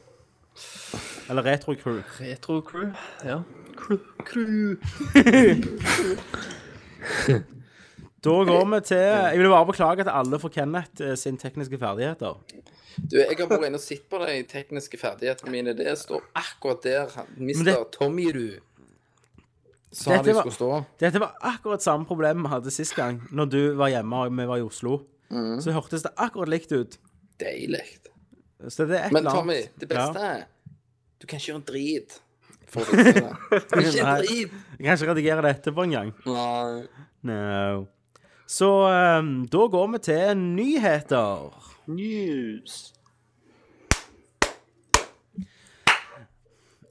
[SPEAKER 1] Eller Retro Crew.
[SPEAKER 9] Retro crew. Ja.
[SPEAKER 1] Da går vi til Jeg vil bare beklage til alle for Kenneth eh, sin tekniske ferdigheter.
[SPEAKER 2] Du, jeg har vært inne og sett på de tekniske ferdighetene mine. Det står akkurat der han- Mr.
[SPEAKER 1] det-
[SPEAKER 2] Tommy, du. Sa
[SPEAKER 1] Dette
[SPEAKER 2] de
[SPEAKER 1] var-
[SPEAKER 2] skulle stå.
[SPEAKER 1] Dette var akkurat samme problem vi hadde sist gang, når du var hjemme og vi var i Oslo.
[SPEAKER 2] Mm.
[SPEAKER 1] Så hørtes det akkurat likt ut.
[SPEAKER 2] Deilig.
[SPEAKER 1] Så det er et
[SPEAKER 2] Men
[SPEAKER 1] eller annet.
[SPEAKER 2] Tommy, det beste
[SPEAKER 1] Ja.
[SPEAKER 2] er Du kan ikke gjøre en drit. For å fikse det. Du kan ikke gjøre
[SPEAKER 1] Nei.
[SPEAKER 2] en drit.
[SPEAKER 1] Jeg kan ikke redigere det etterpå engang.
[SPEAKER 2] Nei.
[SPEAKER 1] No. Så eh, da går vi til nyheter.
[SPEAKER 3] News.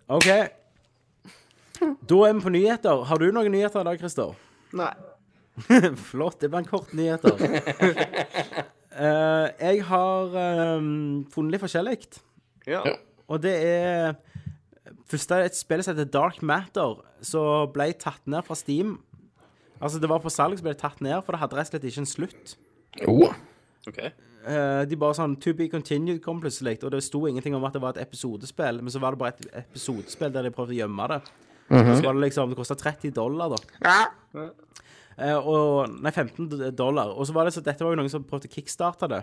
[SPEAKER 1] OK. Da er vi på nyheter. Har du noen nyheter i dag, Christer?
[SPEAKER 3] Nei.
[SPEAKER 1] Flott. Det blir en kort nyheter. Eh, jeg har eh, funnet litt forskjellig.
[SPEAKER 3] Ja.
[SPEAKER 1] Og det er Først er det et spill som heter Dark Matter, som ble tatt ned fra Steam. Altså, det var på salg som ble det tatt ned, for det hadde rett og slett ikke en slutt.
[SPEAKER 2] Jo.
[SPEAKER 3] OK.
[SPEAKER 1] Eh, de bare sånn To be continued kom plutselig, og det sto ingenting om at det var et episodespill, men så var det bare et episodespill der de prøvde å gjemme det. Så var det liksom Det kosta 30 dollar, da. Eh, og Nei, 15 dollar. Og så var det så dette var jo noen som prøvde å kickstarte det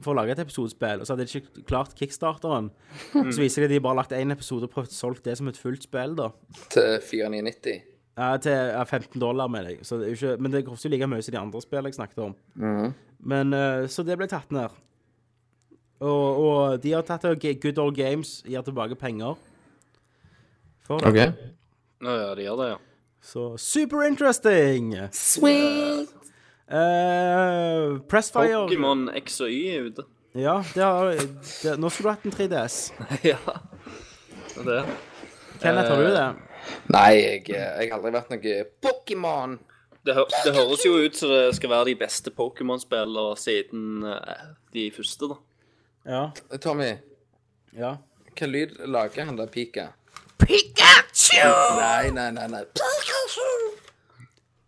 [SPEAKER 1] for å lage et episodespill, og så hadde de ikke klart kickstarteren. Så viser det at de bare har lagt én episode og prøvd å solgt det som et fullt spill, da.
[SPEAKER 2] Til 4990.
[SPEAKER 1] Ja, til ja, 15 dollar, mener jeg. Så det er jo ikke, men det koster jo like mye som de andre spillene jeg snakket om. Men, eh, så det ble tatt ned. Og, og de har tatt det, og G- Good Old Games gir tilbake penger for det.
[SPEAKER 3] Nå, ja, de gjør det, ja.
[SPEAKER 1] Så super interesting! Sweet! Eh, Pressfire
[SPEAKER 3] Pokémon X og Y er ute.
[SPEAKER 1] Ja, det har, det, nå skulle du hatt en 3DS.
[SPEAKER 3] ja. Og Det.
[SPEAKER 1] Kenneth, har du det?
[SPEAKER 2] Nei, jeg, jeg har aldri vært noe Pokémon.
[SPEAKER 3] Det, hø det høres jo ut som det skal være de beste Pokémon-spillene siden eh, de første, da.
[SPEAKER 1] Ja.
[SPEAKER 2] Tommy,
[SPEAKER 1] ja.
[SPEAKER 2] hva lyd lager han der pika? Pikachu! Nei, nei, nei. nei.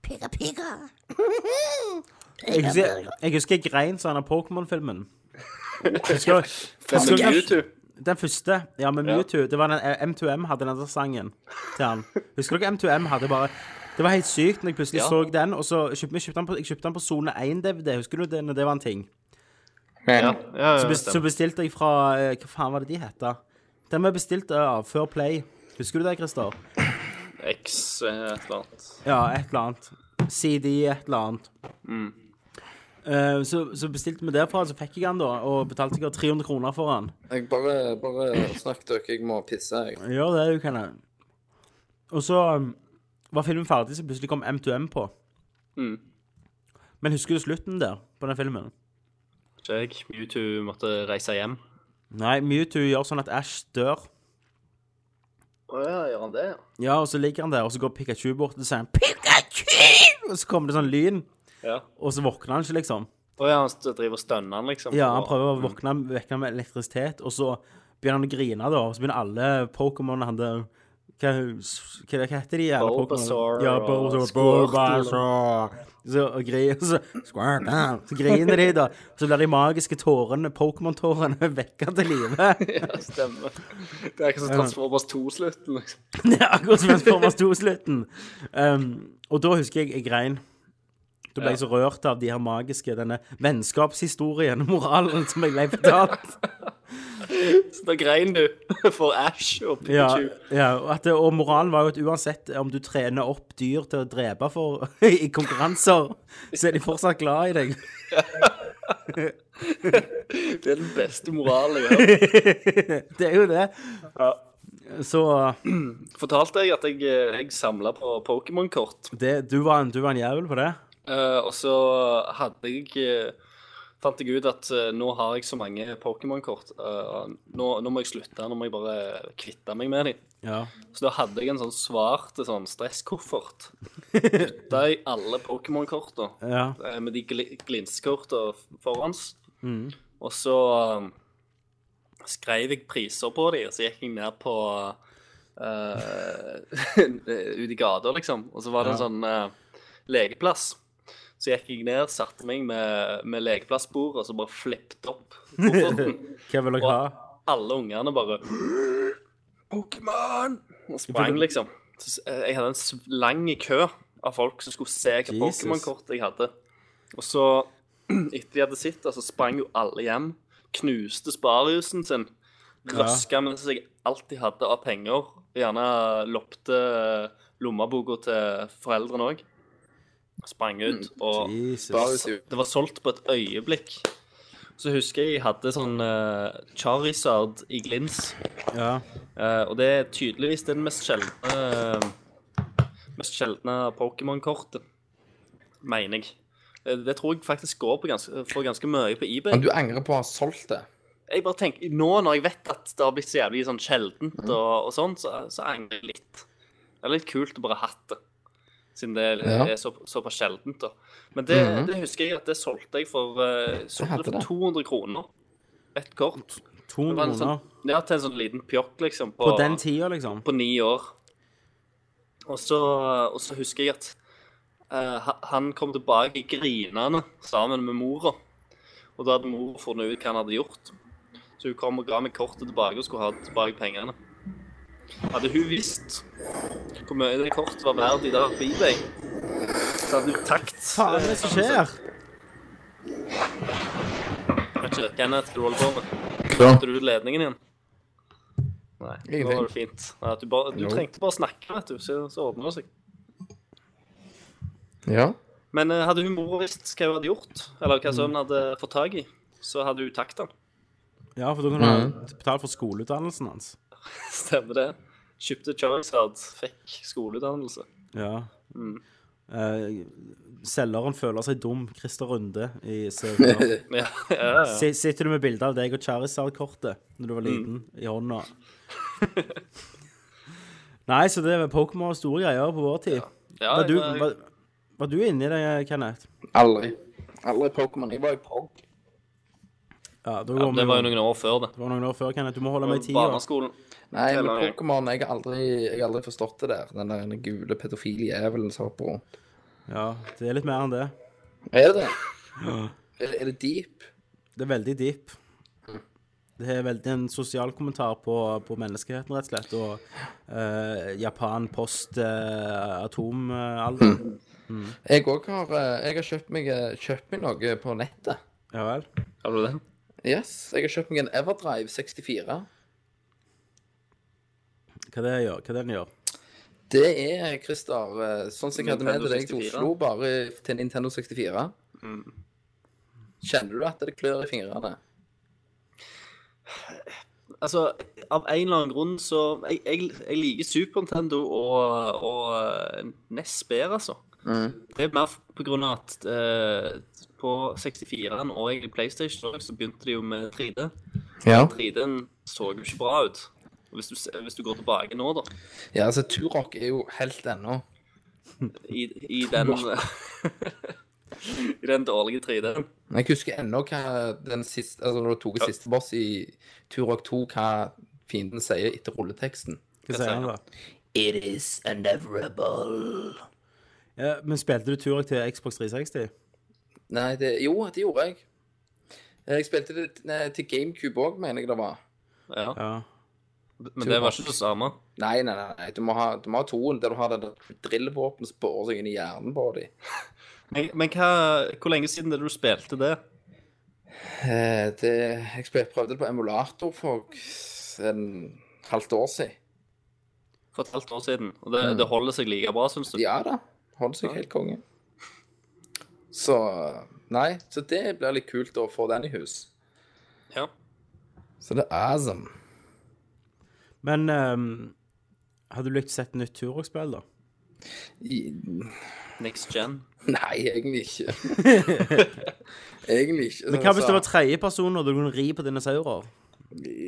[SPEAKER 6] Pika pika.
[SPEAKER 1] Jeg, husker, jeg husker jeg grein sånn av Pokémon-filmen. Husker du?
[SPEAKER 3] Men
[SPEAKER 1] Husker du-
[SPEAKER 3] Mewtwo
[SPEAKER 1] Den første, ja, med Mewtwo. Det var den eh, M2M hadde den der sangen til han. Husker dere M2M hadde bare Det var helt sykt når jeg plutselig så den, og så kjøpte jeg kjøpte den på, jeg kjøpte den på Sone 1-DVD. Husker du det, når det var en ting?
[SPEAKER 3] Ja,
[SPEAKER 1] Så,
[SPEAKER 3] ja,
[SPEAKER 1] bes- så
[SPEAKER 3] stemmer.
[SPEAKER 1] bestilte jeg fra eh, Hva faen var det de heta? Den vi bestilte av før Play. Husker du det, Christer?
[SPEAKER 3] X eh, et eller annet.
[SPEAKER 1] Ja, et eller annet. CD, et eller annet.
[SPEAKER 3] Mm.
[SPEAKER 1] Eh, så, så bestilte vi derfra, så fikk jeg den, da, og betalte sikkert 300 kroner for den.
[SPEAKER 2] Jeg bare, bare snakk dere, jeg må pisse. Jeg.
[SPEAKER 1] Gjør det, du kan det. Og så um, var filmen ferdig, så plutselig kom M2M på.
[SPEAKER 3] Mm.
[SPEAKER 1] Men husker du slutten der, på den filmen?
[SPEAKER 3] Ikke jeg. Mewtwo måtte reise hjem.
[SPEAKER 1] Nei, Mewtwo gjør sånn at Ash dør.
[SPEAKER 3] Å ja, gjør han det, ja?
[SPEAKER 1] Ja, og så ligger han der, og så går Pikachu bort og sier han, Pikachu! Og så kommer det sånn lyn,
[SPEAKER 3] Ja.
[SPEAKER 1] og så våkner han ikke, liksom.
[SPEAKER 3] Å ja, han st- driver og stønner han, liksom?
[SPEAKER 1] Ja, han
[SPEAKER 3] Og-
[SPEAKER 1] prøver å våkne han, vekke han med elektrisitet, og så begynner han å grine, da. Og så begynner alle Pokémon han der hva, hva, hva heter de? jævla Pokémon?
[SPEAKER 3] Bulbasaur
[SPEAKER 1] ja,
[SPEAKER 3] og
[SPEAKER 1] Bulbasaur,
[SPEAKER 3] Squirtle.
[SPEAKER 1] Bulbasaur. Så, og griner, så, Squirtle. så griner de, da. Så blir de magiske tårene, Pokémon-tårene, vekka til live.
[SPEAKER 3] Ja, stemmer. Det er ikke som Transformers 2-slutten, liksom.
[SPEAKER 1] Det er akkurat som en Formel 2-slutten. Um, og da husker jeg jeg grein. Da ble jeg så rørt av de her magiske, denne vennskapshistorien, moralen, som jeg ble fortalt.
[SPEAKER 3] Så da grein du for Ash og
[SPEAKER 1] Ja,
[SPEAKER 3] Pikachu.
[SPEAKER 1] ja og at, det- og moralen var jo at uansett om du trener opp dyr til å drepe for i konkurranser, så er de fortsatt glad i deg.
[SPEAKER 3] Det er den beste moralen jeg har.
[SPEAKER 1] Det er jo det. Så
[SPEAKER 3] Fortalte jeg at jeg, eh, jeg samla på Pokémon-kort.
[SPEAKER 1] det, du, var en, du var en jævel på det?
[SPEAKER 3] Eh, og så hadde jeg eh,
[SPEAKER 9] fant jeg ut at eh, nå har jeg så mange Pokémon-kort. eh, nå, nå må jeg slutte, nå må jeg bare kvitte meg med dem.
[SPEAKER 1] Ja.
[SPEAKER 9] Så da hadde jeg en sånn svart sånn stresskoffert. Putta i alle Pokémon-korta
[SPEAKER 1] ja.
[SPEAKER 9] eh, med de gl glinskorta foran. Og så um, skrev jeg priser på de, og så gikk jeg ned på eh, Ut i gata, liksom. Og så var det en sånn eh, legeplass. Så gikk jeg ned, satte meg med, med legeplassbordet og så bare flippet opp kofferten.
[SPEAKER 1] Hva vil dere ha?
[SPEAKER 9] Alle ungene bare Pokémon! Og sprang, liksom. Så s- eh, Jeg hadde en s- lang kø av folk som skulle se hva
[SPEAKER 1] Jesus.
[SPEAKER 9] Pokémon-kort jeg hadde. Og så, etter de hadde sett det, så sprang jo alle hjem. Knuste sparehusen sin. Røska med seg alt de hadde av penger. Gjerne loppte lommeboka til foreldrene òg. Sprang ut og
[SPEAKER 1] Jesus.
[SPEAKER 9] det var solgt på et øyeblikk. Så husker jeg jeg hadde sånn eh, Charizard i glins.
[SPEAKER 1] Ja.
[SPEAKER 9] Eh, og det er tydeligvis den mest sjeldne eh, Mest sjeldne Pokémon-kortet, mener jeg. Eh, Det tror jeg faktisk går på ganske, for ganske mye på eBay.
[SPEAKER 2] Men du angrer på å ha solgt det?
[SPEAKER 9] Jeg bare tenker, Nå når jeg vet at det har blitt så jævlig sånn sjeldent, og, og sånn, så, så angrer jeg litt. Det er litt kult å bare ha hatt det, siden det
[SPEAKER 2] Ja.
[SPEAKER 9] er så, såpass sjeldent. da. Men det, det husker jeg at det solgte Mhm. jeg for, eh, solgte
[SPEAKER 2] hadde
[SPEAKER 9] det for
[SPEAKER 2] det.
[SPEAKER 9] 200 kroner. Et kort. Det
[SPEAKER 1] 200
[SPEAKER 9] var en
[SPEAKER 1] kroner.
[SPEAKER 9] sånn, ja, til en sånn liten pjokk, liksom.
[SPEAKER 1] På den tida, liksom.
[SPEAKER 9] på ni år. Og så, og så husker jeg at eh, ha- han kom tilbake grinende sammen med mora. Og da hadde mor funnet ut hva han hadde gjort. Så hun kom og ga meg kortet tilbake og skulle ha tilbake pengene. Hadde hun visst hvor mye det kortet var verdt i dag på eBay, så hadde hun takt eh,
[SPEAKER 1] Faen, hva er det som skjer?
[SPEAKER 9] Vet ikke, Kenneth, hva du holder på med?
[SPEAKER 7] Ja.
[SPEAKER 9] Hørte du ledningen igjen? Nei, nå
[SPEAKER 2] Ingenting.
[SPEAKER 9] var det fint. Nei, du, bare, du trengte bare snakke, vet du, så, så ordner det seg.
[SPEAKER 2] Ja.
[SPEAKER 9] Men eh, hadde hun mora visst hva hun hadde gjort, eller hva
[SPEAKER 1] Mm.
[SPEAKER 9] sønnen hadde fått tak i, så hadde hun takt han.
[SPEAKER 1] Ja, for da kan du betale for skoleutdannelsen hans.
[SPEAKER 9] Stemmer det? Kjøpte Charizard, fikk skoleutdannelse.
[SPEAKER 1] Ja.
[SPEAKER 9] Mm.
[SPEAKER 1] Eh, selgeren føler seg dum. Christer Runde i CV.
[SPEAKER 9] Ja, ja, ja. Mm.
[SPEAKER 1] Si- Sitter du med bilde av deg og Charizard-kortet Når du var liten, i hånda? Nei, så det var Pokémon og store greier på vår tid.
[SPEAKER 9] ja
[SPEAKER 1] var, du,
[SPEAKER 9] jeg-
[SPEAKER 1] var, var du inni det, Kenneth?
[SPEAKER 2] Aldri. Aldri Pokémon. Jeg var i Pog.
[SPEAKER 1] Ja, da
[SPEAKER 9] ja,
[SPEAKER 1] går vi
[SPEAKER 9] det var jo noen år før det.
[SPEAKER 1] det var noen år før, Kenneth. Du må holde meg i tida.
[SPEAKER 9] Barneskolen.
[SPEAKER 2] Nei, men
[SPEAKER 9] Eller-
[SPEAKER 2] Pokémon Jeg har aldri, jeg har aldri forstått det der. Den der gule pedofile jævelen som hopper rundt.
[SPEAKER 1] Ja, det er litt mer enn det.
[SPEAKER 2] Er det det? Er, er det deep?
[SPEAKER 1] Det er veldig deep. Det er veldig en sosial kommentar på, på menneskeheten, rett og slett. Og eh, Japan post eh, atomalder.
[SPEAKER 2] Jeg òg har, eh, jeg har kjøpt, meg, eh, kjøpt meg noe på nettet.
[SPEAKER 1] Ja vel.
[SPEAKER 9] Har du det?
[SPEAKER 2] Yes. Jeg har kjøpt meg en Everdrive 64.
[SPEAKER 1] Hva det gjør? Hva den gjør?
[SPEAKER 2] Det er, Christer, eh, sånn som jeg hadde med
[SPEAKER 9] Nintendo
[SPEAKER 2] til deg til
[SPEAKER 9] 64.
[SPEAKER 2] Oslo, bare til Nintendo 64. Kjenner du at det klør i fingrene?
[SPEAKER 9] Altså, av en eller annen grunn så Jeg, jeg, jeg liker Super Nintendo og, og eh, NES bedre, altså.
[SPEAKER 1] Mm.
[SPEAKER 9] Det er mer på grunn av at eh, på 64-en og egentlig PlayStation også, så begynte de jo med 3D.
[SPEAKER 2] Ja.
[SPEAKER 9] 3D-en så jo ikke bra ut. Og Hvis du, se- hvis du går tilbake nå, da,
[SPEAKER 2] Ja, altså, Turok er jo helt ennå.
[SPEAKER 9] i, i den I den dårlige 3D-en.
[SPEAKER 2] Jeg husker ennå hva den siste Altså, når du tok siste boss i Turok 2, hva fienden sier etter rulleteksten.
[SPEAKER 1] Hva sier han, da?
[SPEAKER 2] It is inevitable.
[SPEAKER 1] Ja, men spilte du Turok til Xbox 360?
[SPEAKER 2] Nei, det Jo, det gjorde jeg. Jeg spilte det nei, til GameCube òg, mener jeg det var.
[SPEAKER 9] Ja.
[SPEAKER 1] Ja.
[SPEAKER 9] Men det var ikke det samme.
[SPEAKER 2] Nei, nei, nei. nei. Du må ha, du må ha toen der du har det der drillvåpenet som borer seg inn i hjernen på dem.
[SPEAKER 9] Men, men hva, hvor lenge siden er det du spilte det?
[SPEAKER 2] Eh, det, jeg spil- prøvde det på emulator for en halvt år siden.
[SPEAKER 9] For et halvt år siden? Og det, det holder seg like bra, syns du?
[SPEAKER 2] Ja da, holdt seg helt konge. Så Nei, så det blir litt kult å få den i hus.
[SPEAKER 9] Ja.
[SPEAKER 2] Så det er awesome.
[SPEAKER 1] Men ehm, hadde du likt sett nytt Turok-spill, da?
[SPEAKER 2] I,
[SPEAKER 9] Next gen.
[SPEAKER 2] Nei, egentlig ikke. egentlig ikke.
[SPEAKER 1] Men hva hvis
[SPEAKER 2] Altså-
[SPEAKER 1] det var tredjeperson og du kunne ri på dinosaurer?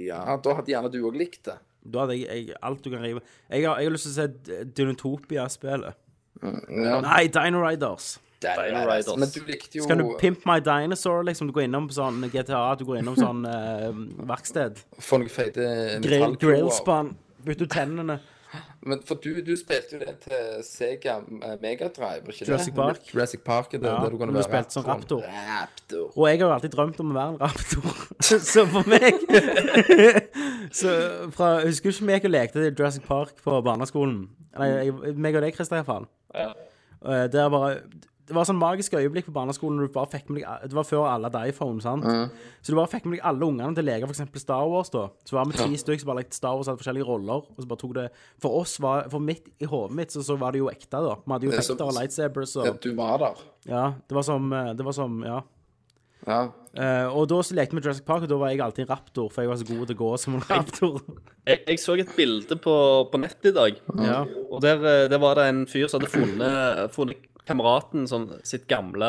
[SPEAKER 2] Ja, da hadde gjerne du òg likt det.
[SPEAKER 1] Da hadde jeg, jeg alt du kan rive. Jeg har, jeg har lyst til å se Dinotopia-spelet.
[SPEAKER 2] Ja,
[SPEAKER 1] Nei, Dino Riders.
[SPEAKER 2] det er
[SPEAKER 3] Dino
[SPEAKER 2] det.
[SPEAKER 3] Riders.
[SPEAKER 2] Men du likte jo
[SPEAKER 1] Skal du pimp my dinosaur, liksom? Du går innom sånn GTA, du går innom sånn eh, verksted.
[SPEAKER 2] få noen feite
[SPEAKER 1] Grill-
[SPEAKER 2] metallkroer.
[SPEAKER 1] Grillspann. Bytte ut tennene.
[SPEAKER 2] Men for du, du spilte jo det til Sega eh, Megadrive, ikke det?
[SPEAKER 1] Jurassic Park.
[SPEAKER 2] Jurassic Park er det,
[SPEAKER 1] Ja,
[SPEAKER 2] der du kunne
[SPEAKER 1] men du
[SPEAKER 2] være
[SPEAKER 1] spilte som
[SPEAKER 2] raptoren.
[SPEAKER 1] raptor.
[SPEAKER 2] Raptor.
[SPEAKER 1] Og jeg har jo alltid drømt om å være en raptor. så for meg Så fra, jeg Husker du ikke vi gikk og lekte i Jurassic Park på barneskolen? Nei, jeg, meg og deg, Christer, iallfall. Uh, det, bare, det var sånn magisk øyeblikk på barneskolen når du bare fikk med deg Det var før alle hadde iPhone, sant? Så du bare fikk med deg alle ungene til å leke f.eks. Star Wars, da. Så var vi tre stykker som bare lekte Star Wars, hadde forskjellige roller, og så bare tok det For oss var For mitt i hodet mitt, så, så var det jo ekte, da. Vi hadde jo
[SPEAKER 2] Ja, så-
[SPEAKER 1] vekter og lightsabers
[SPEAKER 2] Ja,
[SPEAKER 1] og
[SPEAKER 2] du var der.
[SPEAKER 1] Ja. Det var som eh, Det var som Ja.
[SPEAKER 2] Ja.
[SPEAKER 1] Eh, og da så lekte vi Jurassic Park, og da var jeg alltid en raptor, for jeg var så god til å gå som en raptor.
[SPEAKER 9] Jeg, jeg så et bilde på, på nettet i dag,
[SPEAKER 1] ja.
[SPEAKER 9] og der, eh, der var det en fyr som hadde funnet, funnet kameraten sånn, sitt gamle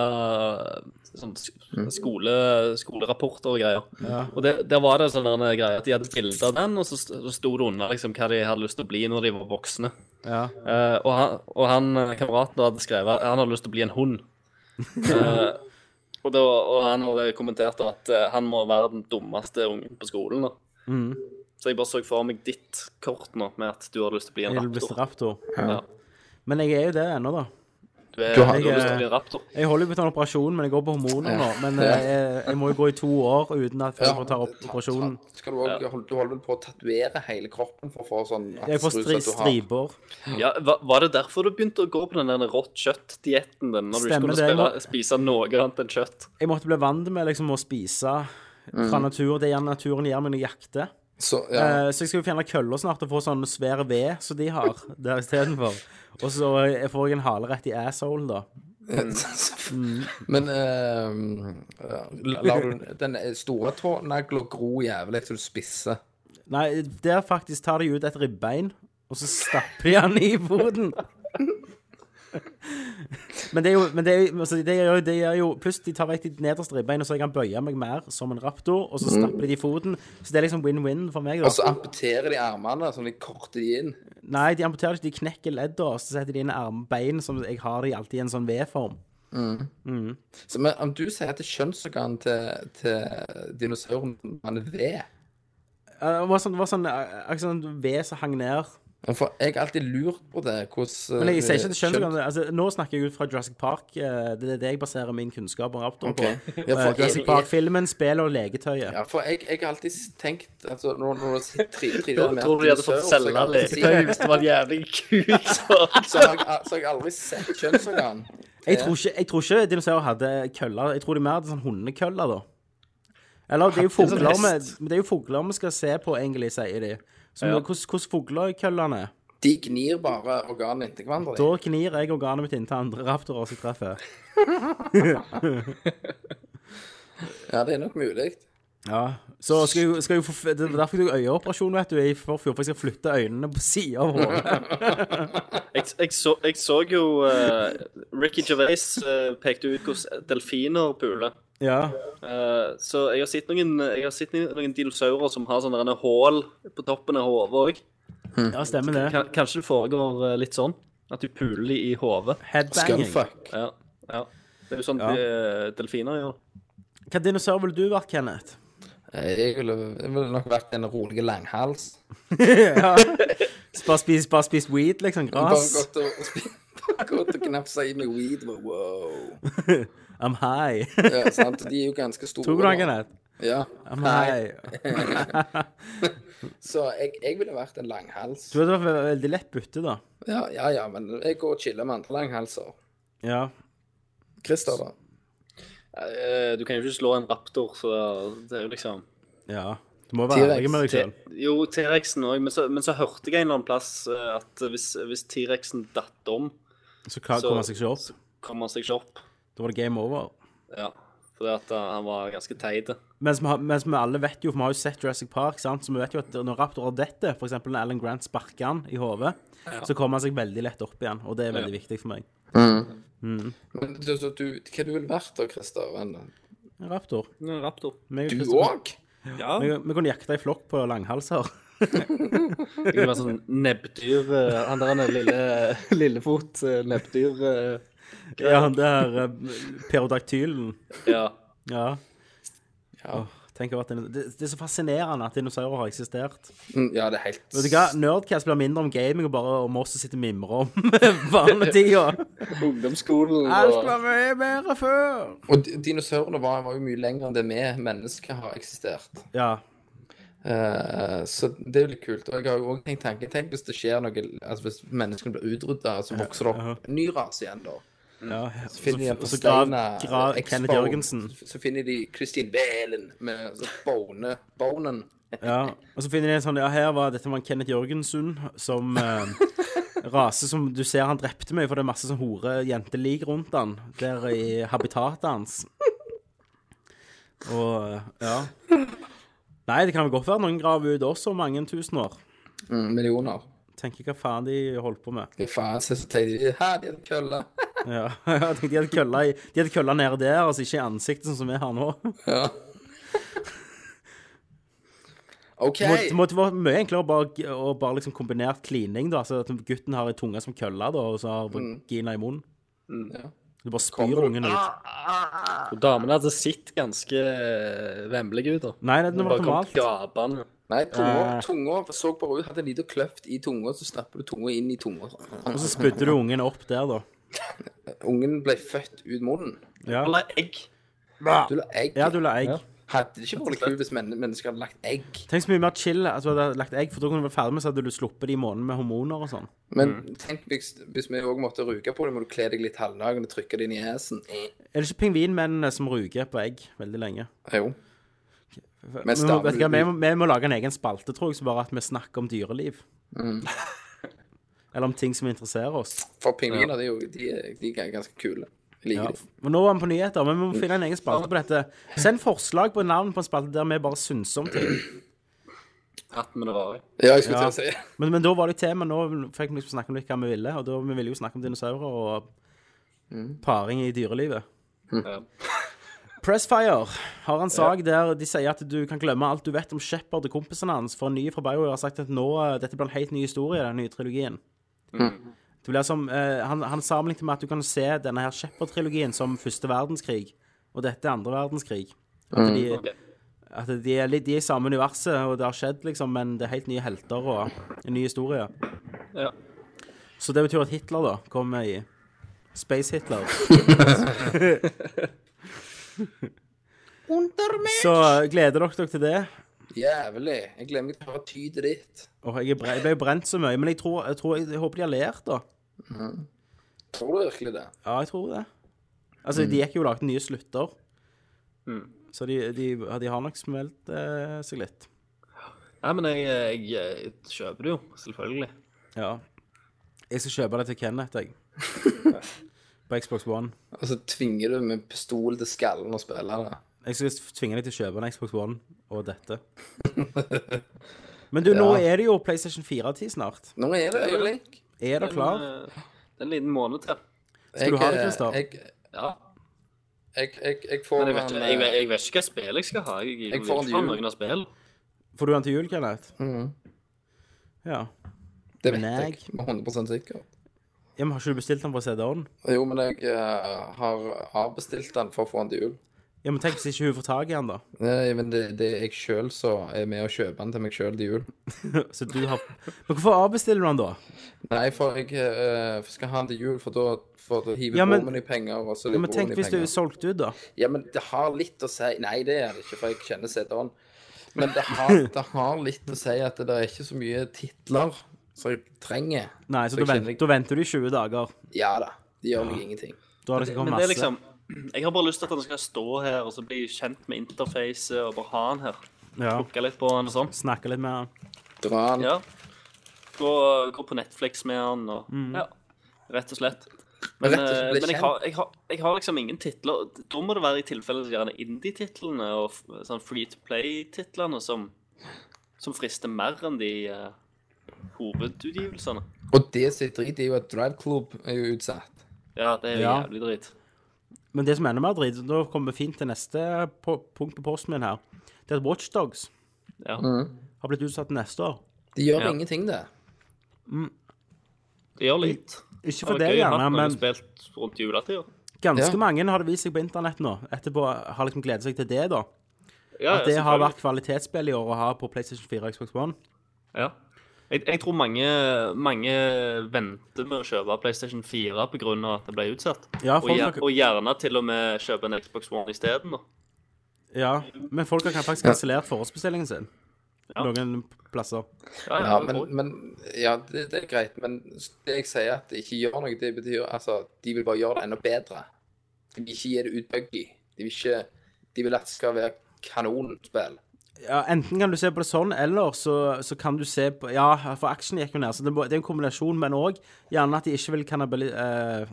[SPEAKER 9] sånn, sk- skole, skolerapporter og greier. Og der, der var det sånn en greie at de hadde bilde av den, og så, st- så sto det under liksom, hva de hadde lyst til å bli når de var voksne.
[SPEAKER 1] ja.
[SPEAKER 9] Eh, og han, og han eh, kameraten da hadde skrevet han hadde lyst til å bli en hund. Eh, og, da, og han hadde kommentert at eh, han må være den dummeste ungen på skolen. da. Så jeg bare så for meg ditt kort nå, med at du har lyst til å bli en
[SPEAKER 1] Jeg ble
[SPEAKER 9] raptor.
[SPEAKER 1] raptor.
[SPEAKER 9] Ja.
[SPEAKER 1] Men jeg er jo det ennå, da.
[SPEAKER 9] Du,
[SPEAKER 2] Du
[SPEAKER 9] er, Eh, du,
[SPEAKER 2] har-
[SPEAKER 9] har, lyst til å bli en raptor.
[SPEAKER 1] Jeg holder jo på å ta en operasjon, men jeg går på hormoner nå. Men eh, jeg, jeg må jo gå i to år uten at før jeg får ta opp
[SPEAKER 2] ta-
[SPEAKER 1] operasjonen.
[SPEAKER 2] ta- Skal du, også, hold- du holder vel på å tatovere hele kroppen for å få sånn
[SPEAKER 1] Jeg får stri
[SPEAKER 2] at du har-
[SPEAKER 1] striper.
[SPEAKER 9] Ja, var, var det derfor du begynte å gå på den der rått kjøtt-dietten din? Når du ikke
[SPEAKER 1] Stemmer
[SPEAKER 9] kunne
[SPEAKER 1] det, jeg
[SPEAKER 9] spille,
[SPEAKER 1] må-
[SPEAKER 9] spise noe annet enn kjøtt?
[SPEAKER 1] Jeg måtte bli vant med liksom å spise fra natur. Det er gjerne naturen gjør når jeg jakter.
[SPEAKER 2] Så, Mm. ja.
[SPEAKER 1] Eh, så jeg skal jo fjerne køller snart og få sånn svære ved som de har der istedenfor. Og så eh, får jeg en hale rett i asshole, da.
[SPEAKER 2] Men eh, ja, la- lar du den store tånegla gro jævlig til du spisser?
[SPEAKER 1] Nei, der faktisk tar de ut et ribbein, og så stapper de han i foten. men det er jo, men det er, jo- altså, det er jo, det er jo Pluss de tar vekk de nederste ribbeina, så jeg kan bøye meg mer som en raptor, og så stapper de i foten. Så det er liksom win-win for meg, da.
[SPEAKER 2] Og så amputerer de armene, sånn de korter de inn.
[SPEAKER 1] Nei, de amputerer ikke, de knekker ledda, og så setter de inn armbein som jeg har de alltid i en sånn V-form.
[SPEAKER 2] Så, men om du sier at det er kjønnsorgan til, til dinosauren man er ved
[SPEAKER 1] Eh, Det var sånn, det var sånn, eh, akkurat sånn V som hang ned.
[SPEAKER 2] For jeg har alltid lurt på det, hvordan eh,
[SPEAKER 1] Men jeg sier ikke at det
[SPEAKER 2] kjønn-
[SPEAKER 1] skjønner altså, Nå snakker jeg ut fra Jurassic Park. eh, Det er det jeg baserer min kunnskap om raptor
[SPEAKER 2] Ok.
[SPEAKER 1] på.
[SPEAKER 2] Ja, for
[SPEAKER 1] Eh, Jurassic
[SPEAKER 2] jeg-
[SPEAKER 1] Park-filmen, spill og leketøyet.
[SPEAKER 2] Ja, for jeg, jeg har alltid tenkt altså, Når, når du sier tre, tre
[SPEAKER 9] Jeg tror du de hadde fått selge leketøy hvis det var en jævlig kuk sak.
[SPEAKER 2] så har jeg, så har jeg aldri sett kjønnsorgan.
[SPEAKER 1] Jeg, tror ikke, jeg tror ikke dinosaurer hadde køller. Jeg tror de mer hadde sånn hundekøller, da. Eller det er jo fugler
[SPEAKER 9] sånn
[SPEAKER 1] vi, men det er jo fugler vi skal se på, egentlig, sier de. Så
[SPEAKER 9] Ja.
[SPEAKER 1] hvordan- hvordan fuglekøllene er?
[SPEAKER 2] De gnir bare organene inntil hverandre.
[SPEAKER 1] Da knir jeg organet mitt inntil andre raptorer som treffer.
[SPEAKER 2] Ja, det er nok mulig.
[SPEAKER 1] Ja. Så skal jeg, skal jeg få f- Det er derfor jeg tok øyeoperasjon, vet du, i forfjor. For jeg skal flytte øynene på sida av hodet.
[SPEAKER 9] Jeg, jeg, så, jeg så jo eh, Ricky Gervais eh, pekte ut hvordan delfiner puler.
[SPEAKER 1] Ja.
[SPEAKER 9] Eh, så jeg har sett noen, jeg har sett noen dinosaurer som har sånne derne hål på toppen av hodet òg.
[SPEAKER 1] ja, stemmer det.
[SPEAKER 9] Kanskje det foregår eh, litt sånn? At du puler de i hodet.
[SPEAKER 1] Headbanging.
[SPEAKER 2] Scumfuck.
[SPEAKER 9] Ja, ja. Det er jo sånn
[SPEAKER 1] Ja.
[SPEAKER 9] de- delfiner gjør.
[SPEAKER 1] Hva dinosaur ville du vært, Kenneth?
[SPEAKER 2] Eh, Jeg ville, jeg ville nok vært en rolig langhals.
[SPEAKER 1] Bare spist bare spis weed, liksom?
[SPEAKER 2] Bare
[SPEAKER 1] Gras?
[SPEAKER 2] gått og, bare gått og knapsa i meg weed. og Wow.
[SPEAKER 1] I'm high.
[SPEAKER 2] Ja, sant? De er jo ganske store.
[SPEAKER 1] Tok du
[SPEAKER 2] da.
[SPEAKER 1] den, Kenneth?
[SPEAKER 2] Ja.
[SPEAKER 1] I'm high.
[SPEAKER 2] Så jeg, jeg ville vært en langhals.
[SPEAKER 1] Du hadde vært veldig lett bytte, da.
[SPEAKER 2] Ja, ja, ja, men jeg går og chiller med andre langhalser.
[SPEAKER 1] Ja.
[SPEAKER 2] Christer, da?
[SPEAKER 9] Eh, du kan jo ikke slå en raptor, så det er jo liksom
[SPEAKER 1] ja. Du må være
[SPEAKER 2] T-rex,
[SPEAKER 1] ærlig med deg sjøl.
[SPEAKER 9] Jo, T-rexen òg, men, så- men så hørte jeg en eller annen plass eh, at hvis, hvis T-rexen datt om,
[SPEAKER 1] Så klar,
[SPEAKER 9] så-
[SPEAKER 1] kommer han seg ikke opp.
[SPEAKER 9] kom han seg ikke opp.
[SPEAKER 1] Da var det game over.
[SPEAKER 9] Ja, fordi at uh, han var ganske teit.
[SPEAKER 1] Mens vi, har- mens vi alle vet jo, for vi har jo sett Jurassic Park, sant? så vi vet jo at når raptorer detter, f.eks. når Alan Grant sparker han i hodet, så kommer han seg veldig lett opp igjen, og det er veldig viktig for meg.
[SPEAKER 2] Men du, så du, hva du ville vært da, Christer? En-
[SPEAKER 1] En raptor.
[SPEAKER 9] En raptor.
[SPEAKER 1] Meg og
[SPEAKER 2] Du
[SPEAKER 1] Christer-
[SPEAKER 2] òg?
[SPEAKER 9] Ja.
[SPEAKER 1] Vi, vi kunne jakta i flokk på langhalser.
[SPEAKER 9] Jeg vil være sånn nebbdyr eh, Han der er lille, lillefot, eh, nebbdyr eh,
[SPEAKER 1] Ja, han der eh, perodaktylen.
[SPEAKER 9] Ja.
[SPEAKER 1] Ja. Åh, tenk å være dino- det, det er så fascinerende at dinosaurer har eksistert.
[SPEAKER 2] Mm, Ja, det er helt
[SPEAKER 1] Vet du hva? Nerdcast blir mindre om gaming og bare om oss som sitter og mimrer om barnetida.
[SPEAKER 9] Ungdomsskolen
[SPEAKER 1] Alt var mye bedre før.
[SPEAKER 2] Og di- dinosaurene var, var jo mye lenger enn det vi mennesker har eksistert.
[SPEAKER 1] Ja.
[SPEAKER 2] Eh, så det er jo litt kult. Og jeg har jo òg tenkt tanken Tenk hvis det skjer noe Altså hvis menneskene blir utrydda, så vokser det opp en ny rase igjen, da.
[SPEAKER 1] ja.
[SPEAKER 2] Så finner de en
[SPEAKER 1] Og så grav,
[SPEAKER 2] forsteina,
[SPEAKER 1] grav
[SPEAKER 2] eh,
[SPEAKER 1] Kenneth
[SPEAKER 2] X-bone.
[SPEAKER 1] Jørgensen.
[SPEAKER 2] Så finner de Christine Bælen med så bone, bonen.
[SPEAKER 1] Ja. Og så finner de en sånn Ja, her var dette var en Kenneth Jørgensen som eh, rase som du ser han drepte meg, for det er masse sånn hore-jentelik rundt han der i habitatet hans. Og ja. Nei, det kan vel godt være noen graver ut oss om mange tusen år.
[SPEAKER 2] Mm, millioner.
[SPEAKER 1] Tenker hva faen de holdt på med.
[SPEAKER 2] Hva faen, så så tenkte de Hæ, de er en kølle.
[SPEAKER 1] Ja, jeg tenkte De hadde kølla, i- de hadde kølla nede der, altså ikke i ansiktet sånn som vi har nå.
[SPEAKER 2] Ja. OK.
[SPEAKER 1] Det må, det måtte vært mye enklere å bare, å bare liksom kombinert klining, da. Altså at gutten har ei tunge som kølla, da, og så har vagina i munnen. Du bare spyr ungen
[SPEAKER 9] Ah!
[SPEAKER 1] ut.
[SPEAKER 9] Og damene hadde sett ganske eh, vemmelige ut, da.
[SPEAKER 1] Nei, det hadde
[SPEAKER 9] Bare
[SPEAKER 1] vært
[SPEAKER 9] kom
[SPEAKER 1] normalt.
[SPEAKER 9] gapende.
[SPEAKER 2] Nei, tunga,
[SPEAKER 1] Eh.
[SPEAKER 2] tunga så bare ut. Hadde en liten kløft i tunga, så snapper du tunga inn i tunga.
[SPEAKER 1] Og så spydde du ungen opp der, da.
[SPEAKER 2] Ungen ble født ut munnen.
[SPEAKER 1] Ja,
[SPEAKER 3] Eller egg.
[SPEAKER 2] Du la egg.
[SPEAKER 1] ja du la egg.
[SPEAKER 2] Hadde det ikke vært kult hvis men mennesker hadde lagt egg?
[SPEAKER 1] Tenk så mye mer chill at du hadde lagt egg, for da kunne du vært ferdig med så hadde du sluppet de månedene med hormoner og sånn.
[SPEAKER 2] Men tenk hvis, hvis vi òg måtte ruge på det, må du kle deg litt halvnaken og trykke det inn i nesen. Eh,
[SPEAKER 1] Er det ikke pingvinmennene som ruger på egg veldig lenge?
[SPEAKER 2] Jo.
[SPEAKER 1] Vi må, vet du
[SPEAKER 2] Men
[SPEAKER 1] hva, vi,
[SPEAKER 2] stavler
[SPEAKER 1] må, vi må lage en egen spalte, tror jeg, så bare at vi snakker om dyreliv. Eller om ting som interesserer oss.
[SPEAKER 2] For pingviner, de, er jo- de, er- de er ganske kule. Jeg liker
[SPEAKER 1] Ja.
[SPEAKER 2] de.
[SPEAKER 1] Men nå var vi på nyheter, men vi må finne en egen spalte på dette. Send forslag på navn på en spalte der vi bare synser om ting.
[SPEAKER 9] Hatt med det rare.
[SPEAKER 2] Ja, jeg skulle
[SPEAKER 1] Ja.
[SPEAKER 2] til å si
[SPEAKER 1] Men, men da var det jo tema. Nå fikk vi liksom snakke om litt hva vi ville, og da vi ville jo snakke om dinosaurer og paring i dyrelivet.
[SPEAKER 9] Ja.
[SPEAKER 1] Pressfire har en sak der de sier at du kan glemme alt du vet om Shepherd og kompisen hans, for en ny fra BioWare har sagt at nå, eh, dette blir en helt ny historie, den nye trilogien. Det blir som, eh, han, han sammenlignet med at du kan se denne her Shepherd-trilogien som første verdenskrig, og dette er andre verdenskrig. At de,
[SPEAKER 3] Ok.
[SPEAKER 1] at de, er, litt- de er i samme universet, og det har skjedd, liksom, men det er helt nye helter og en ny historie.
[SPEAKER 9] Ja.
[SPEAKER 1] Så det betyr at Hitler da kommer i Space Hitler. Så eh, gleder dere dere til det.
[SPEAKER 2] Jævlig. Jeg glemmer ikke å høre tydet ditt.
[SPEAKER 1] Åh, jeg, er bre jeg ble jo brent så mye, men jeg, tror, jeg, tror, jeg håper de har lært, da.
[SPEAKER 2] Tror du virkelig det?
[SPEAKER 1] Ja, jeg tror det. Altså, de gikk jo og lagde nye slutter. Så de, de, de har nok smelt eh, seg litt.
[SPEAKER 9] Nei, men jeg, jeg, jeg kjøper det jo, selvfølgelig.
[SPEAKER 1] Ja. Jeg skal kjøpe det til Kenneth, jeg. På Xbox One.
[SPEAKER 2] Og så tvinger du med pistol til skallen og spiller det.
[SPEAKER 1] Jeg skal tvinge deg til å kjøpe en Xbox One og dette. Men du, nå er det jo PlayStation 4-tid snart.
[SPEAKER 2] Nå er det øyeblikk.
[SPEAKER 1] Er dere klar?
[SPEAKER 9] Men, eh, Det er en liten måned til.
[SPEAKER 1] Skal du ha det, Christer?
[SPEAKER 2] Jeg,
[SPEAKER 9] Ja.
[SPEAKER 2] jeg, jeg, jeg får
[SPEAKER 9] Men jeg vet, ikke,
[SPEAKER 2] en,
[SPEAKER 9] jeg,
[SPEAKER 2] eh,
[SPEAKER 9] jeg vet ikke hva spill jeg skal ha. Jeg, jeg,
[SPEAKER 2] Jeg
[SPEAKER 9] jeg
[SPEAKER 2] får
[SPEAKER 9] vil
[SPEAKER 2] en
[SPEAKER 9] ikke ha
[SPEAKER 2] jul.
[SPEAKER 9] noen av spill.
[SPEAKER 1] Får du den til jul, Kenneth?
[SPEAKER 2] Mm.
[SPEAKER 1] Ja.
[SPEAKER 2] eh, Det vet
[SPEAKER 1] Nei.
[SPEAKER 2] jeg. Jeg er 100
[SPEAKER 1] ja.
[SPEAKER 2] sikker.
[SPEAKER 1] Men har ikke du bestilt den på CD-en?
[SPEAKER 2] Jo, men jeg eh, har avbestilt den for å få den til jul.
[SPEAKER 1] Ja, men tenk hvis ikke hun får tak i den, da.
[SPEAKER 2] Nei, men det, det er jeg sjøl som er med og kjøper den til meg sjøl til jul.
[SPEAKER 1] Så du har Men hvorfor avbestiller du den, da?
[SPEAKER 2] Nei, for jeg eh, skal ha den til jul, for da får du hive
[SPEAKER 1] Ja,
[SPEAKER 2] ja,
[SPEAKER 1] men-
[SPEAKER 2] broren min i penger. Og så
[SPEAKER 1] Ja, men
[SPEAKER 2] broren
[SPEAKER 1] tenk
[SPEAKER 2] i
[SPEAKER 1] hvis du
[SPEAKER 2] penger.
[SPEAKER 1] er solgt ut, da.
[SPEAKER 2] Ja, men det har litt å si Nei, det er det ikke, for jeg kjenner CD-en. Men det har, det har litt å si at det er ikke så mye titler som jeg trenger.
[SPEAKER 1] Nei, så
[SPEAKER 2] Så
[SPEAKER 1] da
[SPEAKER 2] jeg
[SPEAKER 1] venter,
[SPEAKER 2] kjenner-
[SPEAKER 1] da venter du i 20 dager.
[SPEAKER 2] Ja da. De gjør meg ingenting.
[SPEAKER 1] Da har det ikke
[SPEAKER 9] Men
[SPEAKER 1] kommet
[SPEAKER 9] det er
[SPEAKER 1] masse.
[SPEAKER 9] liksom Jeg har bare lyst til at han skal stå her og så bli kjent med interfacet og bare ha han her.
[SPEAKER 1] Ja.
[SPEAKER 9] Lukke litt på han og sånn.
[SPEAKER 1] Snakke litt med han.
[SPEAKER 2] Dra den.
[SPEAKER 9] Ja. Gå, gå på Netflix med han og
[SPEAKER 1] Mm.
[SPEAKER 9] Ja. Rett og slett. Men,
[SPEAKER 2] Rett og slett
[SPEAKER 9] eh,
[SPEAKER 2] bli
[SPEAKER 9] men jeg,
[SPEAKER 2] kjent.
[SPEAKER 9] har, jeg, har, jeg har liksom ingen titler. Da må det være i tilfelle gjerne indie-titlene og f- sånn free to play-titlene som, som frister mer enn de eh, hovedutgivelsene.
[SPEAKER 2] Og det som er drit, er jo at Drive Club er jo utsatt.
[SPEAKER 9] Ja, det er
[SPEAKER 1] Ja.
[SPEAKER 9] jævlig dritt.
[SPEAKER 1] Men det som er enda mer dritt, da kommer vi fint til neste po- punkt på posten min her, det er at Watchdogs
[SPEAKER 9] Ja.
[SPEAKER 2] Mm.
[SPEAKER 1] har blitt utsatt til neste år.
[SPEAKER 2] De gjør
[SPEAKER 9] Ja.
[SPEAKER 2] ingenting, det.
[SPEAKER 9] Det gjør litt.
[SPEAKER 1] Ikke
[SPEAKER 9] Det
[SPEAKER 1] for
[SPEAKER 9] var
[SPEAKER 1] det,
[SPEAKER 9] gøy å ha
[SPEAKER 1] gjerne,
[SPEAKER 9] noen
[SPEAKER 1] men
[SPEAKER 9] spilt rundt juletida.
[SPEAKER 1] ganske
[SPEAKER 2] Ja.
[SPEAKER 1] mange har det vist seg på internett nå. Etterpå har liksom gledet seg til det, da.
[SPEAKER 9] Ja,
[SPEAKER 1] At
[SPEAKER 9] ja,
[SPEAKER 1] det har
[SPEAKER 9] selvfølgelig.
[SPEAKER 1] vært kvalitetsspill i år å ha på PlayStation 4 og Xbox One.
[SPEAKER 9] Ja. Jeg, jeg tror mange, mange venter med å kjøpe PlayStation 4 pga. at det ble utsatt.
[SPEAKER 1] Ja,
[SPEAKER 9] og,
[SPEAKER 1] folk
[SPEAKER 9] gjer,
[SPEAKER 1] snakker-
[SPEAKER 9] og gjerne til og med kjøpe en Xbox One isteden. da.
[SPEAKER 1] Ja, men folk har faktisk
[SPEAKER 2] Ja.
[SPEAKER 1] kansellert forhåndsbestillingen sin
[SPEAKER 9] Ja.
[SPEAKER 1] noen plasser.
[SPEAKER 9] Ja,
[SPEAKER 2] Ja,
[SPEAKER 9] det
[SPEAKER 2] men,
[SPEAKER 9] tror jeg.
[SPEAKER 2] men ja, det, det er greit. Men det jeg sier at de ikke gjør noe, det betyr altså De vil bare gjøre det enda bedre. De vil ikke gi det ut buggy. De vil ikke De vil at det skal være kanonspill.
[SPEAKER 1] Ja, enten kan du se på det sånn, eller så, så kan du se på Ja, for action gikk jo ned, så det, må, det er en kombinasjon, men òg gjerne at de ikke vil kannabali... eh,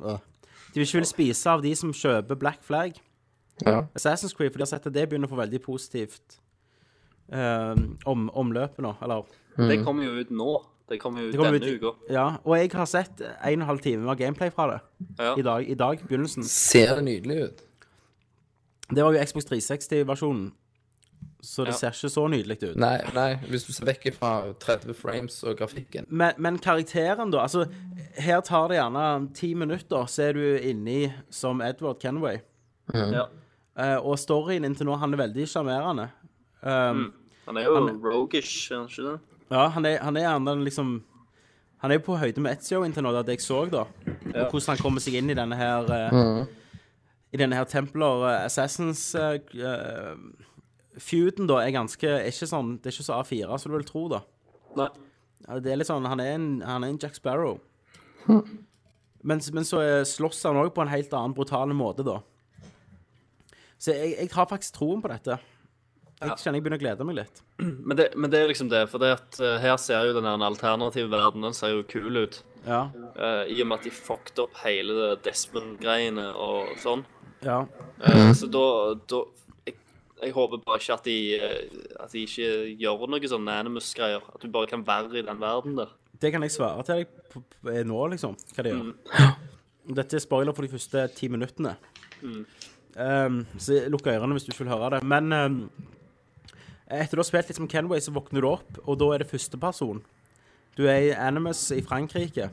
[SPEAKER 1] de ikke vil spise av de som kjøper Black Flag.
[SPEAKER 2] Ja.
[SPEAKER 1] Assassin's Creed, for de har sett at det begynner å få veldig positivt eh, om, omløp nå, eller
[SPEAKER 9] Det
[SPEAKER 2] Mm.
[SPEAKER 9] kommer jo ut nå. Det kommer jo ut
[SPEAKER 1] Det kommer
[SPEAKER 9] denne
[SPEAKER 1] ut-
[SPEAKER 9] uka.
[SPEAKER 1] Ja, og jeg har sett en og en halv time av gameplay fra det
[SPEAKER 9] Ja.
[SPEAKER 1] i dag, i dag begynnelsen.
[SPEAKER 2] Ser det nydelig ut.
[SPEAKER 1] Det var jo Xbox 360-versjonen, så det
[SPEAKER 9] Ja.
[SPEAKER 1] ser ikke så nydelig ut.
[SPEAKER 2] Nei, nei, hvis du ser vekk fra 30 frames og grafikken.
[SPEAKER 1] Men, men karakteren, da? Altså, her tar det gjerne ti minutter, så er du inni som Edward Kenway.
[SPEAKER 9] Ja.
[SPEAKER 1] Eh, og storyen inntil nå, han er veldig sjarmerende. Um,
[SPEAKER 9] Han er jo rogish, er han ikke det?
[SPEAKER 1] Ja, han er, han er gjerne liksom Han er jo på høyde med Etzio inntil nå, det er det jeg så, da. Og hvordan han kommer seg inn i denne her eh, I denne her Templar eh, Assassins eh, eh, Feuden, da, er ganske er ikke sånn, Det er ikke så A4 som du vil tro, da.
[SPEAKER 9] Nei.
[SPEAKER 1] Ja, Det er litt sånn, han er en, han er en Jack Sparrow. Men, men så eh, slåss han òg på en helt annen brutale måte, da. Så jeg, jeg har faktisk troen på dette. Jeg kjenner jeg begynner å glede meg litt.
[SPEAKER 9] Men det, men det er liksom det, for det at eh, her ser jo den her alternative verden, den ser jo kul ut.
[SPEAKER 1] Ja,
[SPEAKER 9] eh, I og med at de fucked opp hele det Desmond-greiene og sånn.
[SPEAKER 1] ja.
[SPEAKER 9] Eh, Så da, da jeg, jeg håper bare ikke at de, eh, at de ikke gjør noe sånn Nanimus-greier. At du bare kan være i den verden der.
[SPEAKER 1] Det kan jeg svare til deg på, på, nå, liksom, hva det gjør. Dette er spoiler for de første ti minuttene. Um, så lukk ørene hvis du ikke vil høre det. Men um, etter du har spilt litt som Kenway, så våkner du opp, og da er det førsteperson. Du er i Animus i Frankrike,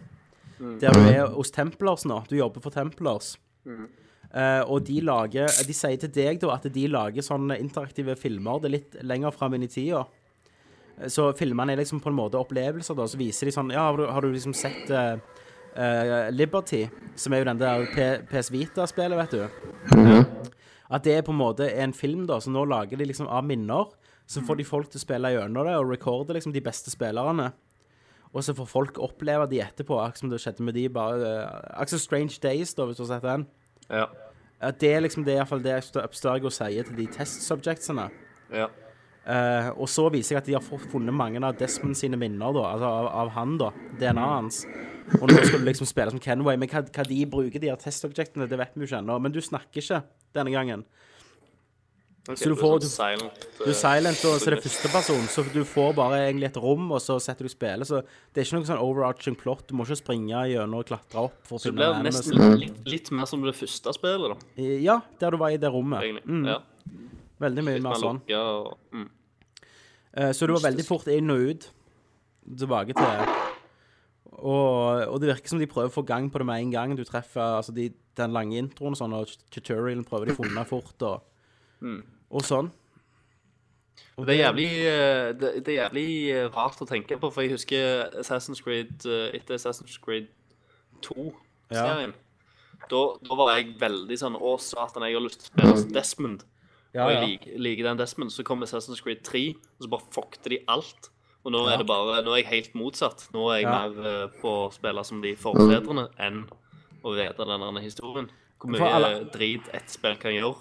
[SPEAKER 1] der du er hos Templars nå. Du jobber for Templars. Eh, og de lager De sier til deg da at de lager sånne interaktive filmer. Det er litt lenger fram inn i tida. Så filmene er liksom på en måte opplevelser, da. Så viser de sånn Ja, har du, har du liksom sett eh, eh, Liberty, som er jo den der P PS Vita-spillet, vet du. At det er på en måte en film, da. Så nå lager de liksom av minner. Så får de folk til å spille gjennom det, og recorde liksom de beste spillerne. Og så får folk oppleve de etterpå, akkurat som det skjedde med de bare eh, Akkurat som Strange Days, da, hvis du har sett den.
[SPEAKER 9] Ja.
[SPEAKER 1] At det er liksom det, er i hvert fall det Upstargo sier til de test-subjectsene.
[SPEAKER 9] Ja.
[SPEAKER 1] Eh, og så viser jeg at de har fått- funnet mange av Desmond sine minner, da, altså av, av han, da. DNA-et
[SPEAKER 9] Mm.
[SPEAKER 1] hans. Og nå skal du liksom spille som Kenway. Men hva, hva de bruker, de her testobjektene, det vet vi jo ikke ennå. Men du snakker ikke denne gangen. så du får du,
[SPEAKER 9] sånn silent, eh,
[SPEAKER 1] du er silent, og så er det førsteperson. Så du får bare egentlig et rom, og så setter du spillet. Så det er ikke noe sånn overarching plot. Du må ikke springe gjennom og klatre opp for å
[SPEAKER 9] Så det
[SPEAKER 1] finne
[SPEAKER 9] blir
[SPEAKER 1] Animus.
[SPEAKER 9] nesten litt, litt mer som det første spillet, da,
[SPEAKER 1] Ja, der du var i det rommet.
[SPEAKER 9] egentlig.
[SPEAKER 1] Mm,
[SPEAKER 9] Ja.
[SPEAKER 1] Veldig mye mer
[SPEAKER 9] Man
[SPEAKER 1] sånn.
[SPEAKER 9] lukker og, mm.
[SPEAKER 1] Eh, Så du var veldig fort inn og ut. Tilbake til og, og det virker som de prøver å få gang på det med en gang. Du treffer altså de, den lange introen og sånn, og tutorialen prøver de å funne fort og, og sånn.
[SPEAKER 9] Mm. Det er jævlig, eh, det, det er jævlig eh, rart å tenke på, for jeg husker Assassin's Creed eh, etter Assassin's Creed 2-serien. Da, da var jeg veldig sånn Å, satan, jeg har lyst til å spille som Desmond.
[SPEAKER 1] Ja, ja.
[SPEAKER 9] og jeg liker, liker den Desmond. Så kom Assassin's Creed 3, og så bare fuckte de alt. Og nå er det bare, nå er jeg helt motsatt. Nå er jeg
[SPEAKER 1] Ja.
[SPEAKER 9] mer eh, på å spille som de forfedrene enn å vite den andre historien. Hvor mye
[SPEAKER 1] alle-
[SPEAKER 9] drit ett spill kan gjøre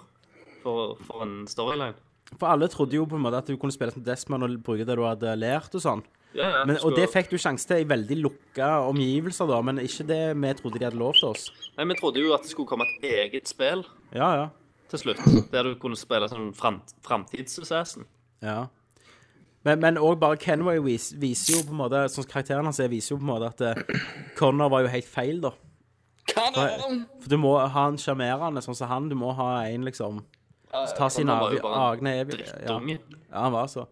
[SPEAKER 9] for, for en storyline.
[SPEAKER 1] For alle trodde jo på en måte at du kunne spille som Desmond og bruke det du hadde lært og sånn.
[SPEAKER 9] Ja, ja,
[SPEAKER 1] Men, og
[SPEAKER 9] skulle-
[SPEAKER 1] det fikk du sjanse til i veldig lukka omgivelser, da, men ikke det vi trodde de hadde lovt oss.
[SPEAKER 9] Nei, Vi trodde jo at det skulle komme et eget spill
[SPEAKER 1] Ja, ja.
[SPEAKER 9] til slutt, der du kunne spille sånn fram, framtidsassassin.
[SPEAKER 1] Ja. Men, men også bare Kenway vis, sånn viser jo på en måte, som karakteren hans er, viser jo på en måte at eh, Connor var jo helt feil, da.
[SPEAKER 2] Kanon!
[SPEAKER 1] For du må ha en sjarmerende sånn som han. Du må ha en liksom som tar sine
[SPEAKER 3] var jo
[SPEAKER 1] av-
[SPEAKER 3] bare en
[SPEAKER 1] egne evige ja.
[SPEAKER 3] Drittunge.
[SPEAKER 1] ja, han var så.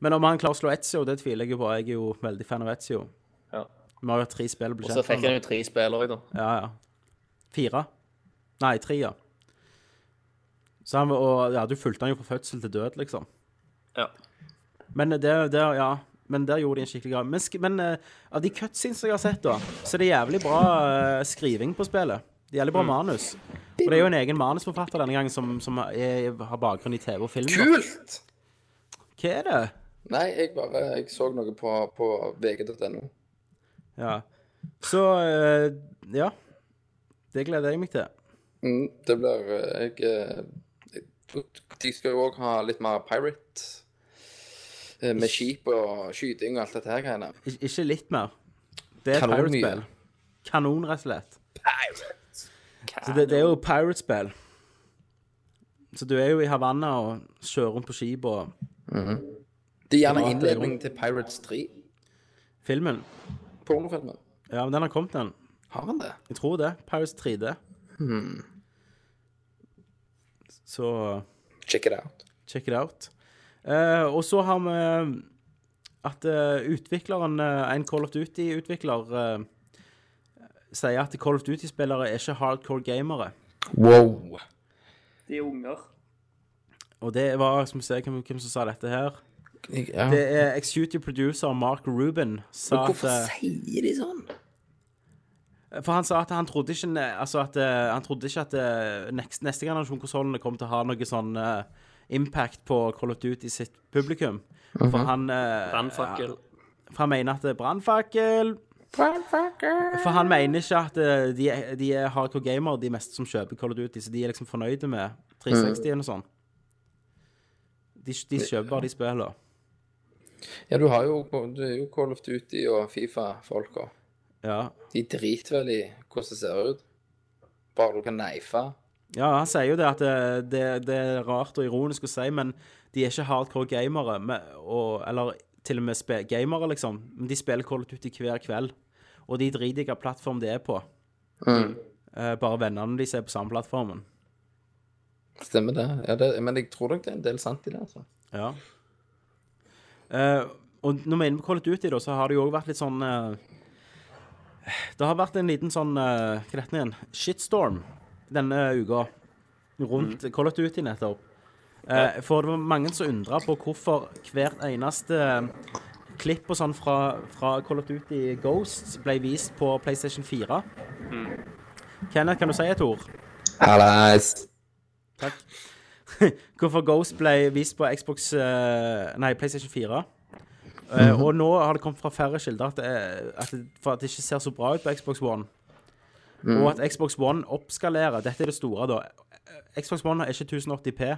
[SPEAKER 1] Men om han klarer å slå Etzio, det tviler jeg jo på. Jeg er jo veldig fan av Etzio.
[SPEAKER 3] Ja.
[SPEAKER 1] Vi har jo hatt tre spill og ble
[SPEAKER 3] Og så
[SPEAKER 1] kjent
[SPEAKER 3] fikk
[SPEAKER 1] med
[SPEAKER 3] han jo tre spillere, da.
[SPEAKER 1] Ja, ja. Fire. Nei, tre, ja. Så han var, og ja, du fulgte han jo fra fødsel til død, liksom.
[SPEAKER 3] Ja.
[SPEAKER 1] Men det, det ja. Men der gjorde de en skikkelig grad. Men, sk- men eh, av de cutscenes jeg har sett, da, så er det jævlig bra eh, skriving på spillet. Det gjelder bra
[SPEAKER 2] Mm.
[SPEAKER 1] manus. Og det er jo en egen manusforfatter denne gangen som, som er, har bakgrunn i TV og film. da.
[SPEAKER 2] Kult!
[SPEAKER 1] Hva er det?
[SPEAKER 2] Nei, jeg bare jeg så noe på, på vg.no.
[SPEAKER 1] Ja. Så eh, Ja. Det gleder jeg meg til.
[SPEAKER 2] Mm, det blir eh, Jeg, eh, jeg tror- De skal jo òg ha litt mer pirate. eh, Med skip og skyting og alt dette her greiene.
[SPEAKER 1] Ik ikke litt mer. Det er et
[SPEAKER 2] Kanon mye.
[SPEAKER 1] Pirate-spill. Kanon, rett og slett. Så det, det er jo Pirate-spill. Så du er jo i Havanna og kjører rundt på skip og
[SPEAKER 2] Det er gjerne innledningen til Pirates 3.
[SPEAKER 1] filmen.
[SPEAKER 2] Pornofilmen.
[SPEAKER 1] Ja, men den har kommet, den.
[SPEAKER 2] Har han det?
[SPEAKER 1] Jeg tror det. Pirates 3D. Så
[SPEAKER 2] Check it out.
[SPEAKER 1] check it out. Eh, og så har vi at eh, utvikleren, eh, en Call of Duty-utvikler, eh, sier at Call of Duty-spillere er ikke hardcore gamere.
[SPEAKER 2] Wow.
[SPEAKER 3] De er unger.
[SPEAKER 1] Og det var, skal vi se hvem, hvem som sa dette her.
[SPEAKER 2] Ja.
[SPEAKER 1] Det er executive producer Mark Ruben sa at
[SPEAKER 2] Hvorfor
[SPEAKER 1] eh,
[SPEAKER 2] sier de sånn?
[SPEAKER 1] For han sa at han trodde ikke ne- Altså at eh, han trodde ikke at eh, next, neste generasjon konsollene kom til å ha noe sånn eh, impact på Call of Duty sitt publikum. For han eh,
[SPEAKER 9] Brannfakkel.
[SPEAKER 1] For han mener at det er brannfakkel. For han mener ikke at eh, de, er- de er hardcore gamere, de meste som kjøper Call of Duty, så de er liksom fornøyde med 360-en og sånn. De, de kjøper bare de spillene.
[SPEAKER 2] Ja, du har jo, du er jo Call of Duty og Fifa-folka.
[SPEAKER 1] Ja.
[SPEAKER 2] De driter vel i hvordan det ser ut. Bare du kan neife.
[SPEAKER 1] ja, han sier jo det at det, det, det er rart og ironisk å si, men de er ikke hardcore gamere, men- og, eller til og med spe, gamere, liksom. Men de spiller Call of Duty hver kveld, og de driter i hvilken plattform det er på. Eh, bare vennene de ser på samme plattformen.
[SPEAKER 2] Stemmer det. Ja, det men jeg tror nok det er en del sant i det. altså.
[SPEAKER 1] Ja. Eh, og når vi er inne på Call of Duty, da, så har det jo òg vært litt sånn eh, Det har vært en liten sånn eh, Hva heter den igjen? Shitstorm denne uka rundt Call of Duty nettopp. Eh, for det var mange som undra på hvorfor hvert eneste eh, klipp og sånn fra, fra Call of Duty Ghosts ble vist på PlayStation 4. Kenneth, kan du si et ord?
[SPEAKER 2] Hallais!
[SPEAKER 1] Takk. Hvorfor Ghost ble vist på Xbox eh, Nei, PlayStation 4. Eh, Og nå har det kommet fra færre kilder at det, er, at det, for at det ikke ser så bra ut på Xbox One. Og at Xbox One oppskalerer Dette er det store, da. Eh, Xbox One er ikke 1080P.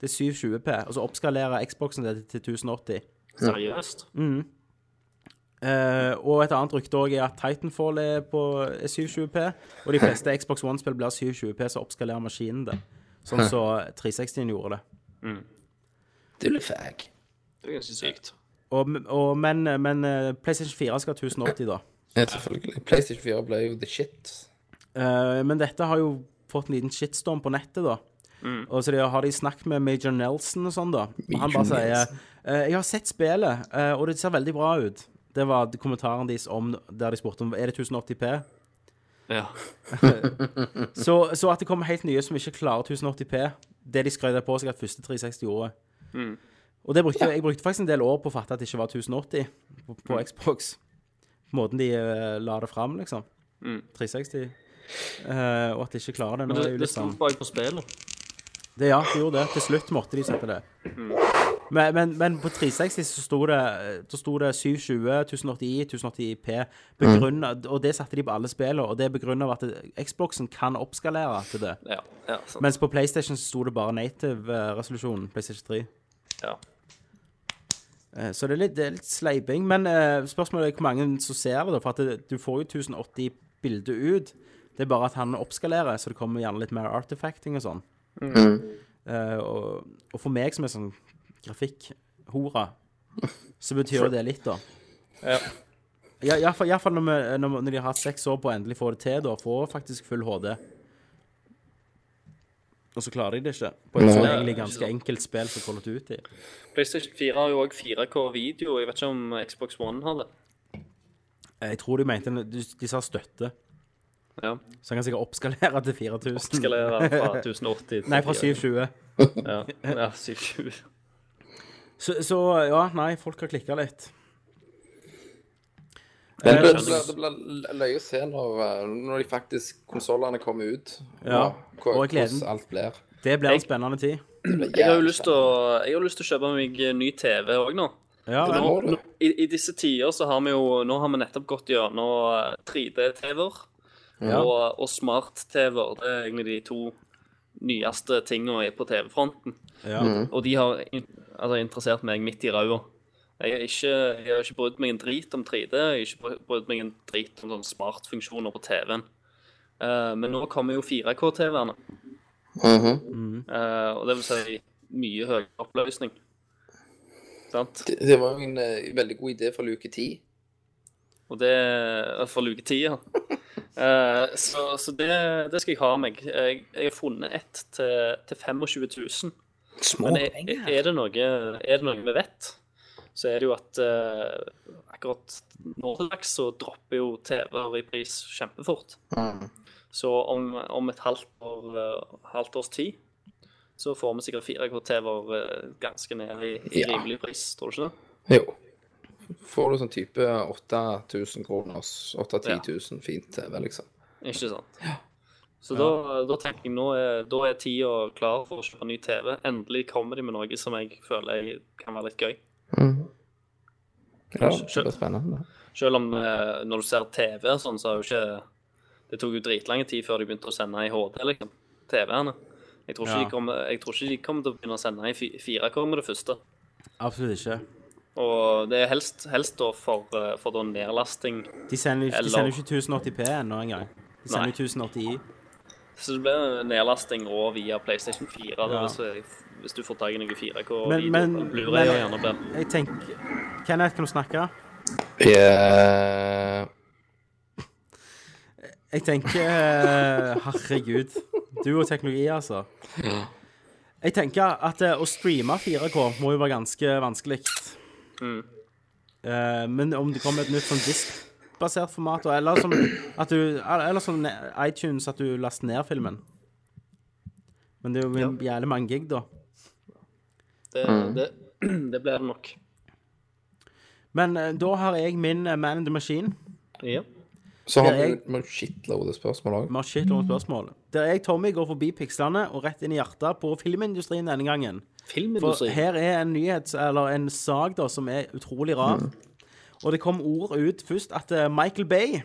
[SPEAKER 1] Det er 720P. Og så oppskalerer Xboxen det til 1080.
[SPEAKER 3] Seriøst?
[SPEAKER 1] Mm. Eh, og et annet rykte også er at Titanfall er på er 720P, og de fleste Xbox One-spill blir 720P, så oppskalerer maskinen det. Sånn som 360-en gjorde det.
[SPEAKER 2] Du er litt fag.
[SPEAKER 3] Det er ganske sykt.
[SPEAKER 1] Og, og, men, men eh, PlayStation 4 skal ha 1080, da.
[SPEAKER 2] Ja, selvfølgelig. PlayStation 4 ble jo the shit.
[SPEAKER 1] Eh, men dette har jo fått en liten shitstorm på nettet, da. Og så de, har de snakket med Major Nelson og sånn, da. Og han bare sier eh, Jeg har sett spillet, eh, og det ser veldig bra ut. Det var kommentaren deres om der de spurte om er det 1080P.
[SPEAKER 9] Ja.
[SPEAKER 1] Så, så at det kommer helt nye som ikke klarer 1080P, det de skrøt på seg at første 360 gjorde.
[SPEAKER 9] Mm.
[SPEAKER 1] Og det brukte, jeg brukte faktisk en del år på å fatte at det ikke var 1080 på, på
[SPEAKER 9] Mm.
[SPEAKER 1] Xbox. Måten de eh, la det fram, liksom. 360. Eh, og at de ikke klarer det. Nå
[SPEAKER 9] Mm. Men det,
[SPEAKER 1] er jo
[SPEAKER 9] det
[SPEAKER 1] litt
[SPEAKER 9] sto
[SPEAKER 1] sånn
[SPEAKER 9] bak på spillet.
[SPEAKER 1] det, Ja, de gjorde det. Til slutt måtte de sette det.
[SPEAKER 9] Mm.
[SPEAKER 1] Men, men, men på 360 så sto det, så sto det 720, 1080i, 1080p. Begrunnet, Og det satte de på alle spillene, og det er begrunna av at det- Xboxen kan oppskalere til det.
[SPEAKER 9] Ja.
[SPEAKER 3] Ja, sant.
[SPEAKER 1] Mens på PlayStation så sto det bare native-resolusjonen, PlayStation 3.
[SPEAKER 3] Ja.
[SPEAKER 1] Eh, Så det er litt, det er litt sleiping. Men eh, spørsmålet er hvor mange som ser det, da. For at det, du får jo 1080 bilder ut. Det er bare at han oppskalerer, så det kommer gjerne litt mer artifacting og sånn. Eh, og, og for meg som er sånn grafikkhora, så betyr jo det litt, da. Ja, Iallfall ja, når, vi- når, når de har hatt seks år på å endelig få det til, da. Få faktisk full HD. Og så klarer de det ikke. På et
[SPEAKER 2] Nei.
[SPEAKER 1] sånn egentlig ganske enkelt spill som Call of Duty.
[SPEAKER 9] PlayStation 4 har jo òg 4K-video. Jeg vet ikke om Xbox One har det.
[SPEAKER 1] Jeg tror de mente De, de sa støtte.
[SPEAKER 9] Ja.
[SPEAKER 1] Så han kan sikkert oppskalere til 4000.
[SPEAKER 9] Skal det være fra 1080 til
[SPEAKER 1] Nei, fra
[SPEAKER 9] 4K?
[SPEAKER 1] 720.
[SPEAKER 9] Ja, ja 720.
[SPEAKER 1] Så, så ja, nei, folk har klikka litt.
[SPEAKER 2] Men
[SPEAKER 1] Eh,
[SPEAKER 2] det blir- det blir løye å se når, eh, når de faktisk konsollene kommer ut.
[SPEAKER 1] Ja,
[SPEAKER 2] og hva-
[SPEAKER 1] og gleden.
[SPEAKER 2] hvordan alt blir.
[SPEAKER 1] Det blir en
[SPEAKER 9] Jeg-
[SPEAKER 1] spennende tid.
[SPEAKER 2] Det blir
[SPEAKER 9] Jeg har jo
[SPEAKER 2] jævlig
[SPEAKER 9] lyst til å, jeg har lyst til å kjøpe meg eh, ny TV òg nå.
[SPEAKER 1] Ja,
[SPEAKER 2] spennende.
[SPEAKER 1] vel.
[SPEAKER 2] Må du?
[SPEAKER 9] I, I disse tider så har vi jo Nå har vi nettopp gått gjennom eh, 3D-TV-er
[SPEAKER 1] Ja.
[SPEAKER 9] og, og smart-TV-er. Det er egentlig de to nyeste tingene på TV-fronten.
[SPEAKER 1] Ja.
[SPEAKER 9] Og de har in- altså, interessert meg midt i ræva. Jeg, er ikke- jeg har ikke brydd meg en drit om 3D, jeg har ikke bry- brydd meg en drit om sånne smartfunksjoner på TV-en. Eh, men nå kommer jo 4K-TV-ene,
[SPEAKER 2] Mhm.
[SPEAKER 9] Eh, og det vil si mye høyere oppløsning. Sant?
[SPEAKER 2] det, det var jo en eh, veldig god idé for luke 10.
[SPEAKER 9] Og det er for luketida. Eh, så så det, det skal jeg ha meg. Jeg, jeg har funnet ett til, til 25 000.
[SPEAKER 1] Små
[SPEAKER 9] Men er, er, det noe, er det noe vi vet, så er det jo at eh, akkurat nå til dags så dropper jo TV-er i pris kjempefort. Så om, om et halvt, år, eh, halvt års tid så får vi sikkert 4K-TV-er eh, ganske ned i, i
[SPEAKER 2] Ja.
[SPEAKER 9] rimelig pris, tror du ikke det?
[SPEAKER 2] Jo. Får du sånn type 8000 kroner, 8000-10 000 fint TV, liksom.
[SPEAKER 9] Ikke sant? Så da, da tenker jeg nå er, da er tida klar for å kjøpe ny TV. Endelig kommer de med noe som jeg føler jeg kan være litt gøy.
[SPEAKER 2] Ja, det blir spennende.
[SPEAKER 9] Selv om eh, når du ser TV og sånn, så har jo ikke Det tok jo dritlang tid før de begynte å sende i HD, liksom. TV-ene. Jeg, tror ikke
[SPEAKER 1] Ja.
[SPEAKER 9] de kommer- jeg tror ikke de kommer til å begynne å sende i fi- 4K med det første.
[SPEAKER 1] Absolutt ikke.
[SPEAKER 9] Og det er helst, helst da for, eh, for da nedlasting.
[SPEAKER 1] De sender jo ikke, de sender
[SPEAKER 9] Eller-
[SPEAKER 1] jo ikke 1080P ennå engang. De sender
[SPEAKER 9] Nei.
[SPEAKER 1] jo 1080i.
[SPEAKER 9] Så det blir nedlasting og via PlayStation 4, da,
[SPEAKER 1] Ja.
[SPEAKER 9] hvis, hvis du får tak i noe 4K.
[SPEAKER 1] Men-
[SPEAKER 9] video,
[SPEAKER 1] men-
[SPEAKER 9] eller Blu-ray
[SPEAKER 1] men-
[SPEAKER 9] og gjerne blir.
[SPEAKER 1] Jeg tenker Kenneth, kan du snakke?
[SPEAKER 2] Yeah.
[SPEAKER 1] Jeg tenker eh, Herregud. Du og teknologi, altså. Jeg tenker at eh, å streame 4K må jo være ganske vanskelig. Eh, men om det kommer et nytt sånn diskbasert format, og- eller sånn at du Eller sånn iTunes, at du laster ned filmen. Men det er jo jævlig mange gig, da.
[SPEAKER 9] Det, det, det blir det nok.
[SPEAKER 1] Men eh, da har jeg min eh, Man in the Machine.
[SPEAKER 9] Ja.
[SPEAKER 2] Så har
[SPEAKER 1] Det er
[SPEAKER 2] vi
[SPEAKER 1] jeg-
[SPEAKER 2] med shitload av spørsmål òg.
[SPEAKER 1] Vi har shit over spørsmål. Der jeg, Tommy, går forbi pikslene og rett inn i hjertet på filmindustrien denne gangen. For
[SPEAKER 9] Filmindustri.
[SPEAKER 1] her er en nyhet, eller en sag, da, som er utrolig rar. Og det kom ord ut først at eh, Michael Bay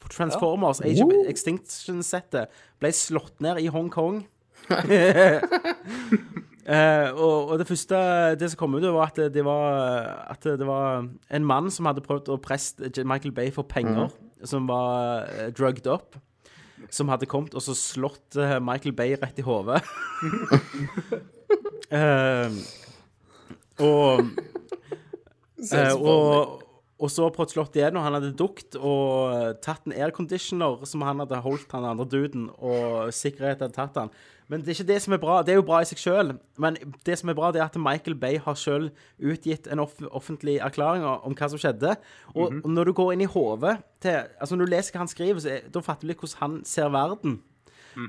[SPEAKER 1] på Transformers Age of Extinction-settet ble slått ned i Hongkong. Eh, og, og det første det som kom ut, var at det var, at det var en mann som hadde prøvd å presse Michael Bay for penger, som var eh, drugged up. Som hadde kommet og så slått eh, Michael Bay rett i hodet. Eh, og, eh, og og så prøvd slått igjen, og han hadde dukt og tatt en airconditioner som han hadde holdt han andre duden, og sikkerhet hadde tatt han. Men det er ikke det som er bra. Det er jo bra i seg sjøl, men det som er bra, det er at Michael Bay har sjøl utgitt en off offentlig erklæring om hva som skjedde. Og og når du går inn i hodet til Altså, når du leser hva han skriver, så er, da fatter du litt hvordan han ser verden.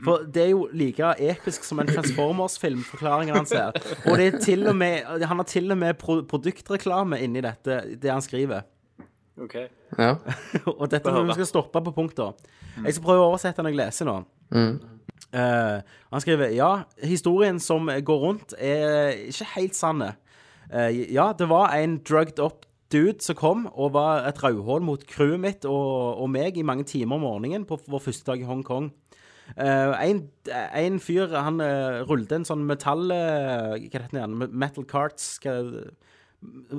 [SPEAKER 1] For det er jo like episk som en Transformers-film, forklaringen hans her. Og det er til og med, han har til og med pro produktreklame inni dette, det han skriver.
[SPEAKER 9] OK.
[SPEAKER 2] Ja.
[SPEAKER 1] Og dette må vi skal stoppe på punkter. Jeg skal prøve å oversette når jeg leser nå. Eh, han skriver Ja, historien som går rundt, er ikke helt sann. Eh, ja, det var en drugged up dude som kom og var et rødhål mot crewet mitt og, og meg i mange timer om morgenen på vår første dag i Hongkong. Eh, en, en fyr han eh, rullet en sånn metall eh, Hva heter det igjen? Metal carts? Hva,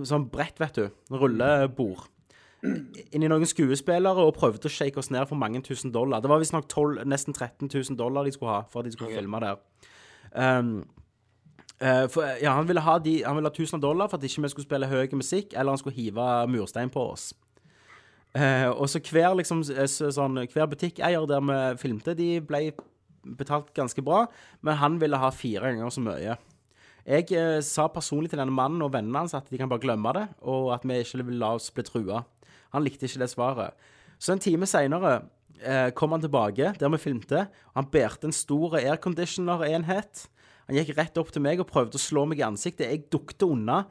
[SPEAKER 1] sånn brett, vet du. Rullebord inn i noen skuespillere og prøvde å shake oss ned for mange tusen dollar. Det var visstnok 12 nesten 13 000 dollar de skulle ha for at de skulle filme der. Um, eh, for, ja, han ville ha de, han ville ha 1000 dollar for at ikke vi skulle spille høy musikk, eller han skulle hive murstein på oss. Eh, og så hver, liksom, s- sånn, hver butikkeier der vi filmte, de ble betalt ganske bra, men han ville ha fire ganger så mye. Jeg eh, sa personlig til denne mannen og vennene hans at de kan bare glemme det, og at vi ikke vil la oss bli trua. Han likte ikke det svaret. Så en time seinere eh, kom han tilbake der vi filmte, og han bærte en stor airconditioner-enhet. Han gikk rett opp til meg og prøvde å slå meg i ansiktet. Jeg dukte unna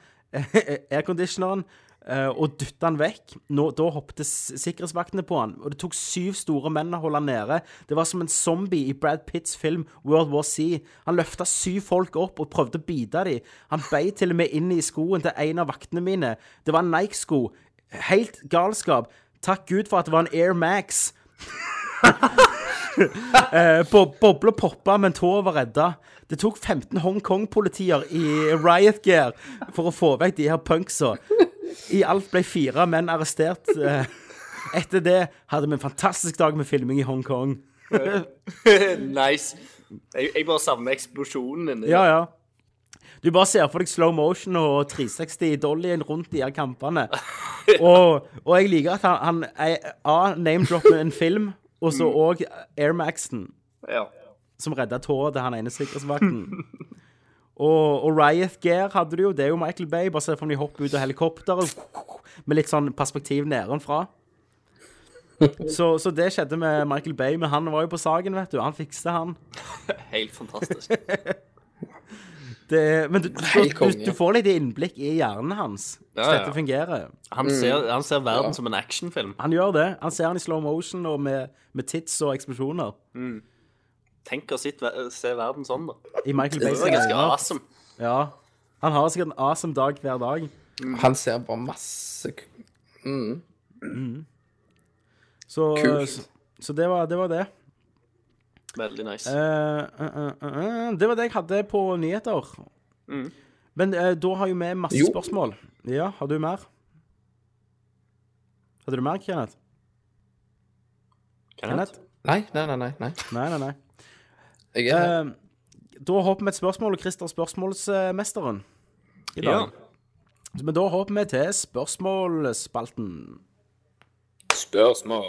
[SPEAKER 1] airconditioneren eh, og dytta han vekk. Nå, da hoppet s- sikkerhetsvaktene på han, og det tok syv store menn å holde han nede. Det var som en zombie i Brad Pitts film World War C. Han løfta syv folk opp og prøvde å bite dem. Han beit til og med inn i skoen til en av vaktene mine. Det var en Nike-sko. Helt galskap. Takk Gud for at det var en Air Max. Bo Bobler poppa, men tåa var redda. Det tok 15 Hongkong-politier i riot gear for å få vekk de her punksa. I alt ble fire menn arrestert. eh. Etter det hadde vi en fantastisk dag med filming i Hongkong.
[SPEAKER 9] Nice. Jeg, jeg bare savner eksplosjonen inni.
[SPEAKER 1] Ja, ja. Du bare ser for deg slow motion og 360 dollyen rundt de her kampene. Og, og jeg liker at han, han eh, A, name-dropper en film, og så òg Airmaxen.
[SPEAKER 9] Ja.
[SPEAKER 1] som redda tåa til han ene sikkerhetsvakten. Og, og Riot Gear hadde du jo, det er jo Michael Bay. Bare se for om de hopper ut av helikopteret med litt sånn perspektiv nedenfra. Så, så det skjedde med Michael Bay, men han var jo på saken, vet du. Han fikste han.
[SPEAKER 9] Helt fantastisk.
[SPEAKER 1] Det, men du, du,
[SPEAKER 2] Helt konge.
[SPEAKER 1] du, du får litt innblikk i hjernen hans,
[SPEAKER 10] Ja,
[SPEAKER 1] hvordan
[SPEAKER 10] ja.
[SPEAKER 1] dette fungerer.
[SPEAKER 10] Han ser, han ser verden som en actionfilm.
[SPEAKER 1] Han gjør det. Han ser han i slow motion og med, med tits og eksplosjoner.
[SPEAKER 9] Tenk å sitt, se verden sånn, da.
[SPEAKER 1] I Michael Bay
[SPEAKER 9] Det er
[SPEAKER 1] sin
[SPEAKER 9] ganske
[SPEAKER 1] øyne.
[SPEAKER 9] awesome.
[SPEAKER 1] Ja. Han har sikkert en awesome dag hver dag.
[SPEAKER 2] Han ser bare masse k-
[SPEAKER 1] Så,
[SPEAKER 2] Kult.
[SPEAKER 1] så, så det var det. Var det.
[SPEAKER 9] Veldig nice.
[SPEAKER 1] Eh, eh, eh, eh, det var det jeg hadde på nyheter. Men eh, da har jo vi masse
[SPEAKER 2] Jo.
[SPEAKER 1] spørsmål. Ja, har du mer? Hadde du mer, Kenneth? Kenneth?
[SPEAKER 2] Nei, nei, nei. nei, nei.
[SPEAKER 1] Nei, nei, nei.
[SPEAKER 2] Jeg er
[SPEAKER 1] Eh, da hopper vi et spørsmål, og Christer er spørsmålsmesteren i
[SPEAKER 10] Ja.
[SPEAKER 1] dag. Men da hopper vi til spørsmålsspalten.
[SPEAKER 2] Spørsmål.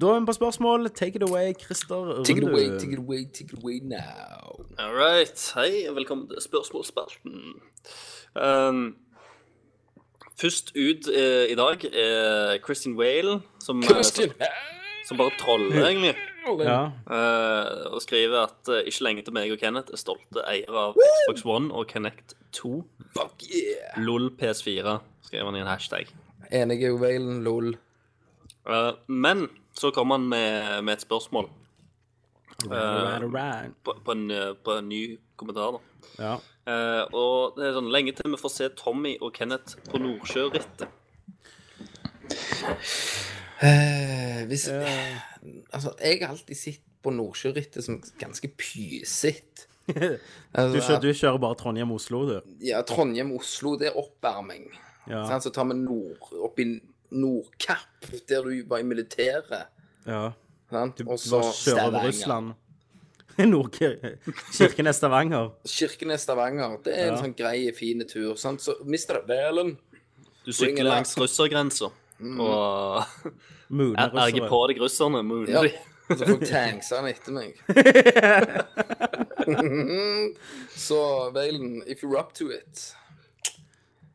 [SPEAKER 1] Da er vi på spørsmål. Take it away, Christer.
[SPEAKER 2] Take it
[SPEAKER 1] Runde.
[SPEAKER 2] away, take it away, take it away now.
[SPEAKER 9] All right. Hei, og velkommen til spørsmålsspalten. Um, først ut eh, i dag er Kristin Whale, som, eh, som, som bare troller, egentlig.
[SPEAKER 1] Ja.
[SPEAKER 9] eh, og skriver at eh, ikke lenge til meg og Kenneth er stolte eiere av Xbox One og Connect 2.
[SPEAKER 2] Fuck yeah.
[SPEAKER 9] LOL PS4, skrev han i en hashtag.
[SPEAKER 2] Enig er jo Valen, lol.
[SPEAKER 9] Eh, men så kom han med, med et spørsmål
[SPEAKER 1] Right, right, right.
[SPEAKER 9] på, på, en, eh, på en ny kommentar. da.
[SPEAKER 1] Ja.
[SPEAKER 9] Eh, og det er sånn lenge til vi får se Tommy og Kenneth på Nordsjørittet.
[SPEAKER 2] Eh, hvis, altså, jeg har alltid sett på Nordsjørittet som ganske pysete.
[SPEAKER 1] Du,
[SPEAKER 2] Altså,
[SPEAKER 1] kjører, du kjører bare Trondheim-Oslo, du.
[SPEAKER 2] ja, Trondheim-Oslo, det er oppvarming.
[SPEAKER 1] Ja.
[SPEAKER 2] Sant, Så tar vi nord, opp i Nordkapp, der du var i militæret.
[SPEAKER 1] ja.
[SPEAKER 2] sant? Og så
[SPEAKER 1] Bare kjøre over
[SPEAKER 2] Stavanger.
[SPEAKER 1] Russland. Nord- Kirkenes, Stavanger.
[SPEAKER 2] Kirkenes-Stavanger. Det er en
[SPEAKER 1] Ja.
[SPEAKER 2] sånn grei, fin tur. Sant? Så mister det Valen.
[SPEAKER 9] Du sykler
[SPEAKER 2] Ring
[SPEAKER 9] langs russergrensa
[SPEAKER 1] Mm.
[SPEAKER 9] og
[SPEAKER 1] Mune
[SPEAKER 9] erger
[SPEAKER 1] russere.
[SPEAKER 9] på deg russerne. mulig.
[SPEAKER 2] Ja. Så får tanksene etter meg. så Valen, if you're up to it
[SPEAKER 1] Så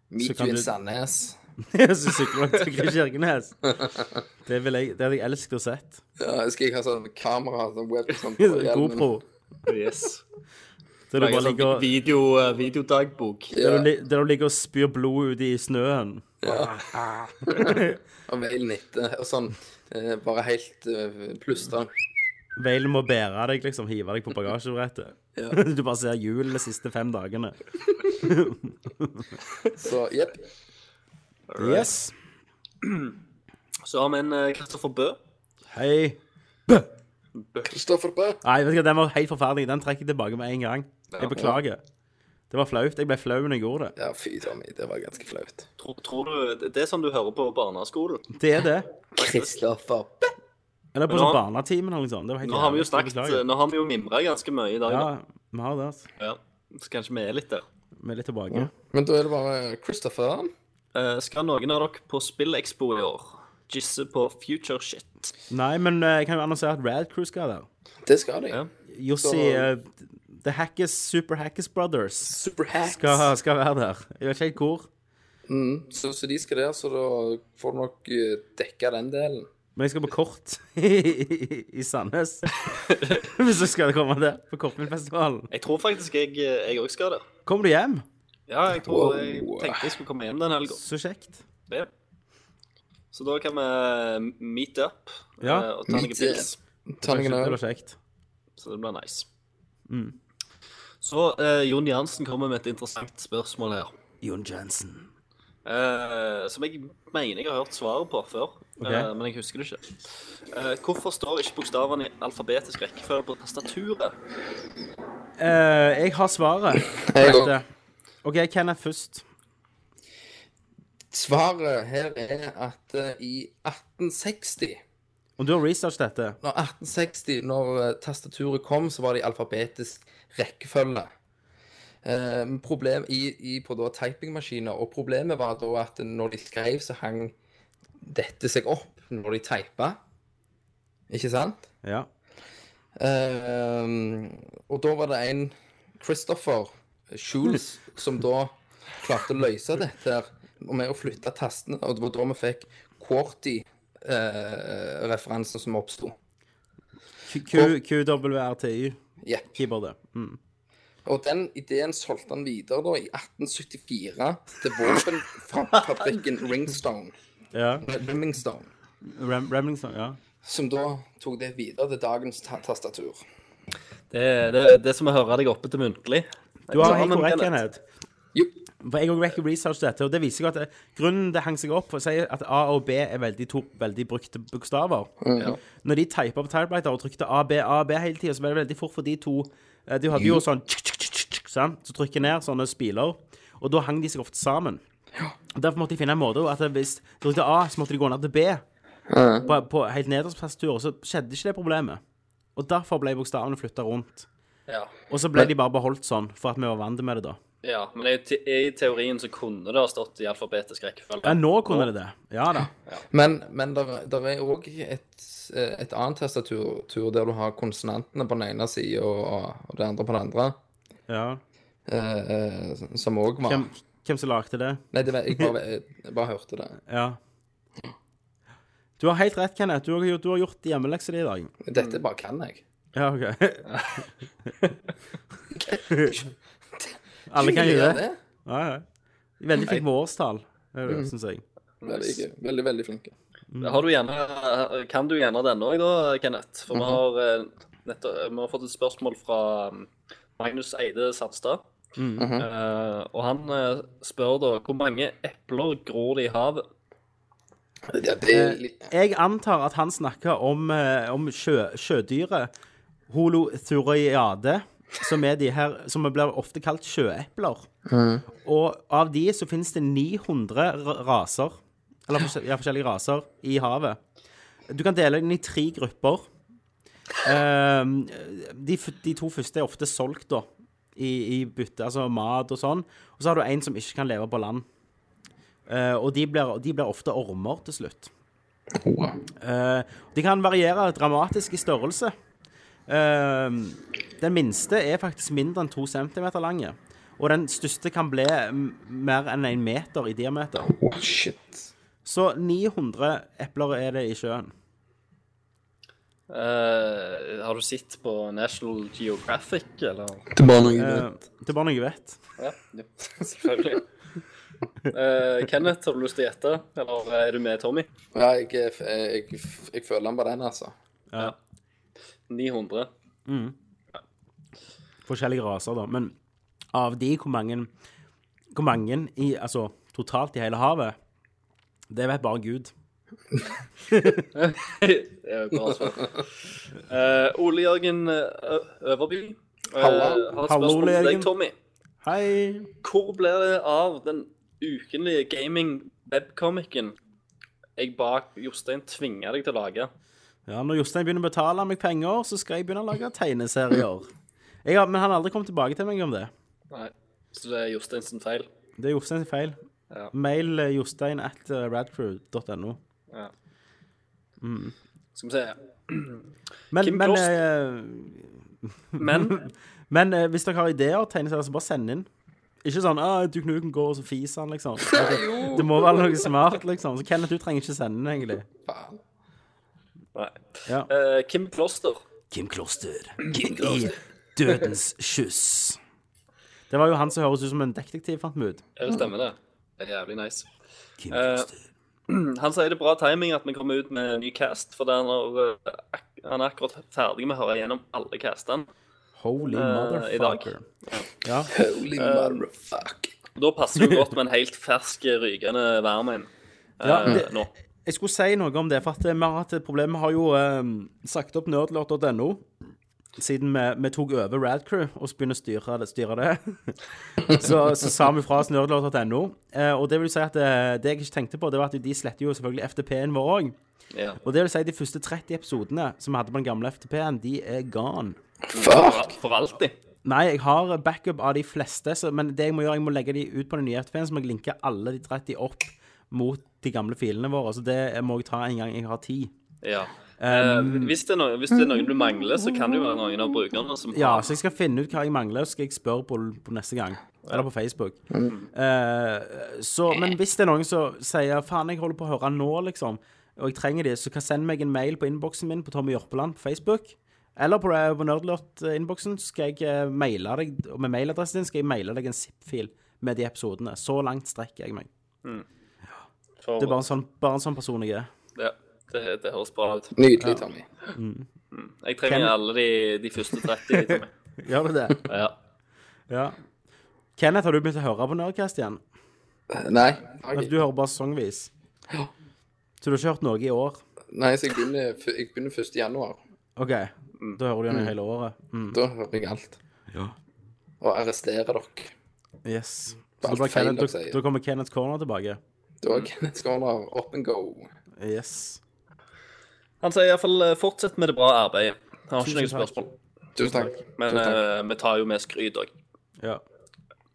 [SPEAKER 2] Meet
[SPEAKER 1] kan
[SPEAKER 2] you in
[SPEAKER 1] du-
[SPEAKER 2] Sandnes.
[SPEAKER 1] Så sykler dere til Kirkenes. Det, vil jeg, det hadde jeg elsket å sett.
[SPEAKER 2] Ja, skal jeg ha sånn kamera sånn web, sånn, på hjelmen?
[SPEAKER 1] GoPro.
[SPEAKER 9] Yes.
[SPEAKER 1] Der du
[SPEAKER 9] Lager
[SPEAKER 1] bare
[SPEAKER 9] sånn
[SPEAKER 1] ligger og,
[SPEAKER 9] video, eh, videodagbok.
[SPEAKER 1] der du, li- der du ligger og spyr blod ut i snøen.
[SPEAKER 2] Og Valen etter. Og sånn eh, bare helt eh, plystra.
[SPEAKER 1] Veilen må bære deg, liksom. Hive deg på bagasjebrettet. Du bare ser hjulene de siste fem dagene.
[SPEAKER 2] Så jepp.
[SPEAKER 1] Yes.
[SPEAKER 9] Så har vi en eh, Christopher Bø.
[SPEAKER 1] Hei.
[SPEAKER 2] Kristoffer Bø.
[SPEAKER 1] Nei, vet du hva, den var helt forferdelig. Den trekker jeg tilbake med en gang. Jeg beklager. Det var flaut. Jeg ble flau når jeg gjorde det.
[SPEAKER 2] Ja, fy Tommy, det var ganske flaut.
[SPEAKER 9] Tror, tror du, det- det er sånn du hører på barneskolen.
[SPEAKER 1] Det er det.
[SPEAKER 2] Kristoffer Bø.
[SPEAKER 1] Eller på
[SPEAKER 9] Men
[SPEAKER 1] sånn
[SPEAKER 9] nå-
[SPEAKER 1] barnetimen eller noe sånt. Det var helt
[SPEAKER 9] Nå har vi jo
[SPEAKER 1] jævlig. Jeg
[SPEAKER 9] snakket,
[SPEAKER 1] beklager.
[SPEAKER 9] eh, nå har vi jo mimra ganske mye i dag.
[SPEAKER 1] Ja,
[SPEAKER 9] da.
[SPEAKER 1] vi har det, altså.
[SPEAKER 9] Ja. Så kanskje vi er litt der.
[SPEAKER 1] Vi er litt tilbake.
[SPEAKER 2] Men da er det bare Christopher.
[SPEAKER 3] Eh, skal noen av dere på Spillexpo i år gisse på future shit?
[SPEAKER 1] Nei, men eh, jeg kan jo annonsere at Rad Crew skal der.
[SPEAKER 2] Det skal de.
[SPEAKER 3] Ja.
[SPEAKER 1] Jossi eh, The Hackers Super Hackers Brothers
[SPEAKER 2] Superhacks.
[SPEAKER 1] skal, skal være der. Jeg vet ikke helt hvor.
[SPEAKER 2] Så, så de skal der, så da får du nok eh, dekka den delen.
[SPEAKER 1] Men jeg skal på kort i Sandnes. Hvis jeg skal komme der på Kortfilmfestivalen.
[SPEAKER 3] Jeg tror faktisk jeg òg skal der.
[SPEAKER 1] Kommer du hjem?
[SPEAKER 3] Ja, jeg tror jeg
[SPEAKER 2] Wow.
[SPEAKER 3] tenkte jeg skulle komme hjem den helga.
[SPEAKER 1] Så kjekt.
[SPEAKER 3] Ja. Så da kan vi eh, meet up eh,
[SPEAKER 1] Ja.
[SPEAKER 3] og ta noen
[SPEAKER 2] Meet
[SPEAKER 3] pils.
[SPEAKER 1] Det
[SPEAKER 2] Tanningen
[SPEAKER 1] var
[SPEAKER 2] er
[SPEAKER 1] kjekt.
[SPEAKER 3] Så det blir nice.
[SPEAKER 1] Mm.
[SPEAKER 3] Så eh, Jon Jansen kommer med et interessant spørsmål her.
[SPEAKER 1] Jon Jensen.
[SPEAKER 3] Eh, som jeg mener jeg har hørt svaret på før, eh,
[SPEAKER 1] Ok.
[SPEAKER 3] men jeg husker det ikke. Eh, hvorfor står ikke bokstavene i alfabetisk rekkefølge på tastaturet?
[SPEAKER 1] Eh, jeg har svaret. på
[SPEAKER 2] Jeg
[SPEAKER 1] dette. OK, Kenneth først.
[SPEAKER 2] Svaret her er at eh, i 1860
[SPEAKER 1] Om du har researchet dette
[SPEAKER 2] Når 1860, når eh, tastaturet kom, så var det i alfabetisk rekkefølge. Eh, men problem i, i på da typingmaskiner, og problemet var da at når de skrev, så hang dette seg opp når de typa. Ikke sant?
[SPEAKER 1] Ja.
[SPEAKER 2] Ehm, og da var det en Christopher Schulz som da klarte å løse dette her og med å flytte tastene, og det var da vi fikk QWERTY-referansen som oppsto.
[SPEAKER 1] Q- Q- QWRTY.
[SPEAKER 2] Jepp.
[SPEAKER 1] Keyboardet. Mm.
[SPEAKER 2] Og den ideen solgte han videre da i 1874 til våpenfabrikken Ringstone,
[SPEAKER 1] Ja.
[SPEAKER 2] Remingstone,
[SPEAKER 1] Ram Ramlingsong, ja.
[SPEAKER 2] som da tok det videre til dagens ta tastatur.
[SPEAKER 9] Det er det, det som å høre deg oppe til muntlig.
[SPEAKER 1] Du har
[SPEAKER 9] Ja,
[SPEAKER 1] helt
[SPEAKER 9] men
[SPEAKER 1] korrekt, Kenneth.
[SPEAKER 9] Kenneth.
[SPEAKER 2] Jo,
[SPEAKER 1] For jeg har ikke researchet dette, og det viser jo at det, grunnen det hang seg opp, for å si at A og B er veldig to veldig brukte bokstaver. Når de typa på typewriter og trykte A, B, A, B hele tida, så ble det veldig fort for de to eh, De hadde jo sånn tsk, tsk, tsk, tsk, sant? Så trykker ned sånne spiler, og da hang de seg ofte sammen. Og Derfor måtte de finne en måte at eh, hvis de trykte A, så måtte de gå ned til B. På, på helt nederst på tastaturet, så skjedde ikke det problemet. Og derfor ble bokstavene flytta rundt.
[SPEAKER 9] Ja.
[SPEAKER 1] Og så ble de bare beholdt sånn, for at vi var vant med det da.
[SPEAKER 9] Ja, men i, te i teorien så kunne det ha stått i alfabetisk rekkefølge.
[SPEAKER 1] Ja, nå kunne det det. Ja da.
[SPEAKER 2] Men, men der, der er òg et, eh, et annet testatur tur der du har konsonantene på den ene sida og, og det andre på den andre,
[SPEAKER 1] Ja.
[SPEAKER 2] eh, eh, som òg var
[SPEAKER 1] Hvem, hvem som lagde det?
[SPEAKER 2] Nei, det, var- jeg, bare, jeg bare hørte det.
[SPEAKER 1] Ja. Du har helt rett, Kenneth. Du har gjort, du har gjort hjemmeleksa di i dag.
[SPEAKER 2] Dette bare kan jeg.
[SPEAKER 1] Ja, OK. Alle kan gjøre det. Ja, ja. Veldig flink med årstall, syns jeg.
[SPEAKER 2] Veldig, veldig, veldig flinke.
[SPEAKER 1] Mm.
[SPEAKER 9] Har du gjerne, kan du gjerne denne òg, da, Kenneth?
[SPEAKER 1] Mhm.
[SPEAKER 9] For vi har, eh, nettopp, vi har fått et spørsmål fra um, Magnus Eide Sandstad.
[SPEAKER 1] Mm.
[SPEAKER 9] Eh, og han eh, spør da hvor mange epler gror det i havet?
[SPEAKER 2] Ja, det
[SPEAKER 1] Eh,
[SPEAKER 2] er litt
[SPEAKER 1] Jeg antar at han snakker om, eh, om sjø, sjødyret holothuriade, som er de her som blir ofte kalt sjøepler.
[SPEAKER 2] Mm.
[SPEAKER 1] Og av de så finnes det 900 ra- raser, eller forskjell- ja, forskjellige raser, i havet. Du kan dele den i tre grupper. Ehm, de, f- de to første er ofte solgt, da, i, i bytte, altså mat og sånn. Og så har du en som ikke kan leve på land. Eh, og de blir, de blir ofte ormer til slutt. Eh, de kan variere dramatisk i størrelse. Eh, den minste er faktisk mindre enn to centimeter lange. Og den største kan bli m- mer enn en meter i diameter.
[SPEAKER 2] oh, Shit.
[SPEAKER 1] Så 900 epler er det i sjøen.
[SPEAKER 9] Eh, har du sett på National Geographic, eller?
[SPEAKER 7] Det er bare noe
[SPEAKER 1] Eh, det er bare noe jeg vet.
[SPEAKER 9] Ja, ja selvfølgelig. Eh, Kenneth, har du lyst til å gjette? Eller er du med, Tommy?
[SPEAKER 2] Ja, jeg, jeg, jeg, jeg føler han på den, altså.
[SPEAKER 9] 900.
[SPEAKER 1] Forskjellige raser, da. Men av de, hvor mange, hvor mange i, altså, totalt i hele havet, det vet bare Gud.
[SPEAKER 9] Det er jo bra svar. Eh, Ole Jørgen eh, Ø- Øverby eh, har et
[SPEAKER 1] Hallo,
[SPEAKER 9] spørsmål
[SPEAKER 1] Ole
[SPEAKER 9] til
[SPEAKER 1] Jørgen.
[SPEAKER 9] deg, Tommy.
[SPEAKER 1] Hei!
[SPEAKER 9] Hvor ble det av den ukenlige gaming-webcomicen jeg ba Jostein tvinge deg til å lage?
[SPEAKER 1] Ja, når Jostein begynner å betale meg penger, så skal jeg begynne å lage tegneserier. Jeg har, men han har aldri kommet tilbake til meg om det.
[SPEAKER 9] Nei. Så det er Jostein sin feil.
[SPEAKER 1] Det er Jostein sin feil.
[SPEAKER 9] Ja.
[SPEAKER 1] Mail eh, jostein at eh, radcrew.no.
[SPEAKER 9] Skal vi se.
[SPEAKER 1] Men,
[SPEAKER 9] Kim
[SPEAKER 1] men,
[SPEAKER 9] Frost.
[SPEAKER 1] eh,
[SPEAKER 9] Men
[SPEAKER 1] men eh, hvis dere har ideer, tegneserier, så bare send inn. Ikke sånn «Ah, 'Duke Nukem går, og så fiser han', liksom. Det, det må være noe smart, liksom. Så Kenneth, du trenger ikke sende den, egentlig.
[SPEAKER 2] Faen.
[SPEAKER 9] Nei.
[SPEAKER 1] Ja.
[SPEAKER 9] Eh, Kim Kloster.
[SPEAKER 1] Kim Kloster. I Dødens kyss. Det var jo han som høres ut som en detektiv, fant vi ut.
[SPEAKER 9] Er det stemmer, det? Det er jævlig nice.
[SPEAKER 1] Kim
[SPEAKER 9] Eh,
[SPEAKER 1] Kloster.
[SPEAKER 9] Han sier det er bra timing at vi kommer ut med en ny cast, for han, har, eh, ak han er akkurat ferdig med å høre gjennom alle castene.
[SPEAKER 1] Holy
[SPEAKER 9] Eh, i dag.
[SPEAKER 1] motherfucker. Ja.
[SPEAKER 2] Holy motherfuck.
[SPEAKER 9] Da passer det jo godt med en helt fersk, rykende værmann eh,
[SPEAKER 1] Ja, det-
[SPEAKER 9] nå.
[SPEAKER 1] Jeg skulle si noe om det, for at vi har hatt et problem. Vi har jo eh, sagt opp nerdlåt.no siden vi, vi tok over Radcrew og så begynner å styre det. Styre det. så, så sa vi fra oss nerdlåt.no. Eh, og det vil si at eh, det jeg ikke tenkte på, det var at de sletter jo selvfølgelig FTP-en vår òg.
[SPEAKER 9] Ja.
[SPEAKER 1] Og det vil si at de første 30 episodene som vi hadde på den gamle FTP-en, de er gone.
[SPEAKER 2] Fuck!
[SPEAKER 9] For alltid.
[SPEAKER 1] Nei, jeg har backup av de fleste, så, men det jeg må gjøre, jeg må legge de ut på den nye FTP-en, så må jeg linke alle de 30 opp mot de gamle filene våre. Så det må jeg ta en gang jeg har tid.
[SPEAKER 9] Ja. Eh,
[SPEAKER 1] Um,
[SPEAKER 9] hvis, det er noe, hvis det er noen du mangler, så kan det jo være noen av brukerne som
[SPEAKER 1] Ja, så jeg skal finne ut hva jeg mangler, så skal jeg spørre på, på neste gang. Eller på Facebook. Mm. Eh, så, men hvis det er noen som sier 'faen, jeg holder på å høre han nå', liksom, og jeg trenger de, så kan send meg en mail på innboksen min på Tommy Jørpeland på Facebook. Eller på, eh, på Nerdlot-innboksen så skal jeg eh, maile deg, og med mailadressen din skal jeg maile deg en zip-fil med de episodene. Så langt strekker jeg meg.
[SPEAKER 9] for,
[SPEAKER 1] Det er bare en sånn, bare en sånn person jeg er.
[SPEAKER 9] ja, det, det høres bra ut.
[SPEAKER 2] Nydelig, Tommy.
[SPEAKER 9] Jeg trenger
[SPEAKER 1] Hvem-
[SPEAKER 9] alle de, de første 30. Tommy.
[SPEAKER 1] Gjør du det?
[SPEAKER 9] Ja.
[SPEAKER 1] ja. Kenneth, har du begynt å høre på Nerdcast igjen?
[SPEAKER 2] Nei,
[SPEAKER 1] Altså, du hører bare sesongvis? Så du har ikke hørt noe i år?
[SPEAKER 2] Nei så jeg begynner, f- jeg begynner 1. januar.
[SPEAKER 1] OK. Da hører du den i hele året. Mm.
[SPEAKER 2] Da hører jeg alt. Og arresterer dere.
[SPEAKER 1] Yes. Så
[SPEAKER 2] Alt
[SPEAKER 1] da,
[SPEAKER 2] feil
[SPEAKER 1] Kenneth,
[SPEAKER 2] dere
[SPEAKER 1] da,
[SPEAKER 2] sier.
[SPEAKER 1] da kommer Kenneth Corner tilbake.
[SPEAKER 2] Da er Kenneth Corner up and go.
[SPEAKER 1] Yes.
[SPEAKER 9] Han sier iallfall eh, fortsett med det bra arbeidet. Han har ikke noe
[SPEAKER 1] Tusen takk.
[SPEAKER 9] spørsmål.
[SPEAKER 2] Tusen takk.
[SPEAKER 9] Men
[SPEAKER 2] Tusen takk.
[SPEAKER 9] eh, vi tar jo med skryt òg.
[SPEAKER 1] Ja.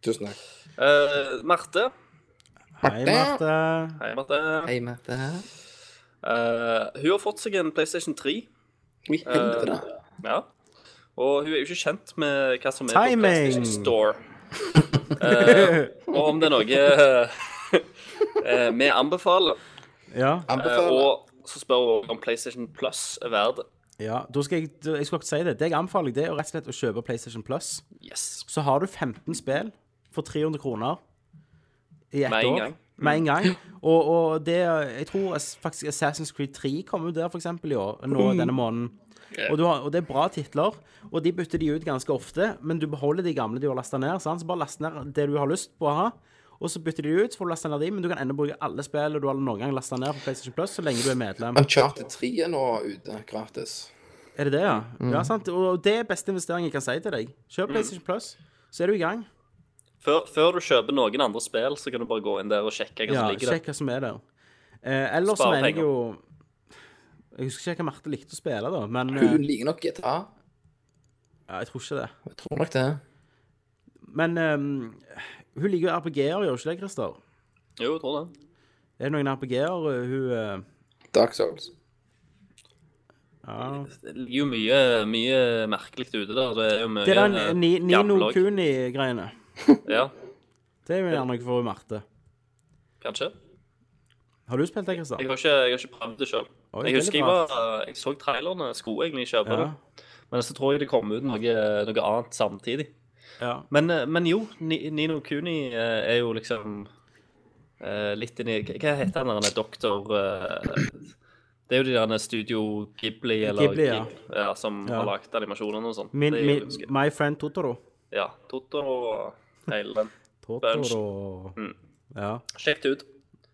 [SPEAKER 2] Tusen takk.
[SPEAKER 9] Eh, Marte.
[SPEAKER 1] Hei, Marte.
[SPEAKER 9] Hei, Marte.
[SPEAKER 2] Hei, Mette.
[SPEAKER 9] Eh, hun har fått seg en PlayStation 3.
[SPEAKER 2] I helvete. da.
[SPEAKER 9] Ja. Og hun er jo ikke kjent med hva som er
[SPEAKER 1] Timing!
[SPEAKER 9] på PlayStation Store. Eh, og om det er noe eh, vi anbefaler.
[SPEAKER 1] Ja.
[SPEAKER 9] Eh,
[SPEAKER 2] Anbefaler.
[SPEAKER 9] og så spør hun om PlayStation Plus er verdt det.
[SPEAKER 1] ja. Da skal jeg, da- jeg skulle ikke si det. Det jeg anbefaler, det er jo rett og slett å kjøpe PlayStation Plus.
[SPEAKER 9] Yes.
[SPEAKER 1] Så har du 15 spill for 300 kroner i ett
[SPEAKER 9] Med en
[SPEAKER 1] år.
[SPEAKER 9] gang. Mm.
[SPEAKER 1] Med en gang. Og, og det Jeg tror ass- faktisk Assassin's Creed 3 kommer ut der, for eksempel, i år. Nå
[SPEAKER 9] Mm.
[SPEAKER 1] denne måneden. Og, du har, og det er bra titler, og de bytter de ut ganske ofte. Men du beholder de gamle du har lasta ned. Sant? Så bare last ned det du har lyst på å ha. Og så bytter de de ut, så får du lasta ned de, men du kan ennå bruke alle spillene du har noen gang lasta ned på PlayStation Plus, så lenge du er medlem.
[SPEAKER 2] Uncharted 3 er nå ute gratis.
[SPEAKER 1] Er det det, ja? Ja, sant? Og det er beste investering jeg kan si til deg.
[SPEAKER 9] Mm.
[SPEAKER 1] Kjøp PlayStation Plus, så er du i gang.
[SPEAKER 9] Før, før du kjøper noen andre spill, så kan du bare gå inn der og sjekke hva
[SPEAKER 1] Ja,
[SPEAKER 9] som ligger der.
[SPEAKER 1] sjekk hva som er der. Eh, ellers så
[SPEAKER 9] Spare
[SPEAKER 1] mener jeg
[SPEAKER 9] penger.
[SPEAKER 1] jo Jeg husker ikke hva Marte likte å spille, da, men eh,
[SPEAKER 2] Hun liker nok GTA.
[SPEAKER 1] ja, jeg tror ikke det.
[SPEAKER 2] Jeg tror nok det.
[SPEAKER 1] Men eh, hun liker jo RPG-er, gjør hun ikke det, Christer?
[SPEAKER 9] Jo, jeg tror det.
[SPEAKER 1] Er det noen RPG-er eh, hun eh,
[SPEAKER 2] Dark Souls.
[SPEAKER 1] ja.
[SPEAKER 9] Det ligger jo mye, mye merkelig ute der. Det er jo mye
[SPEAKER 1] Det er den
[SPEAKER 9] eh,
[SPEAKER 1] eh, Ni Nino
[SPEAKER 9] gamle også.
[SPEAKER 1] Kuni-greiene.
[SPEAKER 9] Ja,
[SPEAKER 1] Det er jo gjerne noe for hun Marte.
[SPEAKER 9] kanskje.
[SPEAKER 1] Har du spilt det, Christer?
[SPEAKER 9] Jeg har ikke, jeg har ikke prøvd det sjøl.
[SPEAKER 1] Oi,
[SPEAKER 9] Jeg
[SPEAKER 1] det er
[SPEAKER 9] husker jeg,
[SPEAKER 1] litt rart.
[SPEAKER 9] var, jeg så trailerne, skulle egentlig kjøpe
[SPEAKER 1] Ja.
[SPEAKER 9] det. Men så tror jeg det kom ut noe, noe annet samtidig.
[SPEAKER 1] Ja.
[SPEAKER 9] Men, eh, men jo, Ni- Nino Kuni eh, er jo liksom eh, litt inni Hva heter han der doktor eh, Det er jo de der Studio Ghibli eller
[SPEAKER 1] Ghibli, ja.
[SPEAKER 9] Ghib- ja, som
[SPEAKER 1] Ja.
[SPEAKER 9] har lagd animasjonene og sånn.
[SPEAKER 1] Min,
[SPEAKER 9] Det er jo
[SPEAKER 1] min,
[SPEAKER 9] ganske-
[SPEAKER 1] my friend Totoro.
[SPEAKER 9] Ja. Totto og hele den.
[SPEAKER 1] Totoro.
[SPEAKER 9] Mm.
[SPEAKER 1] Ja.
[SPEAKER 9] Sjekk det ut.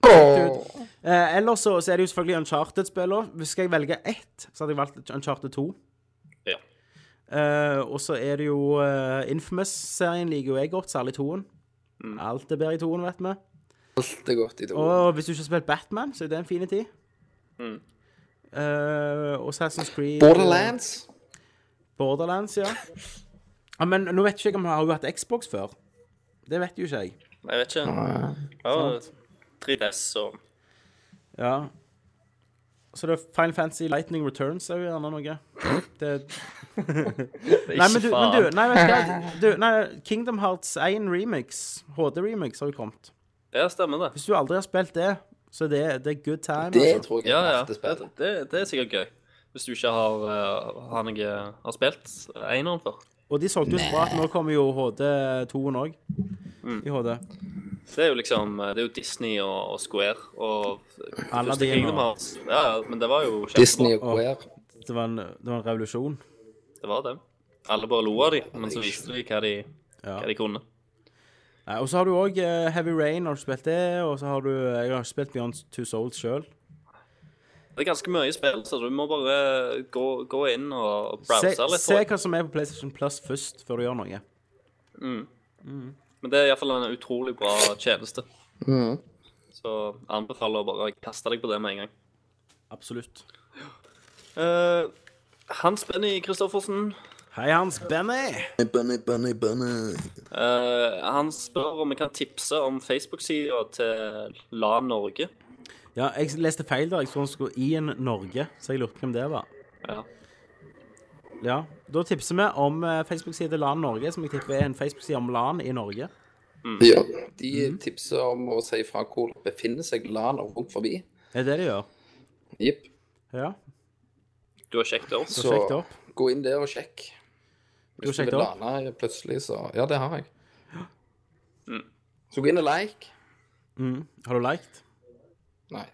[SPEAKER 1] Eh, ellers så, så er det jo selvfølgelig Uncharted-spill òg. Skal jeg velge ett, så hadde jeg valgt Uncharted 2.
[SPEAKER 9] Ja.
[SPEAKER 1] Eh, og så er det jo eh, Infamous-serien liker jo jeg godt, særlig toen. Alt er bedre i toen, vet vi.
[SPEAKER 2] Alt er godt i to.
[SPEAKER 1] Og hvis du ikke har spilt Batman, så er det en fin tid. Eh, og Assassin's Creed
[SPEAKER 2] Borderlands.
[SPEAKER 1] Borderlands, ja. ja. Men nå vet ikke jeg om jeg har jo hatt Xbox før. Det vet jo ikke jeg.
[SPEAKER 9] Jeg vet ikke. Ja, 3DS og
[SPEAKER 1] Ja. Så det er Final Fantasy Lightning Returns er jo gjerne noe. Det Nei, men du, men du, nei, vet du, hva? du nei, Kingdom Hearts 1 Remix, HD-remix, har jo kommet.
[SPEAKER 9] Ja, stemmer det.
[SPEAKER 1] Hvis du aldri har spilt det, så det, det er good time.
[SPEAKER 2] Det
[SPEAKER 1] altså.
[SPEAKER 2] tror jeg
[SPEAKER 9] Ja,
[SPEAKER 2] er
[SPEAKER 9] ja.
[SPEAKER 2] verste
[SPEAKER 9] Det,
[SPEAKER 2] spillet.
[SPEAKER 9] det, det er sikkert gøy. Hvis du ikke har, eh, har, noe, har spilt eneren før.
[SPEAKER 1] Og de solgte jo så bra at nå kommer jo HD2-en òg.
[SPEAKER 9] Mm.
[SPEAKER 1] I HD.
[SPEAKER 9] Det er jo liksom eh, Det er jo Disney og, og Square og første
[SPEAKER 1] Aladdin
[SPEAKER 9] Kingdom
[SPEAKER 1] og-
[SPEAKER 9] Hearts. Ja, ja, men det var jo kjempebra.
[SPEAKER 2] Disney og Queer.
[SPEAKER 1] Det var en, det var en revolusjon.
[SPEAKER 9] Det var det. Alle bare lo av de, men så visste de hva de,
[SPEAKER 1] Ja.
[SPEAKER 9] hva de kunne.
[SPEAKER 1] Nei, og så har du òg Heavy Rain, har du spilt det? Og så har du eh, Jeg har ikke spilt Beyond Two Souls sjøl.
[SPEAKER 9] Det er ganske mye spill, så du må bare gå, gå inn og browse
[SPEAKER 1] Se,
[SPEAKER 9] litt. tror
[SPEAKER 1] se
[SPEAKER 9] jeg.
[SPEAKER 1] hva som er på PlayStation Plus først, før du gjør noe.
[SPEAKER 9] Men det er iallfall en utrolig bra tjeneste.
[SPEAKER 2] Mm.
[SPEAKER 9] Så anbefaler å bare kaste deg på det med en gang.
[SPEAKER 1] Absolutt.
[SPEAKER 9] Eh, Hans Benny Christoffersen
[SPEAKER 1] Hei, Hans Benny.
[SPEAKER 9] eh, han spør om vi kan tipse om Facebook-sida til La Norge.
[SPEAKER 1] Ja, jeg leste feil der. Jeg så han skulle i en Norge, så jeg lurte på hvem det var.
[SPEAKER 9] Ja.
[SPEAKER 1] Ja, Da tipser vi om eh, Facebook-side LAN Norge, som jeg tipper er en Facebook-side om LAN i Norge.
[SPEAKER 2] Ja. De tipser om å si fra hvor det befinner seg LAN og rundt forbi.
[SPEAKER 1] Er det det de gjør?
[SPEAKER 2] Jipp.
[SPEAKER 1] Ja.
[SPEAKER 9] Du har sjekket oss?
[SPEAKER 1] Så sjekk det opp.
[SPEAKER 2] gå inn der og sjekk.
[SPEAKER 1] Du har
[SPEAKER 2] Hvis du
[SPEAKER 1] sjekket
[SPEAKER 2] vil
[SPEAKER 1] opp?
[SPEAKER 2] lane plutselig, så Ja, det har jeg. Så gå inn og like.
[SPEAKER 1] Har du liked?
[SPEAKER 2] Nei.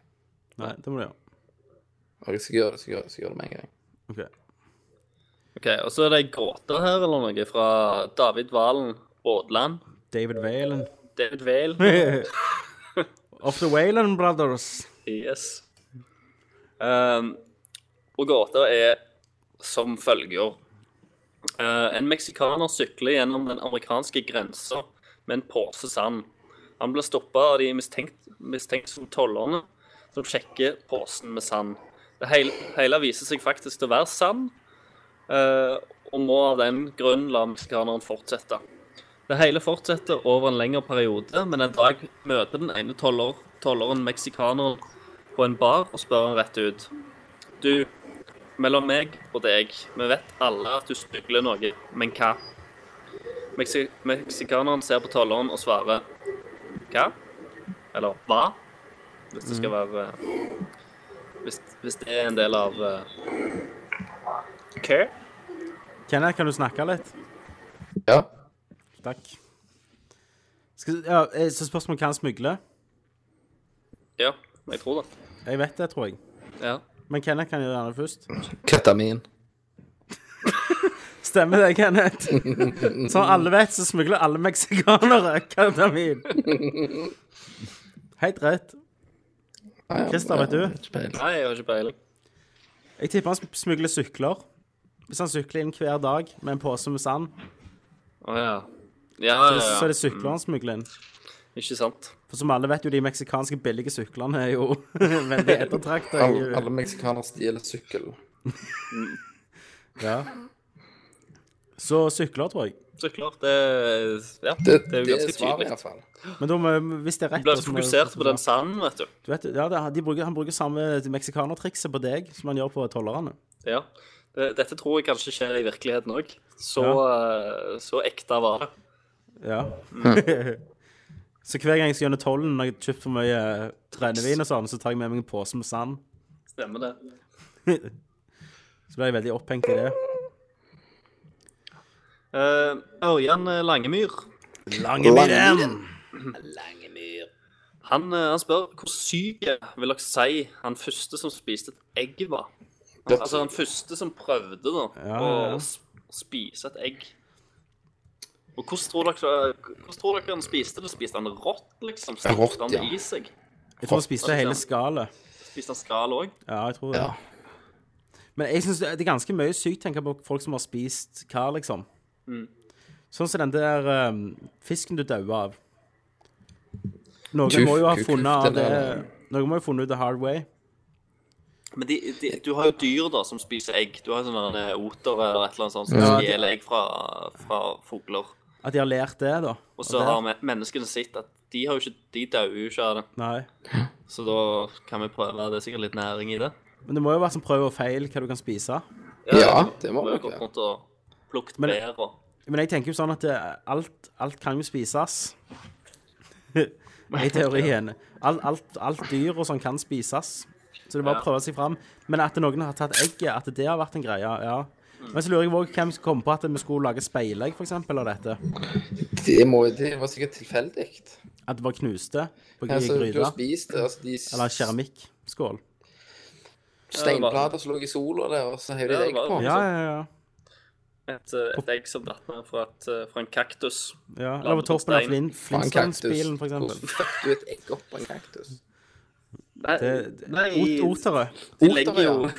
[SPEAKER 1] Nei, det må du gjøre.
[SPEAKER 2] Jeg skal gjøre det, skal gjøre det, skal gjøre det med en gang.
[SPEAKER 1] OK.
[SPEAKER 9] OK. Og så er det ei gåte her eller noe fra David Valen Aadland.
[SPEAKER 1] David Valen.
[SPEAKER 9] David Vail.
[SPEAKER 1] Of the Wayland Brothers.
[SPEAKER 9] Yes. Um, og gåta er som følger. Eh, en meksikaner sykler gjennom den amerikanske grensa med en pose sand. Han blir stoppa av de mistenkt, mistenksomme tollerne som sjekker posen med sand. Det hele, hele viser seg faktisk til å være sand, eh, og må av den grunn la meksikaneren fortsette. Det hele fortsetter over en lengre periode, men en dag møter den ene toller, tolleren meksikaneren på en bar og spør han rett ut. Du, mellom meg og deg, vi vet alle at du smugler noe, men hva? Meksi meksikaneren ser på tolleren og svarer hva? Eller hva? Hvis det skal være eh, Hvis, hvis det er en del av eh, Hva?
[SPEAKER 1] Kenneth, kan du snakke litt?
[SPEAKER 2] Ja.
[SPEAKER 1] Takk. Skal, ja, eh, så spørsmålet kan smugle?
[SPEAKER 9] Ja, jeg tror det.
[SPEAKER 1] Jeg vet det, tror jeg.
[SPEAKER 9] Ja.
[SPEAKER 1] Men Kenneth kan gjøre det gjerne først.
[SPEAKER 2] Ketamin.
[SPEAKER 1] Stemmer det, Kenneth? Som alle vet, så smugler alle meksikanere ketamin. Helt rett. Christer, vet du?
[SPEAKER 9] Nei, jeg har ikke peiling.
[SPEAKER 1] Jeg tipper han smugler sykler. Hvis han sykler inn hver dag med en pose med sand,
[SPEAKER 9] Å ja. Ja, ja, ja.
[SPEAKER 1] så er det sykler han smugler inn.
[SPEAKER 9] Ikke sant.
[SPEAKER 1] For som alle vet jo, de meksikanske billige syklene er jo veldig ettertrakta.
[SPEAKER 2] Alle, alle meksikanere stjeler sykkel.
[SPEAKER 1] Ja. Så sykler, tror jeg.
[SPEAKER 9] Så klart, det Ja,
[SPEAKER 2] Det,
[SPEAKER 9] det er jo ganske
[SPEAKER 2] svaret,
[SPEAKER 9] tydelig.
[SPEAKER 2] iallfall.
[SPEAKER 1] Men da må, hvis det er rett
[SPEAKER 9] Ble
[SPEAKER 1] så
[SPEAKER 9] så
[SPEAKER 1] må-
[SPEAKER 9] fokusert på den sanden, vet du.
[SPEAKER 1] Du vet, ja, det, de bruker, Han bruker samme meksikanertrikset på deg som han gjør på tollerne.
[SPEAKER 9] Ja. Det- Dette tror jeg kanskje skjer i virkeligheten òg. Så, eh, så ekte var det.
[SPEAKER 1] Ja.
[SPEAKER 2] Mm.
[SPEAKER 1] så hver gang jeg skal gjennom tollen når jeg har kjøpt for mye eh, brennevin og sånn, så tar jeg med meg en pose med sand.
[SPEAKER 9] Stemmer det.
[SPEAKER 1] Så blir jeg veldig opphengt i det.
[SPEAKER 9] Eh, Ørjan Langemyr
[SPEAKER 1] Langemyren!
[SPEAKER 9] han, eh, han spør hvor syk vil dere si han første som spiste et egg, var? Altså han første som prøvde da,
[SPEAKER 1] Ja, ja.
[SPEAKER 9] å s- spise et egg. Og hvordan tror, dere, hvordan tror dere han spiste det? Spiste han det rått, liksom? Stekte
[SPEAKER 2] Rått,
[SPEAKER 9] han det
[SPEAKER 2] ja.
[SPEAKER 9] i seg?
[SPEAKER 1] Jeg tror jeg spiste hele skallet.
[SPEAKER 9] Spiste han skall òg?
[SPEAKER 1] Ja, jeg tror det.
[SPEAKER 2] Ja.
[SPEAKER 1] Men jeg synes det det er ganske mye sykt å tenke på folk som har spist hva, liksom.
[SPEAKER 9] Mm.
[SPEAKER 1] Sånn som den der eh, fisken du daua av. Noen
[SPEAKER 2] Tuff,
[SPEAKER 1] må jo ha
[SPEAKER 2] kuk,
[SPEAKER 1] funnet av
[SPEAKER 2] den
[SPEAKER 1] det
[SPEAKER 2] er-
[SPEAKER 1] Noen må jo ha funnet ut the hard way.
[SPEAKER 9] Men de, de, du har jo dyr da som eh, spiser egg. Du har jo sånne der otere eller et eller annet sånt som
[SPEAKER 1] Ja,
[SPEAKER 9] stjeler egg fra, fra fugler.
[SPEAKER 1] At de har lært det, da.
[SPEAKER 9] Og så
[SPEAKER 1] det-
[SPEAKER 9] har men- menneskene sett at de, har jo ikke, de dør jo ikke av det.
[SPEAKER 1] Nei.
[SPEAKER 9] Så da kan vi prøve. Det er sikkert litt næring i det.
[SPEAKER 1] Men det må jo være som prøv og feil hva du kan spise.
[SPEAKER 2] Ja, det må
[SPEAKER 9] Vi har
[SPEAKER 2] nok
[SPEAKER 9] gått
[SPEAKER 2] være.
[SPEAKER 9] rundt og plukket
[SPEAKER 1] Men-
[SPEAKER 9] bær og
[SPEAKER 1] Men jeg tenker jo sånn at eh, alt, alt kan jo spises. I teorien. Alt, alt, alt dyr og sånn kan spises. Så det er bare å
[SPEAKER 9] Ja.
[SPEAKER 1] prøve seg fram. Men at noen har tatt egget, at det har vært en greie, ja.
[SPEAKER 9] Mm.
[SPEAKER 1] Men så lurer jeg også hvem som kom på at vi skulle lage speilegg, for eksempel, av dette.
[SPEAKER 2] Det, må, det var sikkert tilfeldig.
[SPEAKER 1] At det var knuste på gry-
[SPEAKER 2] Altså, du har
[SPEAKER 1] gryta.
[SPEAKER 2] spist det, altså de s-
[SPEAKER 1] Eller keramikkskål.
[SPEAKER 2] steinplater som lå i sola der, og så heiv de
[SPEAKER 9] Ja,
[SPEAKER 2] et
[SPEAKER 9] det
[SPEAKER 2] egg
[SPEAKER 9] var-
[SPEAKER 2] på.
[SPEAKER 1] Ja, ja, ja.
[SPEAKER 9] et, eh, et egg som datt ned fra, et, eh, fra en kaktus.
[SPEAKER 1] ja. Eller på toppen av
[SPEAKER 9] Landbruksstein.
[SPEAKER 1] Flint,
[SPEAKER 2] Fra en kaktus.
[SPEAKER 1] Flintstones-bilen, for eksempel.
[SPEAKER 2] Hvordan fuck du et egg opp av en kaktus?
[SPEAKER 9] Nei,
[SPEAKER 1] Det- det-
[SPEAKER 9] nei
[SPEAKER 1] Eh, Ot- Oterød.
[SPEAKER 9] de
[SPEAKER 2] Oter,
[SPEAKER 9] legger
[SPEAKER 2] ja.
[SPEAKER 9] jo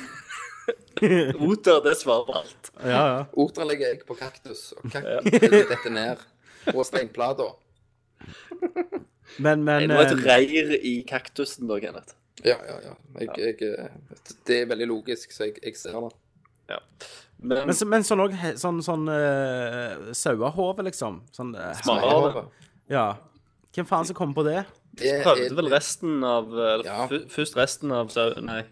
[SPEAKER 9] Oter, det svarer på alt.
[SPEAKER 1] Ja, ja.
[SPEAKER 2] Oter legger egg på kaktus, og kaktus detter ned. Og steinplater.
[SPEAKER 1] Men, men
[SPEAKER 9] Det var et
[SPEAKER 1] eh,
[SPEAKER 9] reir i kaktusen, da, Kenneth.
[SPEAKER 2] Ja, ja, ja. Jeg, jeg, eh, det er veldig logisk, så jeg, jeg ser det.
[SPEAKER 9] Men,
[SPEAKER 1] Men, så, men sånn òg sånn, sånn eh, sauehove, liksom. Sånn, eh,
[SPEAKER 9] smarere.
[SPEAKER 1] ja. Hvem faen som kom på det?
[SPEAKER 2] Det
[SPEAKER 1] Eh,
[SPEAKER 9] Prøvde
[SPEAKER 2] er,
[SPEAKER 9] vel resten av Eller
[SPEAKER 2] Ja.
[SPEAKER 9] fu- først resten av sau... Nei.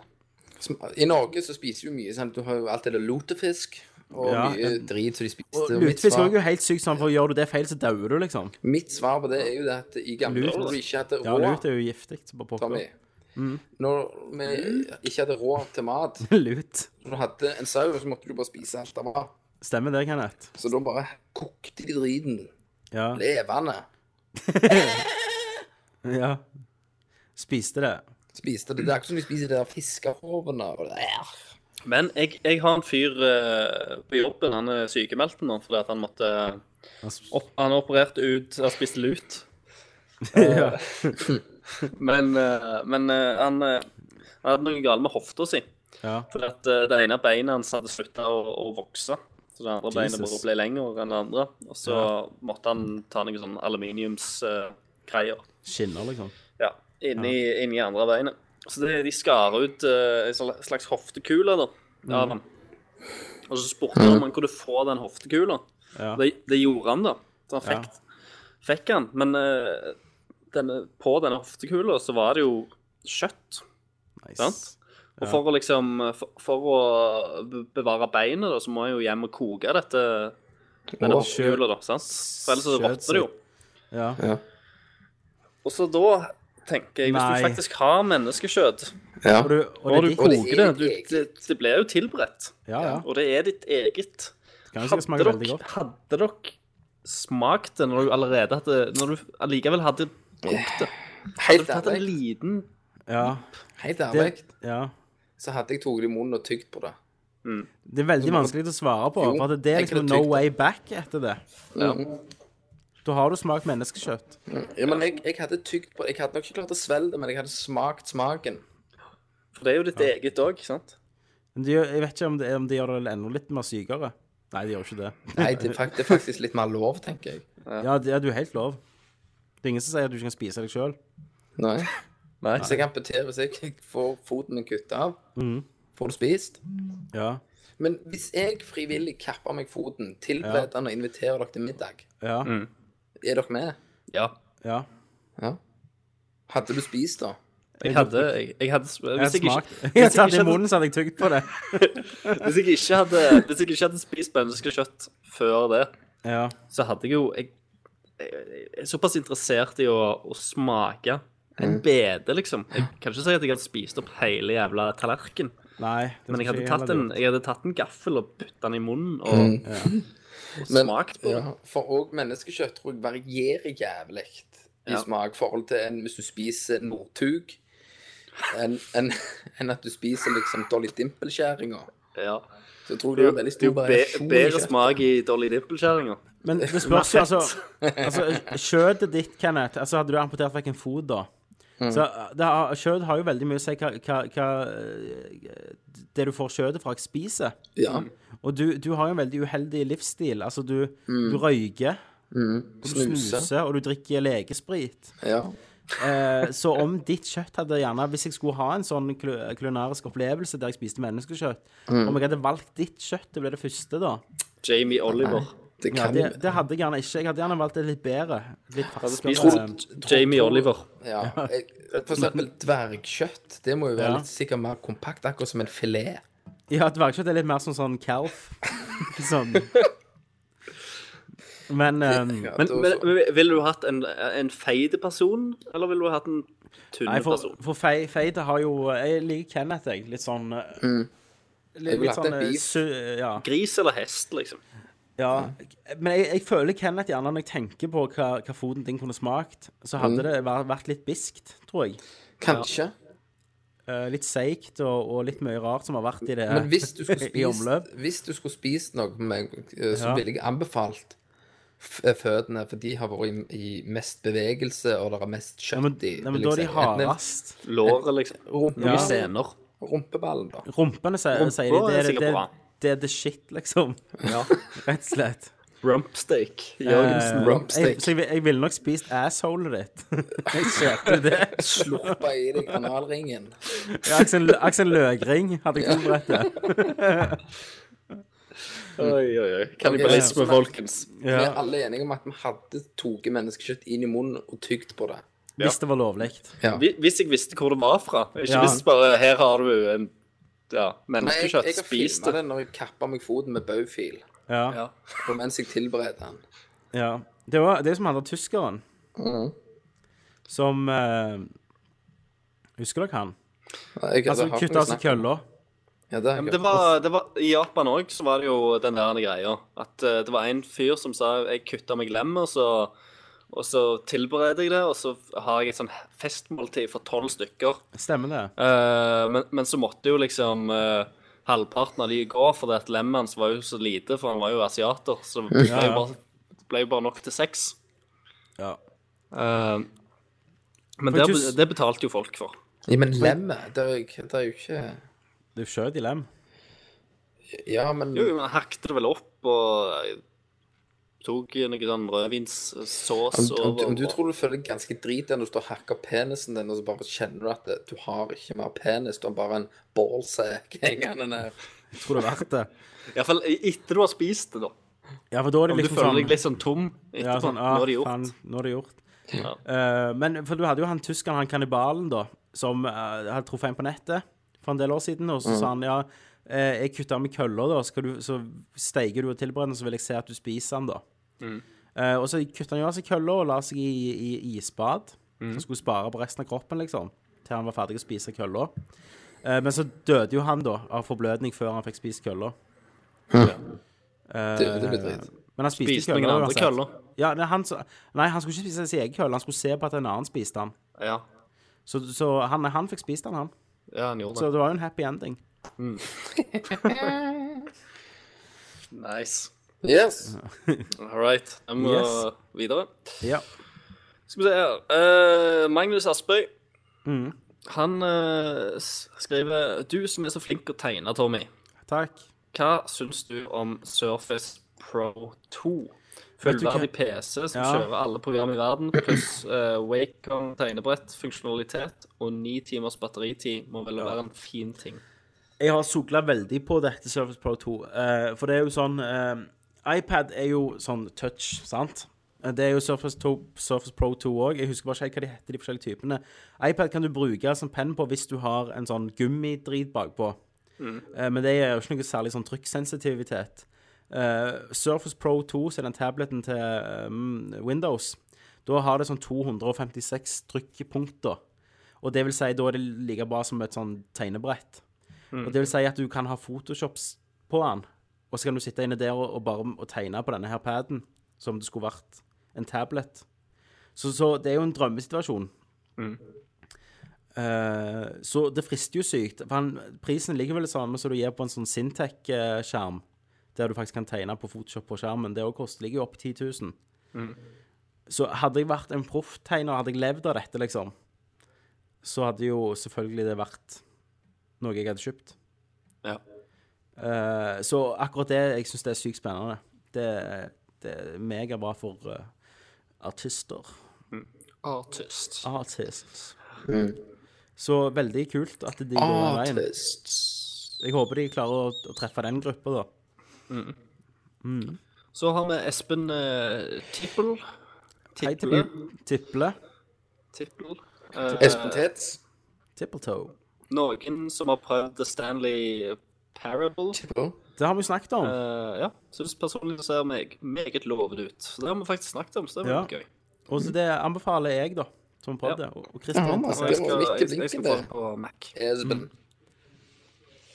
[SPEAKER 2] sm- I Norge så spiser du mye sånn. Du har jo alt det der lutefisk. Og
[SPEAKER 1] Ja.
[SPEAKER 2] mye drit som de spiste. og mitt
[SPEAKER 1] Lutefisk
[SPEAKER 2] svar-
[SPEAKER 1] er jo helt sykt sånn, for gjør du det feil, så dauer du, liksom.
[SPEAKER 2] Mitt svar på det er jo det at i gamle
[SPEAKER 1] Lut.
[SPEAKER 2] dager når vi ikke hadde
[SPEAKER 1] Ja, Mm.
[SPEAKER 2] råd
[SPEAKER 1] lut er jo giftig. så bare pokker.
[SPEAKER 2] Tommy, Når vi ikke hadde råd til mat,
[SPEAKER 1] Lut.
[SPEAKER 2] når du hadde en sau, så måtte du bare spise alt det var.
[SPEAKER 1] Stemmer det, Kenneth?
[SPEAKER 2] Så da bare kokte de driten
[SPEAKER 1] Ja.
[SPEAKER 2] levende.
[SPEAKER 1] ja. Spiste det.
[SPEAKER 2] Spiste det. Det er ikke som de spiser de der fiskehovene. og det der.
[SPEAKER 9] Men jeg, jeg har en fyr eh, på jobben. Han er sykemeldt nå fordi at han måtte
[SPEAKER 1] Altså,
[SPEAKER 9] opp, Han opererte ut Han spiste lut. Eh,
[SPEAKER 1] ja.
[SPEAKER 9] Men, eh, men eh, han, eh, han hadde noe galt med hofta si.
[SPEAKER 1] ja.
[SPEAKER 9] For at eh, det ene beinet hans hadde slutta å, å vokse. Så det andre
[SPEAKER 1] Jesus.
[SPEAKER 9] beinet bare ble lengre enn det andre. Og så måtte han ta noen sånn aluminiumsgreier
[SPEAKER 1] Skinner, liksom.
[SPEAKER 9] ja, inni, inni andre beinet. Så det, de skar ut eh, en sånn slags hoftekule da,
[SPEAKER 1] Mm.
[SPEAKER 9] av han. Og så spurte han om han kunne få den hoftekula.
[SPEAKER 1] Ja.
[SPEAKER 9] Det, det gjorde han, da. Så
[SPEAKER 1] Ja.
[SPEAKER 9] han fikk, fikk han. Men eh, denne, på denne hoftekula så var det jo kjøtt.
[SPEAKER 1] Nice.
[SPEAKER 9] Sant? Og for å liksom For, for å be- bevare beinet, da, så må jeg jo hjem og koke dette denne
[SPEAKER 2] Åh.
[SPEAKER 9] hoftehjulet, da. Sant? For ellers så
[SPEAKER 1] Skjøt
[SPEAKER 9] råtner det jo.
[SPEAKER 1] Ja.
[SPEAKER 9] Og så da tenker jeg, hvis
[SPEAKER 1] Nei.
[SPEAKER 9] du faktisk har menneskekjøtt,
[SPEAKER 2] Ja.
[SPEAKER 1] Og du, og
[SPEAKER 9] og
[SPEAKER 1] det
[SPEAKER 9] du
[SPEAKER 1] er ditt.
[SPEAKER 2] og det
[SPEAKER 9] koker det,
[SPEAKER 2] er
[SPEAKER 9] du,
[SPEAKER 2] ditt
[SPEAKER 9] det Det blir jo tilberedt.
[SPEAKER 1] Ja, ja.
[SPEAKER 9] Og det er ditt eget.
[SPEAKER 1] Det kan jo
[SPEAKER 9] Hadde
[SPEAKER 1] sikkert smake veldig
[SPEAKER 9] dere,
[SPEAKER 1] godt.
[SPEAKER 9] hadde dere smakt det når du allerede hadde Når du allikevel hadde kokt det? Hadde du
[SPEAKER 2] Helt
[SPEAKER 9] tatt en
[SPEAKER 2] ærlig,
[SPEAKER 9] liten
[SPEAKER 1] Ja.
[SPEAKER 2] helt
[SPEAKER 1] Det,
[SPEAKER 2] ærlig
[SPEAKER 1] ja.
[SPEAKER 2] så hadde jeg tatt det i munnen og tygd på det.
[SPEAKER 1] Det er veldig vanskelig å svare på,
[SPEAKER 2] Jo,
[SPEAKER 1] for at det er liksom
[SPEAKER 2] enkelt og
[SPEAKER 1] no
[SPEAKER 2] trygt.
[SPEAKER 1] way back etter det.
[SPEAKER 9] Ja.
[SPEAKER 1] Da har du smakt menneskekjøtt.
[SPEAKER 2] Ja, men jeg, jeg hadde tygd på Jeg hadde nok ikke klart å svelge det, men jeg hadde smakt smaken.
[SPEAKER 9] For det er jo ditt eget òg, sant?
[SPEAKER 1] Men de, gjør- jeg vet ikke om det, om de gjør det enda litt mer sykere. Nei, de gjør ikke det.
[SPEAKER 2] Nei, det er fakt- det er faktisk litt mer lov, tenker jeg.
[SPEAKER 1] Ja, det er du helt lov. Det er ingen som sier at du ikke kan spise deg sjøl.
[SPEAKER 2] Nei.
[SPEAKER 9] Nei.
[SPEAKER 2] Hvis jeg amputerer, hvis jeg får foten min kuttet av,
[SPEAKER 9] Mm.
[SPEAKER 2] får du spist?
[SPEAKER 1] Ja.
[SPEAKER 2] Men hvis jeg frivillig kapper meg foten, tilbereder den og inviterer dere til middag,
[SPEAKER 1] Ja.
[SPEAKER 9] Mm.
[SPEAKER 2] er dere med?
[SPEAKER 9] Ja.
[SPEAKER 1] ja.
[SPEAKER 2] Hadde du spist da?
[SPEAKER 9] Jeg hadde, jeg, jeg hadde
[SPEAKER 1] Jeg har
[SPEAKER 9] Hvis jeg ikke,
[SPEAKER 1] smakt. Jeg har
[SPEAKER 9] hvis jeg
[SPEAKER 1] tatt
[SPEAKER 9] ikke
[SPEAKER 1] i
[SPEAKER 9] hadde-
[SPEAKER 1] munnen, så hadde jeg tygd på det.
[SPEAKER 9] hvis jeg ikke hadde, hvis jeg ikke hadde spist menneskekjøtt før det,
[SPEAKER 1] Ja.
[SPEAKER 9] så hadde jeg jo jeg, jeg, jeg er såpass interessert i å, å smake en
[SPEAKER 2] Mm.
[SPEAKER 9] bede, liksom. Jeg kan ikke si at jeg hadde spist opp hele jævla tallerken,
[SPEAKER 1] Nei. det
[SPEAKER 9] men jeg
[SPEAKER 1] tror
[SPEAKER 9] hadde
[SPEAKER 1] ikke
[SPEAKER 9] tatt
[SPEAKER 1] heller
[SPEAKER 9] en, jeg hadde tatt en gaffel og putta den i munnen og, og
[SPEAKER 2] Mm. Men-
[SPEAKER 9] smakt på den.
[SPEAKER 2] For også menneskekjøtt tror jeg varierer jævlig i
[SPEAKER 9] Ja.
[SPEAKER 2] smak i forhold til en hvis du spiser nordtug, enn en, enn at du spiser liksom Dolly Dimple-skjæringa.
[SPEAKER 9] Ja.
[SPEAKER 2] Så jeg tror
[SPEAKER 9] Det
[SPEAKER 2] det
[SPEAKER 9] er
[SPEAKER 2] er
[SPEAKER 9] jo-
[SPEAKER 2] veldig
[SPEAKER 9] det er
[SPEAKER 2] stor
[SPEAKER 9] jo be-
[SPEAKER 2] variasjon i
[SPEAKER 9] bedre
[SPEAKER 2] kjøtt.
[SPEAKER 9] smak i Dolly Dimple-skjæringa.
[SPEAKER 1] gjort. Men det spørs jo, altså, altså Kjøttet ditt, Kenneth altså Hadde du amputert vekk en fot, da Så eh, det har, Kjøtt har jo veldig mye å si hva, hva, hva eh, det du får kjøttet fra, spiser.
[SPEAKER 2] Ja.
[SPEAKER 1] Og du, du har jo en veldig uheldig livsstil. Altså, du, du røyker, du
[SPEAKER 2] Snuse.
[SPEAKER 1] snuser, og du drikker legesprit.
[SPEAKER 2] Ja.
[SPEAKER 1] Eh, så om ditt kjøtt hadde gjerne Hvis jeg skulle ha en sånn kul kulinarisk opplevelse der jeg spiste menneskekjøtt Om jeg hadde valgt ditt kjøtt, det ble det første, da
[SPEAKER 9] Jamie Oliver.
[SPEAKER 2] Det
[SPEAKER 1] Ja,
[SPEAKER 2] kan
[SPEAKER 1] det, det hadde jeg gjerne ikke. Jeg hadde gjerne valgt det litt bedre. Litt ferskere.
[SPEAKER 9] Spist Jamie Oliver.
[SPEAKER 2] Ja. jeg- For eksempel dvergkjøtt. Det må jo være
[SPEAKER 1] Ja.
[SPEAKER 2] litt sikkert mer kompakt, akkurat som en filet.
[SPEAKER 1] Ja, dvergkjøtt er litt mer som sånn calf. Sånn. Men ehm,
[SPEAKER 2] Ja,
[SPEAKER 9] Men,
[SPEAKER 2] da-
[SPEAKER 9] men, men ville du hatt en, en feit person, eller ville du hatt en tynn
[SPEAKER 1] Nei, for,
[SPEAKER 9] person?
[SPEAKER 1] for Fe- Feide har jo Jeg liker Kenneth, jeg. Litt sånn eh,
[SPEAKER 2] Mm.
[SPEAKER 1] Litt,
[SPEAKER 2] ville
[SPEAKER 1] litt
[SPEAKER 2] hatt
[SPEAKER 1] sånn
[SPEAKER 2] en
[SPEAKER 1] eh,
[SPEAKER 2] beef.
[SPEAKER 1] su, ja,
[SPEAKER 9] Gris eller hest, liksom?
[SPEAKER 1] ja.
[SPEAKER 2] Mm.
[SPEAKER 1] Men jeg, jeg føler Kenneth gjerne når jeg tenker på hva, hva foten din kunne smakt, så
[SPEAKER 2] Mm.
[SPEAKER 1] hadde det væ- vært litt biskt, tror jeg.
[SPEAKER 2] kanskje.
[SPEAKER 1] Eh, litt seigt og, og litt mye rart som har vært i det.
[SPEAKER 2] Men hvis du skulle
[SPEAKER 1] I omløp.
[SPEAKER 2] spist, hvis du skulle spist noe med, eh, så
[SPEAKER 1] Ja.
[SPEAKER 2] ville jeg anbefalt f- eh, føttene, for de har vært i, i mest bevegelse, og det er mest
[SPEAKER 1] ja, men,
[SPEAKER 2] kjøtt i.
[SPEAKER 1] nei, men
[SPEAKER 2] vil
[SPEAKER 1] da er
[SPEAKER 2] jeg
[SPEAKER 1] de
[SPEAKER 2] si. Enten en
[SPEAKER 1] hardest.
[SPEAKER 9] Låret, liksom?
[SPEAKER 2] rumpe-
[SPEAKER 1] Ja.
[SPEAKER 9] Sener.
[SPEAKER 2] Rumpeballen, da.
[SPEAKER 1] Rumpene, sier,
[SPEAKER 9] Rumpa
[SPEAKER 1] sier de. Det er
[SPEAKER 9] er
[SPEAKER 1] det,
[SPEAKER 9] sikkert
[SPEAKER 1] det,
[SPEAKER 9] bra.
[SPEAKER 1] det, er the shit, liksom. Rett og slett.
[SPEAKER 9] Rumpsteak.
[SPEAKER 1] Eh,
[SPEAKER 9] Jørgensen.
[SPEAKER 2] Rumpsteak.
[SPEAKER 1] Jeg, så jeg, vil- jeg ville nok spist assholet ditt. jeg kjøpte det.
[SPEAKER 2] Slurpa i deg analringen.
[SPEAKER 1] Ja, Aksel, Aksel Løgring hadde jeg tilberedt det.
[SPEAKER 9] Oi, oi, oi.
[SPEAKER 2] Kannibalisme,
[SPEAKER 9] Kannibalisme, folkens.
[SPEAKER 2] Vi
[SPEAKER 1] Ja,
[SPEAKER 2] er alle enige om at vi hadde tatt menneskekjøtt inn i munnen og tygd på det.
[SPEAKER 1] hvis det var lovlig.
[SPEAKER 9] Hvi- Hvis jeg visste hvor det var fra. Ikke
[SPEAKER 1] Ja.
[SPEAKER 9] hvis bare Her har du en
[SPEAKER 2] Nei,
[SPEAKER 9] ja,
[SPEAKER 2] jeg,
[SPEAKER 9] menneskekjøtt.
[SPEAKER 2] jeg har
[SPEAKER 9] Spis
[SPEAKER 2] filma
[SPEAKER 9] det.
[SPEAKER 2] det når jeg kappa meg foten med baufil.
[SPEAKER 1] Ja,
[SPEAKER 2] Og mens jeg tilbereder den.
[SPEAKER 1] ja. Det var det som handla om tyskeren, som eh, Husker dere han?
[SPEAKER 2] Jeg,
[SPEAKER 1] Han som
[SPEAKER 2] det
[SPEAKER 1] kutta Altså, av
[SPEAKER 2] har vi
[SPEAKER 1] seg
[SPEAKER 2] snakket om.
[SPEAKER 1] kølla.
[SPEAKER 2] Ja, det har jeg
[SPEAKER 9] Det
[SPEAKER 2] hørt.
[SPEAKER 9] var, det var, I Japan òg så var det jo den der greia at eh, det var en fyr som sa 'jeg kutta meg lemmet', og så, og så tilbereder jeg det, og så har jeg et sånn festmåltid for tolv stykker.
[SPEAKER 1] Stemmer det?
[SPEAKER 9] Eh, men, men så måtte jo liksom eh, halvparten av de gå, for at lemmet hans var jo så lite, for han var jo asiater. Så det ble jo
[SPEAKER 1] ja.
[SPEAKER 9] bare, ble jo bare nok til seks.
[SPEAKER 1] Ja.
[SPEAKER 9] Eh, men
[SPEAKER 1] For
[SPEAKER 9] det,
[SPEAKER 1] tus-
[SPEAKER 9] det betalte jo folk for.
[SPEAKER 2] Ja, men lemmet, det er, jo ikke- det er jo ikke
[SPEAKER 1] Det er jo skjøt i lem.
[SPEAKER 2] Ja, men
[SPEAKER 9] Jo, jo, men han hakte det vel opp og eh, tok noe sånn rødvinssås
[SPEAKER 2] om, om, du-
[SPEAKER 9] over.
[SPEAKER 2] om du tror du føler deg ganske drit når du står og hakker penisen din, og så bare kjenner du at det, du har ikke mer penis, du har bare en ballsack hengende ned.
[SPEAKER 1] Jeg tror det er verdt det.
[SPEAKER 9] Iallfall etter du har spist det, da.
[SPEAKER 1] Ja, for da er
[SPEAKER 9] Om
[SPEAKER 1] det
[SPEAKER 9] du
[SPEAKER 1] liksom
[SPEAKER 9] føler
[SPEAKER 1] sånn
[SPEAKER 9] deg litt sånn tom etterpå.
[SPEAKER 1] ja, sånn, ah,
[SPEAKER 9] nå er det gjort.
[SPEAKER 1] Faen, nå er det gjort.
[SPEAKER 9] Ja.
[SPEAKER 1] Eh, men for du hadde jo han tyskeren, han kannibalen, da, som eh, hadde truffet en på nettet for en del år siden, og så
[SPEAKER 9] Mm.
[SPEAKER 1] sa han ja, eh, jeg kutta med kølla, da, skal du, så steiker du og tilbereder den, så vil jeg se at du spiser den, da.
[SPEAKER 9] Mm.
[SPEAKER 1] Eh, og så kutta han jo av seg kølla og la seg i, i isbad.
[SPEAKER 9] Mm.
[SPEAKER 1] Han skulle spare på resten av kroppen, liksom, til han var ferdig å spise kølla. Eh, men så døde jo han, da, av forblødning før han fikk spist kølla.
[SPEAKER 2] Det, det blir drit.
[SPEAKER 1] Men han spiste,
[SPEAKER 9] Spiste
[SPEAKER 1] kølla
[SPEAKER 9] noen andre
[SPEAKER 1] uansett.
[SPEAKER 9] køller.
[SPEAKER 1] Ja, nei, han, sa- nei, han skulle ikke spise sin egen kølle, han skulle se på at en annen spiste han.
[SPEAKER 9] Ja.
[SPEAKER 1] Så, så han, han fikk spist han, han.
[SPEAKER 9] ja, han gjorde
[SPEAKER 1] Så
[SPEAKER 9] det.
[SPEAKER 1] det var jo en happy ending.
[SPEAKER 9] Nice.
[SPEAKER 2] Yes.
[SPEAKER 9] All right. Jeg må
[SPEAKER 1] Yes.
[SPEAKER 9] videre.
[SPEAKER 1] Ja.
[SPEAKER 9] Skal vi se her. Eh, Magnus Aspøy.
[SPEAKER 1] Mm.
[SPEAKER 9] Han eh, s- skriver Du som er så flink å tegne, Tommy.
[SPEAKER 1] Takk.
[SPEAKER 9] Hva syns du om Surface Pro 2?
[SPEAKER 1] Vet du hva-
[SPEAKER 9] Fullverdig PC som
[SPEAKER 1] Ja.
[SPEAKER 9] kjører alle program i verden, pluss eh, Wacom tegnebrett, funksjonalitet og ni timers batteritid må vel være en fin ting.
[SPEAKER 1] Jeg har sogla veldig på dette Surface Pro 2, eh, for det er jo sånn eh, iPad er jo sånn touch, sant? Eh, Det er jo Surface, 2, Surface Pro 2 òg. Jeg husker bare ikke helt hva de heter, de forskjellige typene. iPad kan du bruke som penn på hvis du har en sånn gummidrit bakpå. Eh, men det er jo ikke noe særlig sånn trykksensitivitet. Eh, Surface Pro 2, som er den tableten til mm, Windows, da har det sånn 256 trykkpunkter. Og det vil si, da er det like bra som et sånn tegnebrett. Og det vil si at du kan ha photoshops på den, og så kan du sitte inne der og, og bare og tegne på denne her paden, som det skulle vært en tablet. Så, så det er jo en drømmesituasjon. Eh, så det frister jo sykt. For han, prisen ligger vel det samme som du gir på en sånn Sintec-skjerm, der du faktisk kan tegne på Photoshop på skjermen. Det også koster, ligger jo opp 10 000. Så hadde jeg vært en profftegner, hadde jeg levd av dette, liksom, så hadde jo selvfølgelig det vært noe jeg hadde kjøpt.
[SPEAKER 9] Ja.
[SPEAKER 1] Eh, så akkurat det, jeg syns det er sykt spennende. Det, det er megabra for eh, artister.
[SPEAKER 9] Artist.
[SPEAKER 1] Artists. Så veldig kult at de går den veien.
[SPEAKER 2] Artists.
[SPEAKER 1] Jeg håper de klarer å, å treffe den gruppa, da.
[SPEAKER 9] Så har vi Espen eh, Tippel.
[SPEAKER 1] Hei,
[SPEAKER 9] Tiple.
[SPEAKER 1] Tipple.
[SPEAKER 9] Tippel. Eh,
[SPEAKER 2] Espen Tets.
[SPEAKER 1] Tippletoe.
[SPEAKER 9] Noen som har prøvd The Stanley Parable.
[SPEAKER 2] Tipper.
[SPEAKER 1] Det har vi snakket om.
[SPEAKER 9] Eh, ja, synes personlig det ser meg meget lovende ut. Så det har vi faktisk snakket om, så det
[SPEAKER 1] Ja.
[SPEAKER 9] var litt gøy.
[SPEAKER 1] Og så det anbefaler jeg, da. Som har prøvd
[SPEAKER 9] Ja.
[SPEAKER 1] det. Og og Christer.
[SPEAKER 2] men
[SPEAKER 9] Og
[SPEAKER 2] altså,
[SPEAKER 1] Vinter.
[SPEAKER 9] jeg
[SPEAKER 2] det var
[SPEAKER 9] skal, jeg,
[SPEAKER 2] viktig
[SPEAKER 9] jeg
[SPEAKER 2] blinken
[SPEAKER 9] skal få
[SPEAKER 2] der.
[SPEAKER 9] det på Mac.
[SPEAKER 2] Espen.
[SPEAKER 9] mm.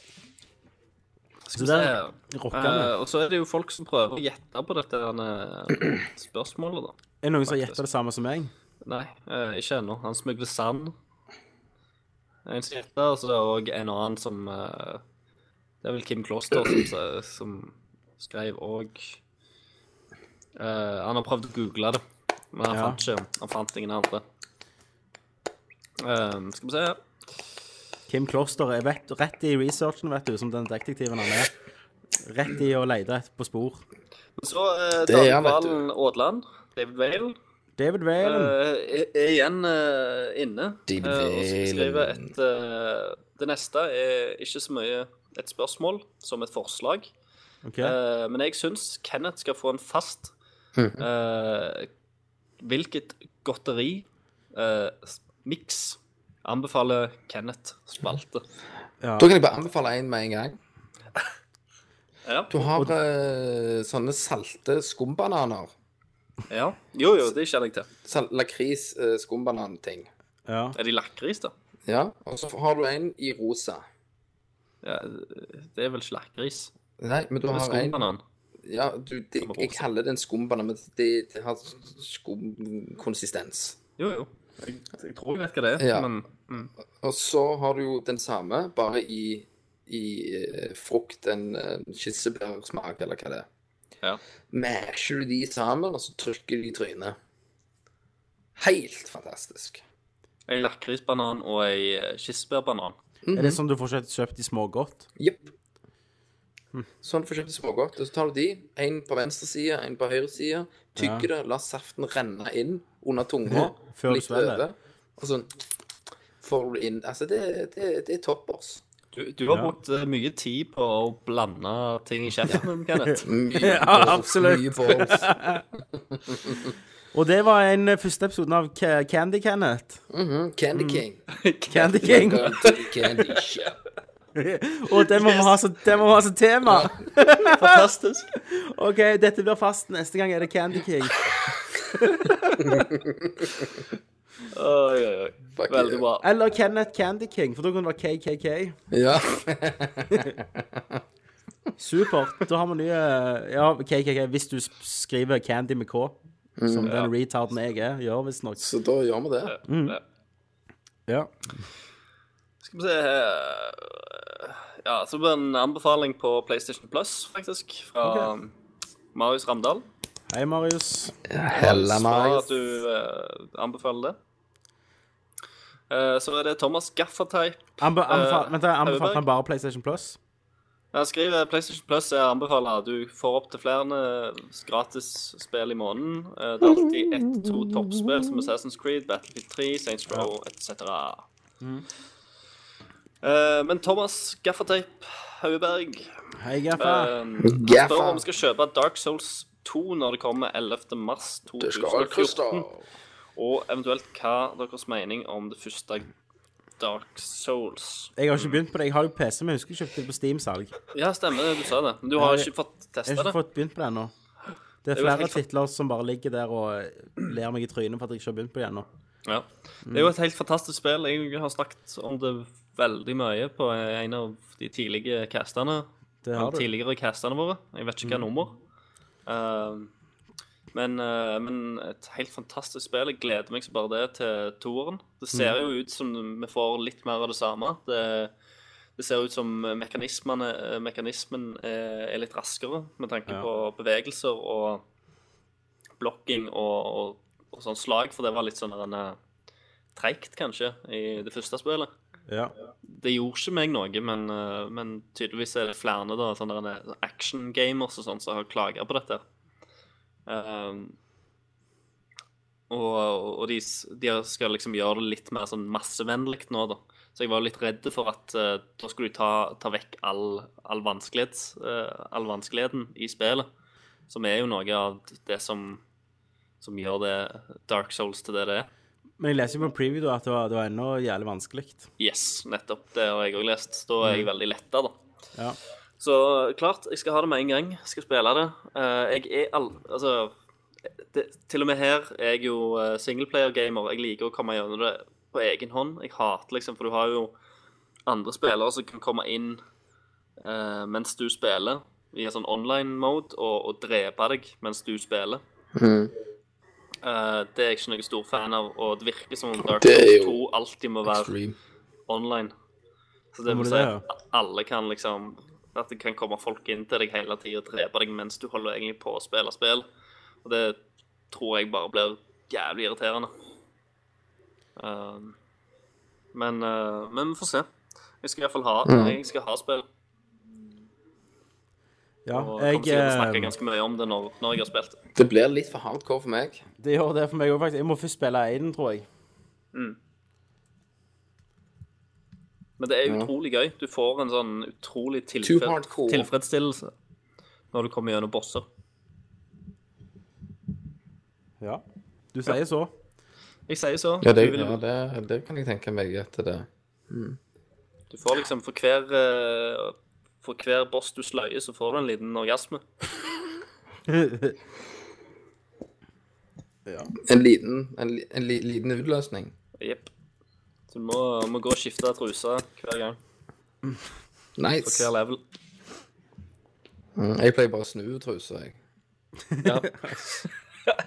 [SPEAKER 9] Skal vi
[SPEAKER 1] det
[SPEAKER 9] se.
[SPEAKER 1] er rockende.
[SPEAKER 9] Eh, og så er det jo folk som prøver å gjette på dette her, eh, spørsmålet, da.
[SPEAKER 1] Er det noen som har gjetta det samme som meg?
[SPEAKER 9] Nei, eh, ikke ennå. Han smugler sand. En som gjetter, og så er det òg en annen som eh, Det er vel Kim Kloster som, sa- som skrev òg Han har prøvd å google det, men han
[SPEAKER 1] Ja.
[SPEAKER 9] fant ikke Han fant ingen andre. Eh, skal vi se
[SPEAKER 1] Kim Kloster er vet, rett i researchen, vet du, som den detektiven han er. Rett i å lete et- på spor.
[SPEAKER 9] Så uh,
[SPEAKER 2] Det er
[SPEAKER 9] David
[SPEAKER 2] han, vet du.
[SPEAKER 9] Valen Aadland. David Vale.
[SPEAKER 1] David Valen.
[SPEAKER 9] Eh, er- er igjen eh, inne.
[SPEAKER 2] David
[SPEAKER 9] eh, og skal skrive
[SPEAKER 2] Valen.
[SPEAKER 9] et eh, Det neste er ikke så mye et spørsmål som et forslag.
[SPEAKER 1] ok.
[SPEAKER 9] Eh, men jeg syns Kenneth skal få en fast
[SPEAKER 2] Hm.
[SPEAKER 9] eh, Hvilket godteri uh, miks anbefaler Kenneth spalte?
[SPEAKER 2] Da kan jeg bare anbefale en med en gang.
[SPEAKER 9] Ja.
[SPEAKER 2] Du har eh, sånne salte skumbananer.
[SPEAKER 9] ja. Jo, jo, det kjenner jeg til.
[SPEAKER 2] Sal lakris eh, skumbanan-ting.
[SPEAKER 1] ja.
[SPEAKER 9] Er de lakris, da?
[SPEAKER 2] Ja. Og så har du en i rosa.
[SPEAKER 9] Ja, det er vel ikke lakris.
[SPEAKER 2] Nei, men du
[SPEAKER 9] Det er
[SPEAKER 2] har en
[SPEAKER 9] skumbanan.
[SPEAKER 2] Ja, du, det,
[SPEAKER 9] var
[SPEAKER 2] jeg
[SPEAKER 9] rosa.
[SPEAKER 2] kaller det en skumbanan, men det, det har skumkonsistens.
[SPEAKER 9] Jo, jo. Jeg, jeg tror jeg vet hva det er,
[SPEAKER 2] Ja.
[SPEAKER 9] men mm.
[SPEAKER 2] Og så har du jo den samme, bare i, i eh, frukt, en eh, kirsebærsmak, eller hva det er.
[SPEAKER 9] Ja.
[SPEAKER 2] Masher du de sammen, og så trykker du de i trynet. Helt fantastisk.
[SPEAKER 9] En lakrisbanan og en eh, kirsebærbanan.
[SPEAKER 1] Er
[SPEAKER 9] Mhm.
[SPEAKER 1] det sånn du får kjøpt, kjøpt de små godt?
[SPEAKER 2] Jepp. Sånn for eksempel smågodt. Og så tar du de, en på venstre side, en på høyre side, tygger det, la saften renne inn under tunga,
[SPEAKER 1] Før du
[SPEAKER 2] litt
[SPEAKER 1] svelger.
[SPEAKER 2] over, og sånn får du det inn. Altså, det, det, det er toppers.
[SPEAKER 9] Du, du har
[SPEAKER 1] Ja.
[SPEAKER 9] brukt eh, mye tid på å blande ting i kjeften, Kenneth.
[SPEAKER 2] Mye
[SPEAKER 1] Ja,
[SPEAKER 2] balls,
[SPEAKER 1] absolutt.
[SPEAKER 2] Mye balls.
[SPEAKER 1] Og det var en eh, første episoden av Ca- Candy Kenneth.
[SPEAKER 2] Mhm, Candy King.
[SPEAKER 1] Candy King.
[SPEAKER 2] Welcome to the candy shop.
[SPEAKER 1] Og det må vi ha som- det må vi ha som tema.
[SPEAKER 9] Fantastisk.
[SPEAKER 1] OK, dette blir fast. Neste gang er det Candy King.
[SPEAKER 9] Oi, oi, oi.
[SPEAKER 2] Fuck
[SPEAKER 9] Veldig
[SPEAKER 2] you.
[SPEAKER 9] bra.
[SPEAKER 1] Eller Kenneth Candy King, for da kunne det være KKK.
[SPEAKER 2] Ja.
[SPEAKER 1] Supert. Da har vi nye eh, Ja, KKK, hvis du s- skriver Candy med K,
[SPEAKER 9] Mm.
[SPEAKER 1] som den retarden jeg er, gjør visstnok.
[SPEAKER 2] Så da gjør vi det.
[SPEAKER 1] Ja.
[SPEAKER 9] Skal vi se her eh, Ja, så blir det en anbefaling på PlayStation Plus, faktisk, fra um, Marius Ramdal.
[SPEAKER 1] Hei, Marius.
[SPEAKER 2] Hella
[SPEAKER 9] Svar at du eh, anbefaler det. Eh, så er det Thomas Gaffateip.
[SPEAKER 1] Anbe anbefal
[SPEAKER 9] Eh,
[SPEAKER 1] Vent, da, anbefalte
[SPEAKER 9] Høiberg?
[SPEAKER 1] han bare PlayStation Plus?
[SPEAKER 9] Jeg skriver PlayStation Plus er anbefaler. Du får opp til flere gratis spill i måneden. Eh, Det er alltid ett-to toppspill som Assassin's Creed, Battlefield 3, Saints Row etc. Mm. Eh, Men Thomas Gaffateip Haugeberg
[SPEAKER 1] Hei, Gaffa.
[SPEAKER 9] eh,
[SPEAKER 2] Gaffa.
[SPEAKER 9] spør om vi skal kjøpe Dark Souls 2 når det kommer 11. mars
[SPEAKER 2] Det skal
[SPEAKER 9] 2014.
[SPEAKER 2] Christer.
[SPEAKER 9] Og eventuelt hva deres mening om det første Dark Souls.
[SPEAKER 1] Jeg har ikke begynt på det. Jeg har jo PC, men jeg husker jeg kjøpte det på Steam-salg.
[SPEAKER 9] Ja, stemmer det. Du sa det. Men Du har
[SPEAKER 1] Ja, jeg-
[SPEAKER 9] ikke fått
[SPEAKER 1] Jeg
[SPEAKER 9] testa
[SPEAKER 1] har
[SPEAKER 9] det.
[SPEAKER 1] ikke fått begynt på det ennå. Det er
[SPEAKER 9] jo
[SPEAKER 1] flere
[SPEAKER 9] helt fa-
[SPEAKER 1] titler som bare ligger der og ler meg i trynet for at jeg ikke har begynt på det ennå.
[SPEAKER 9] Ja. Det er jo et helt fantastisk spill. Jeg har snakket om det veldig mye på en av de tidlige castene.
[SPEAKER 1] Det har du.
[SPEAKER 9] De
[SPEAKER 1] Mm.
[SPEAKER 9] tidligere castene våre. Jeg vet ikke hva nummer. Ehm, men, eh, men et helt fantastisk spill. Jeg gleder meg så bare det til toeren. Det
[SPEAKER 1] Mm.
[SPEAKER 9] ser jo ut som vi får litt mer av det samme. Det, det ser ut som mekanismene- mekanismen eh, er, er litt raskere med tanke
[SPEAKER 1] Ja.
[SPEAKER 9] på bevegelser og blokking og, og, og sånn slag, for det var litt sånn der, eh, treigt, kanskje, i det første spillet.
[SPEAKER 1] Ja.
[SPEAKER 9] Det gjorde ikke meg noe, men, eh, men tydeligvis er det flere da, sånne der action-gamers og sånn som har klaget på dette. Um, og og de, s- de skal liksom gjøre det litt mer sånn massevennlig nå, da. Så jeg var litt redd for at eh, da skulle de ta, ta vekk all, all, vanskelighets, eh, all vanskeligheten i spillet. Som er jo noe av det som, som gjør det Dark Souls til det det er.
[SPEAKER 1] Men jeg leser jo på preview da at det var, det var ennå jævlig vanskelig.
[SPEAKER 9] Yes, nettopp. Det har jeg òg lest. Da er jeg veldig letta, da.
[SPEAKER 1] Ja.
[SPEAKER 9] Så klart, jeg skal ha det med en gang. Jeg skal spille det. Eh, jeg er all... Altså det, Til og med her er jeg jo eh, singleplayer-gamer. Jeg liker å komme gjennom det på egen hånd. Jeg hater liksom, for du har jo andre spillere som kan komme inn eh, mens du spiller, i en sånn online-mode, og, og drepe deg mens du spiller.
[SPEAKER 2] Mm.
[SPEAKER 9] Eh, det er jeg ikke noen stor fan av, og det virker som om Dark
[SPEAKER 2] Det er
[SPEAKER 9] Souls
[SPEAKER 2] jo
[SPEAKER 9] 2 alltid må være
[SPEAKER 2] Stream.
[SPEAKER 9] online. Så det
[SPEAKER 1] Må
[SPEAKER 9] vil
[SPEAKER 1] det
[SPEAKER 9] si
[SPEAKER 1] det,
[SPEAKER 9] at alle kan liksom At det kan komme folk inn til deg hele tida og drepe deg mens du holder egentlig på å spille spill. Og det tror jeg bare blir jævlig irriterende. Um, men, uh, men vi får se. Jeg skal iallfall ha
[SPEAKER 2] Mm.
[SPEAKER 9] Jeg skal ha spill.
[SPEAKER 1] Ja,
[SPEAKER 9] Og
[SPEAKER 1] jeg
[SPEAKER 9] kommer sikkert til å snakke
[SPEAKER 1] eh,
[SPEAKER 9] ganske mye om det når, når jeg har spilt. det.
[SPEAKER 2] Det blir litt for hardcore for meg.
[SPEAKER 1] Det gjør det for meg òg, faktisk. Jeg må først spille Aiden, tror jeg.
[SPEAKER 9] Men
[SPEAKER 2] Mm.
[SPEAKER 9] det er utrolig gøy. Du får en sånn utrolig
[SPEAKER 2] Too
[SPEAKER 9] tilfred,
[SPEAKER 2] hardcore.
[SPEAKER 9] tilfredsstillelse når du kommer gjennom bosser.
[SPEAKER 1] Ja. Du sier så.
[SPEAKER 9] Jeg sier så.
[SPEAKER 2] Ja, det,
[SPEAKER 9] du, vil,
[SPEAKER 2] ja det, det kan jeg tenke meg at det
[SPEAKER 9] du får liksom for hver eh, For hver boss du sløyer, så får du en liten orgasme.
[SPEAKER 2] En liten, en, li- en li, liten utløsning.
[SPEAKER 9] Jepp. Så du må, må gå og skifte truse hver gang. På
[SPEAKER 2] Nice.
[SPEAKER 9] hver level.
[SPEAKER 2] Mm, Jeg pleier bare å snu truser, jeg.
[SPEAKER 9] Ja.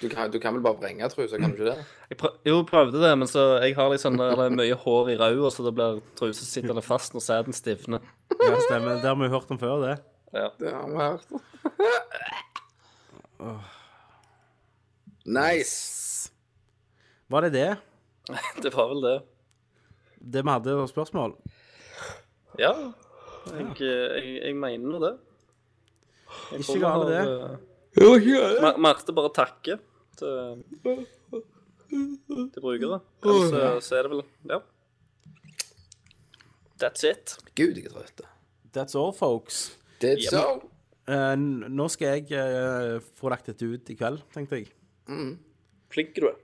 [SPEAKER 2] Du kan, du kan vel bare vrenge truser, kan du ikke det?
[SPEAKER 9] Jeg prøv, jo, prøvde det, men så jeg har liksom der, det er mye hår i ræva, så det blir trusa sittende fast når sæden stivner.
[SPEAKER 1] Ja, stemmer. Det har vi jo hørt om før, det.
[SPEAKER 2] Det har vi hørt. Nice.
[SPEAKER 1] Var det det?
[SPEAKER 9] Det var vel det.
[SPEAKER 1] Det vi hadde av spørsmål?
[SPEAKER 9] Ja. Jeg, eh, jeg, jeg mener nå det. Jeg
[SPEAKER 1] Ikke gale det.
[SPEAKER 9] det. Marte bare takker til, til brukere. Så, så er det vel Ja. That's it.
[SPEAKER 2] Gud, jeg er trøtt.
[SPEAKER 1] That's all, folks.
[SPEAKER 2] Det er så.
[SPEAKER 1] Eh, n- nå skal jeg eh, få lagt dette ut i kveld, tenkte jeg.
[SPEAKER 9] Flink du er.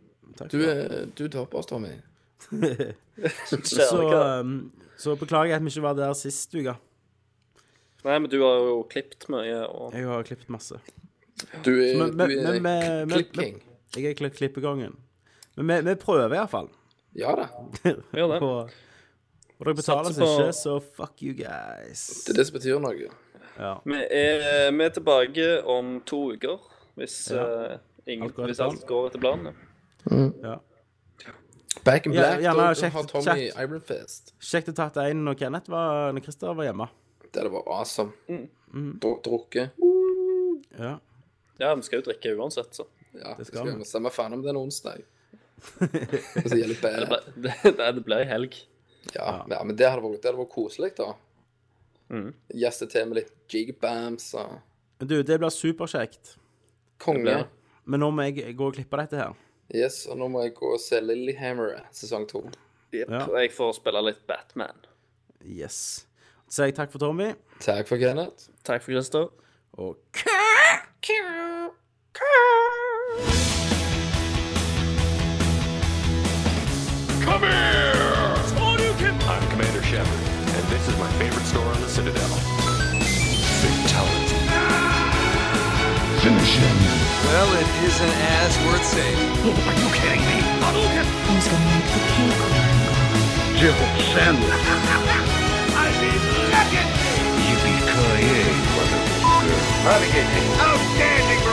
[SPEAKER 2] Du, er- du topper oss, Tommy.
[SPEAKER 1] Så,
[SPEAKER 9] Kjærlighet.
[SPEAKER 1] eh, så beklager jeg at vi ikke var der sist uke.
[SPEAKER 9] Nei, men du har jo klippet mye, og
[SPEAKER 1] Jeg har klippet masse.
[SPEAKER 2] Du er,
[SPEAKER 1] Men- men-
[SPEAKER 2] du er
[SPEAKER 1] men- men- men-
[SPEAKER 2] klippking.
[SPEAKER 1] Jeg er klipp klippegangen. Men vi, vi prøver iallfall.
[SPEAKER 2] Ja da.
[SPEAKER 9] vi gjør det.
[SPEAKER 1] Og, og dere betaler oss
[SPEAKER 9] Satser på-
[SPEAKER 1] ikke, så fuck you guys.
[SPEAKER 2] Det er det som betyr noe.
[SPEAKER 9] Vi er, vi er tilbake om to uker, hvis,
[SPEAKER 1] Ja.
[SPEAKER 9] eh, ingen,
[SPEAKER 1] Alt går etter
[SPEAKER 9] hvis alt går etter planen.
[SPEAKER 1] Ja.
[SPEAKER 2] Back in
[SPEAKER 1] Ja,
[SPEAKER 2] black,
[SPEAKER 1] gjerne
[SPEAKER 2] da
[SPEAKER 1] sjekk-
[SPEAKER 2] har Tommy
[SPEAKER 1] sjekk.
[SPEAKER 2] Iron Fist.
[SPEAKER 1] Kjekt å tatt en når Kenneth var, når Christer var hjemme.
[SPEAKER 2] Det hadde vært awesome.
[SPEAKER 1] Mm.
[SPEAKER 2] Dru- Drukke.
[SPEAKER 1] Ja.
[SPEAKER 9] Ja, vi skal jo drikke uansett, så.
[SPEAKER 2] Ja, det
[SPEAKER 1] skal
[SPEAKER 2] skal
[SPEAKER 1] vi.
[SPEAKER 2] vi stemme faen om det er en onsdag. Og så gjelder
[SPEAKER 9] Det
[SPEAKER 2] bad.
[SPEAKER 9] ble- det- det ble helg.
[SPEAKER 2] Ja, ja, men det hadde vært, det hadde vært koselig, da.
[SPEAKER 9] Mhm.
[SPEAKER 2] Gjeste til med litt jigbams og
[SPEAKER 1] Men Du, det blir superkjekt.
[SPEAKER 2] konge.
[SPEAKER 9] Det
[SPEAKER 1] Men nå må jeg gå og klippe dette her.
[SPEAKER 2] Yes, og nå må jeg gå og se Lillehammer sesong to.
[SPEAKER 1] Ja.
[SPEAKER 9] Og Jeg får spille litt Batman.
[SPEAKER 1] Yes. Så sier jeg takk for Tommy.
[SPEAKER 2] Takk for Kenneth.
[SPEAKER 9] Takk for Christer.
[SPEAKER 1] Og
[SPEAKER 4] Come here! I'm Commander Shepard, and this is my favorite store on the Citadel. Fatality. Finish him.
[SPEAKER 5] Well, it isn't as worth saying.
[SPEAKER 4] Oh, Are you kidding me?
[SPEAKER 6] Who's gonna make the cake?
[SPEAKER 4] I mean, look at me! Yippee-ki-yay, motherfucker. Outstanding,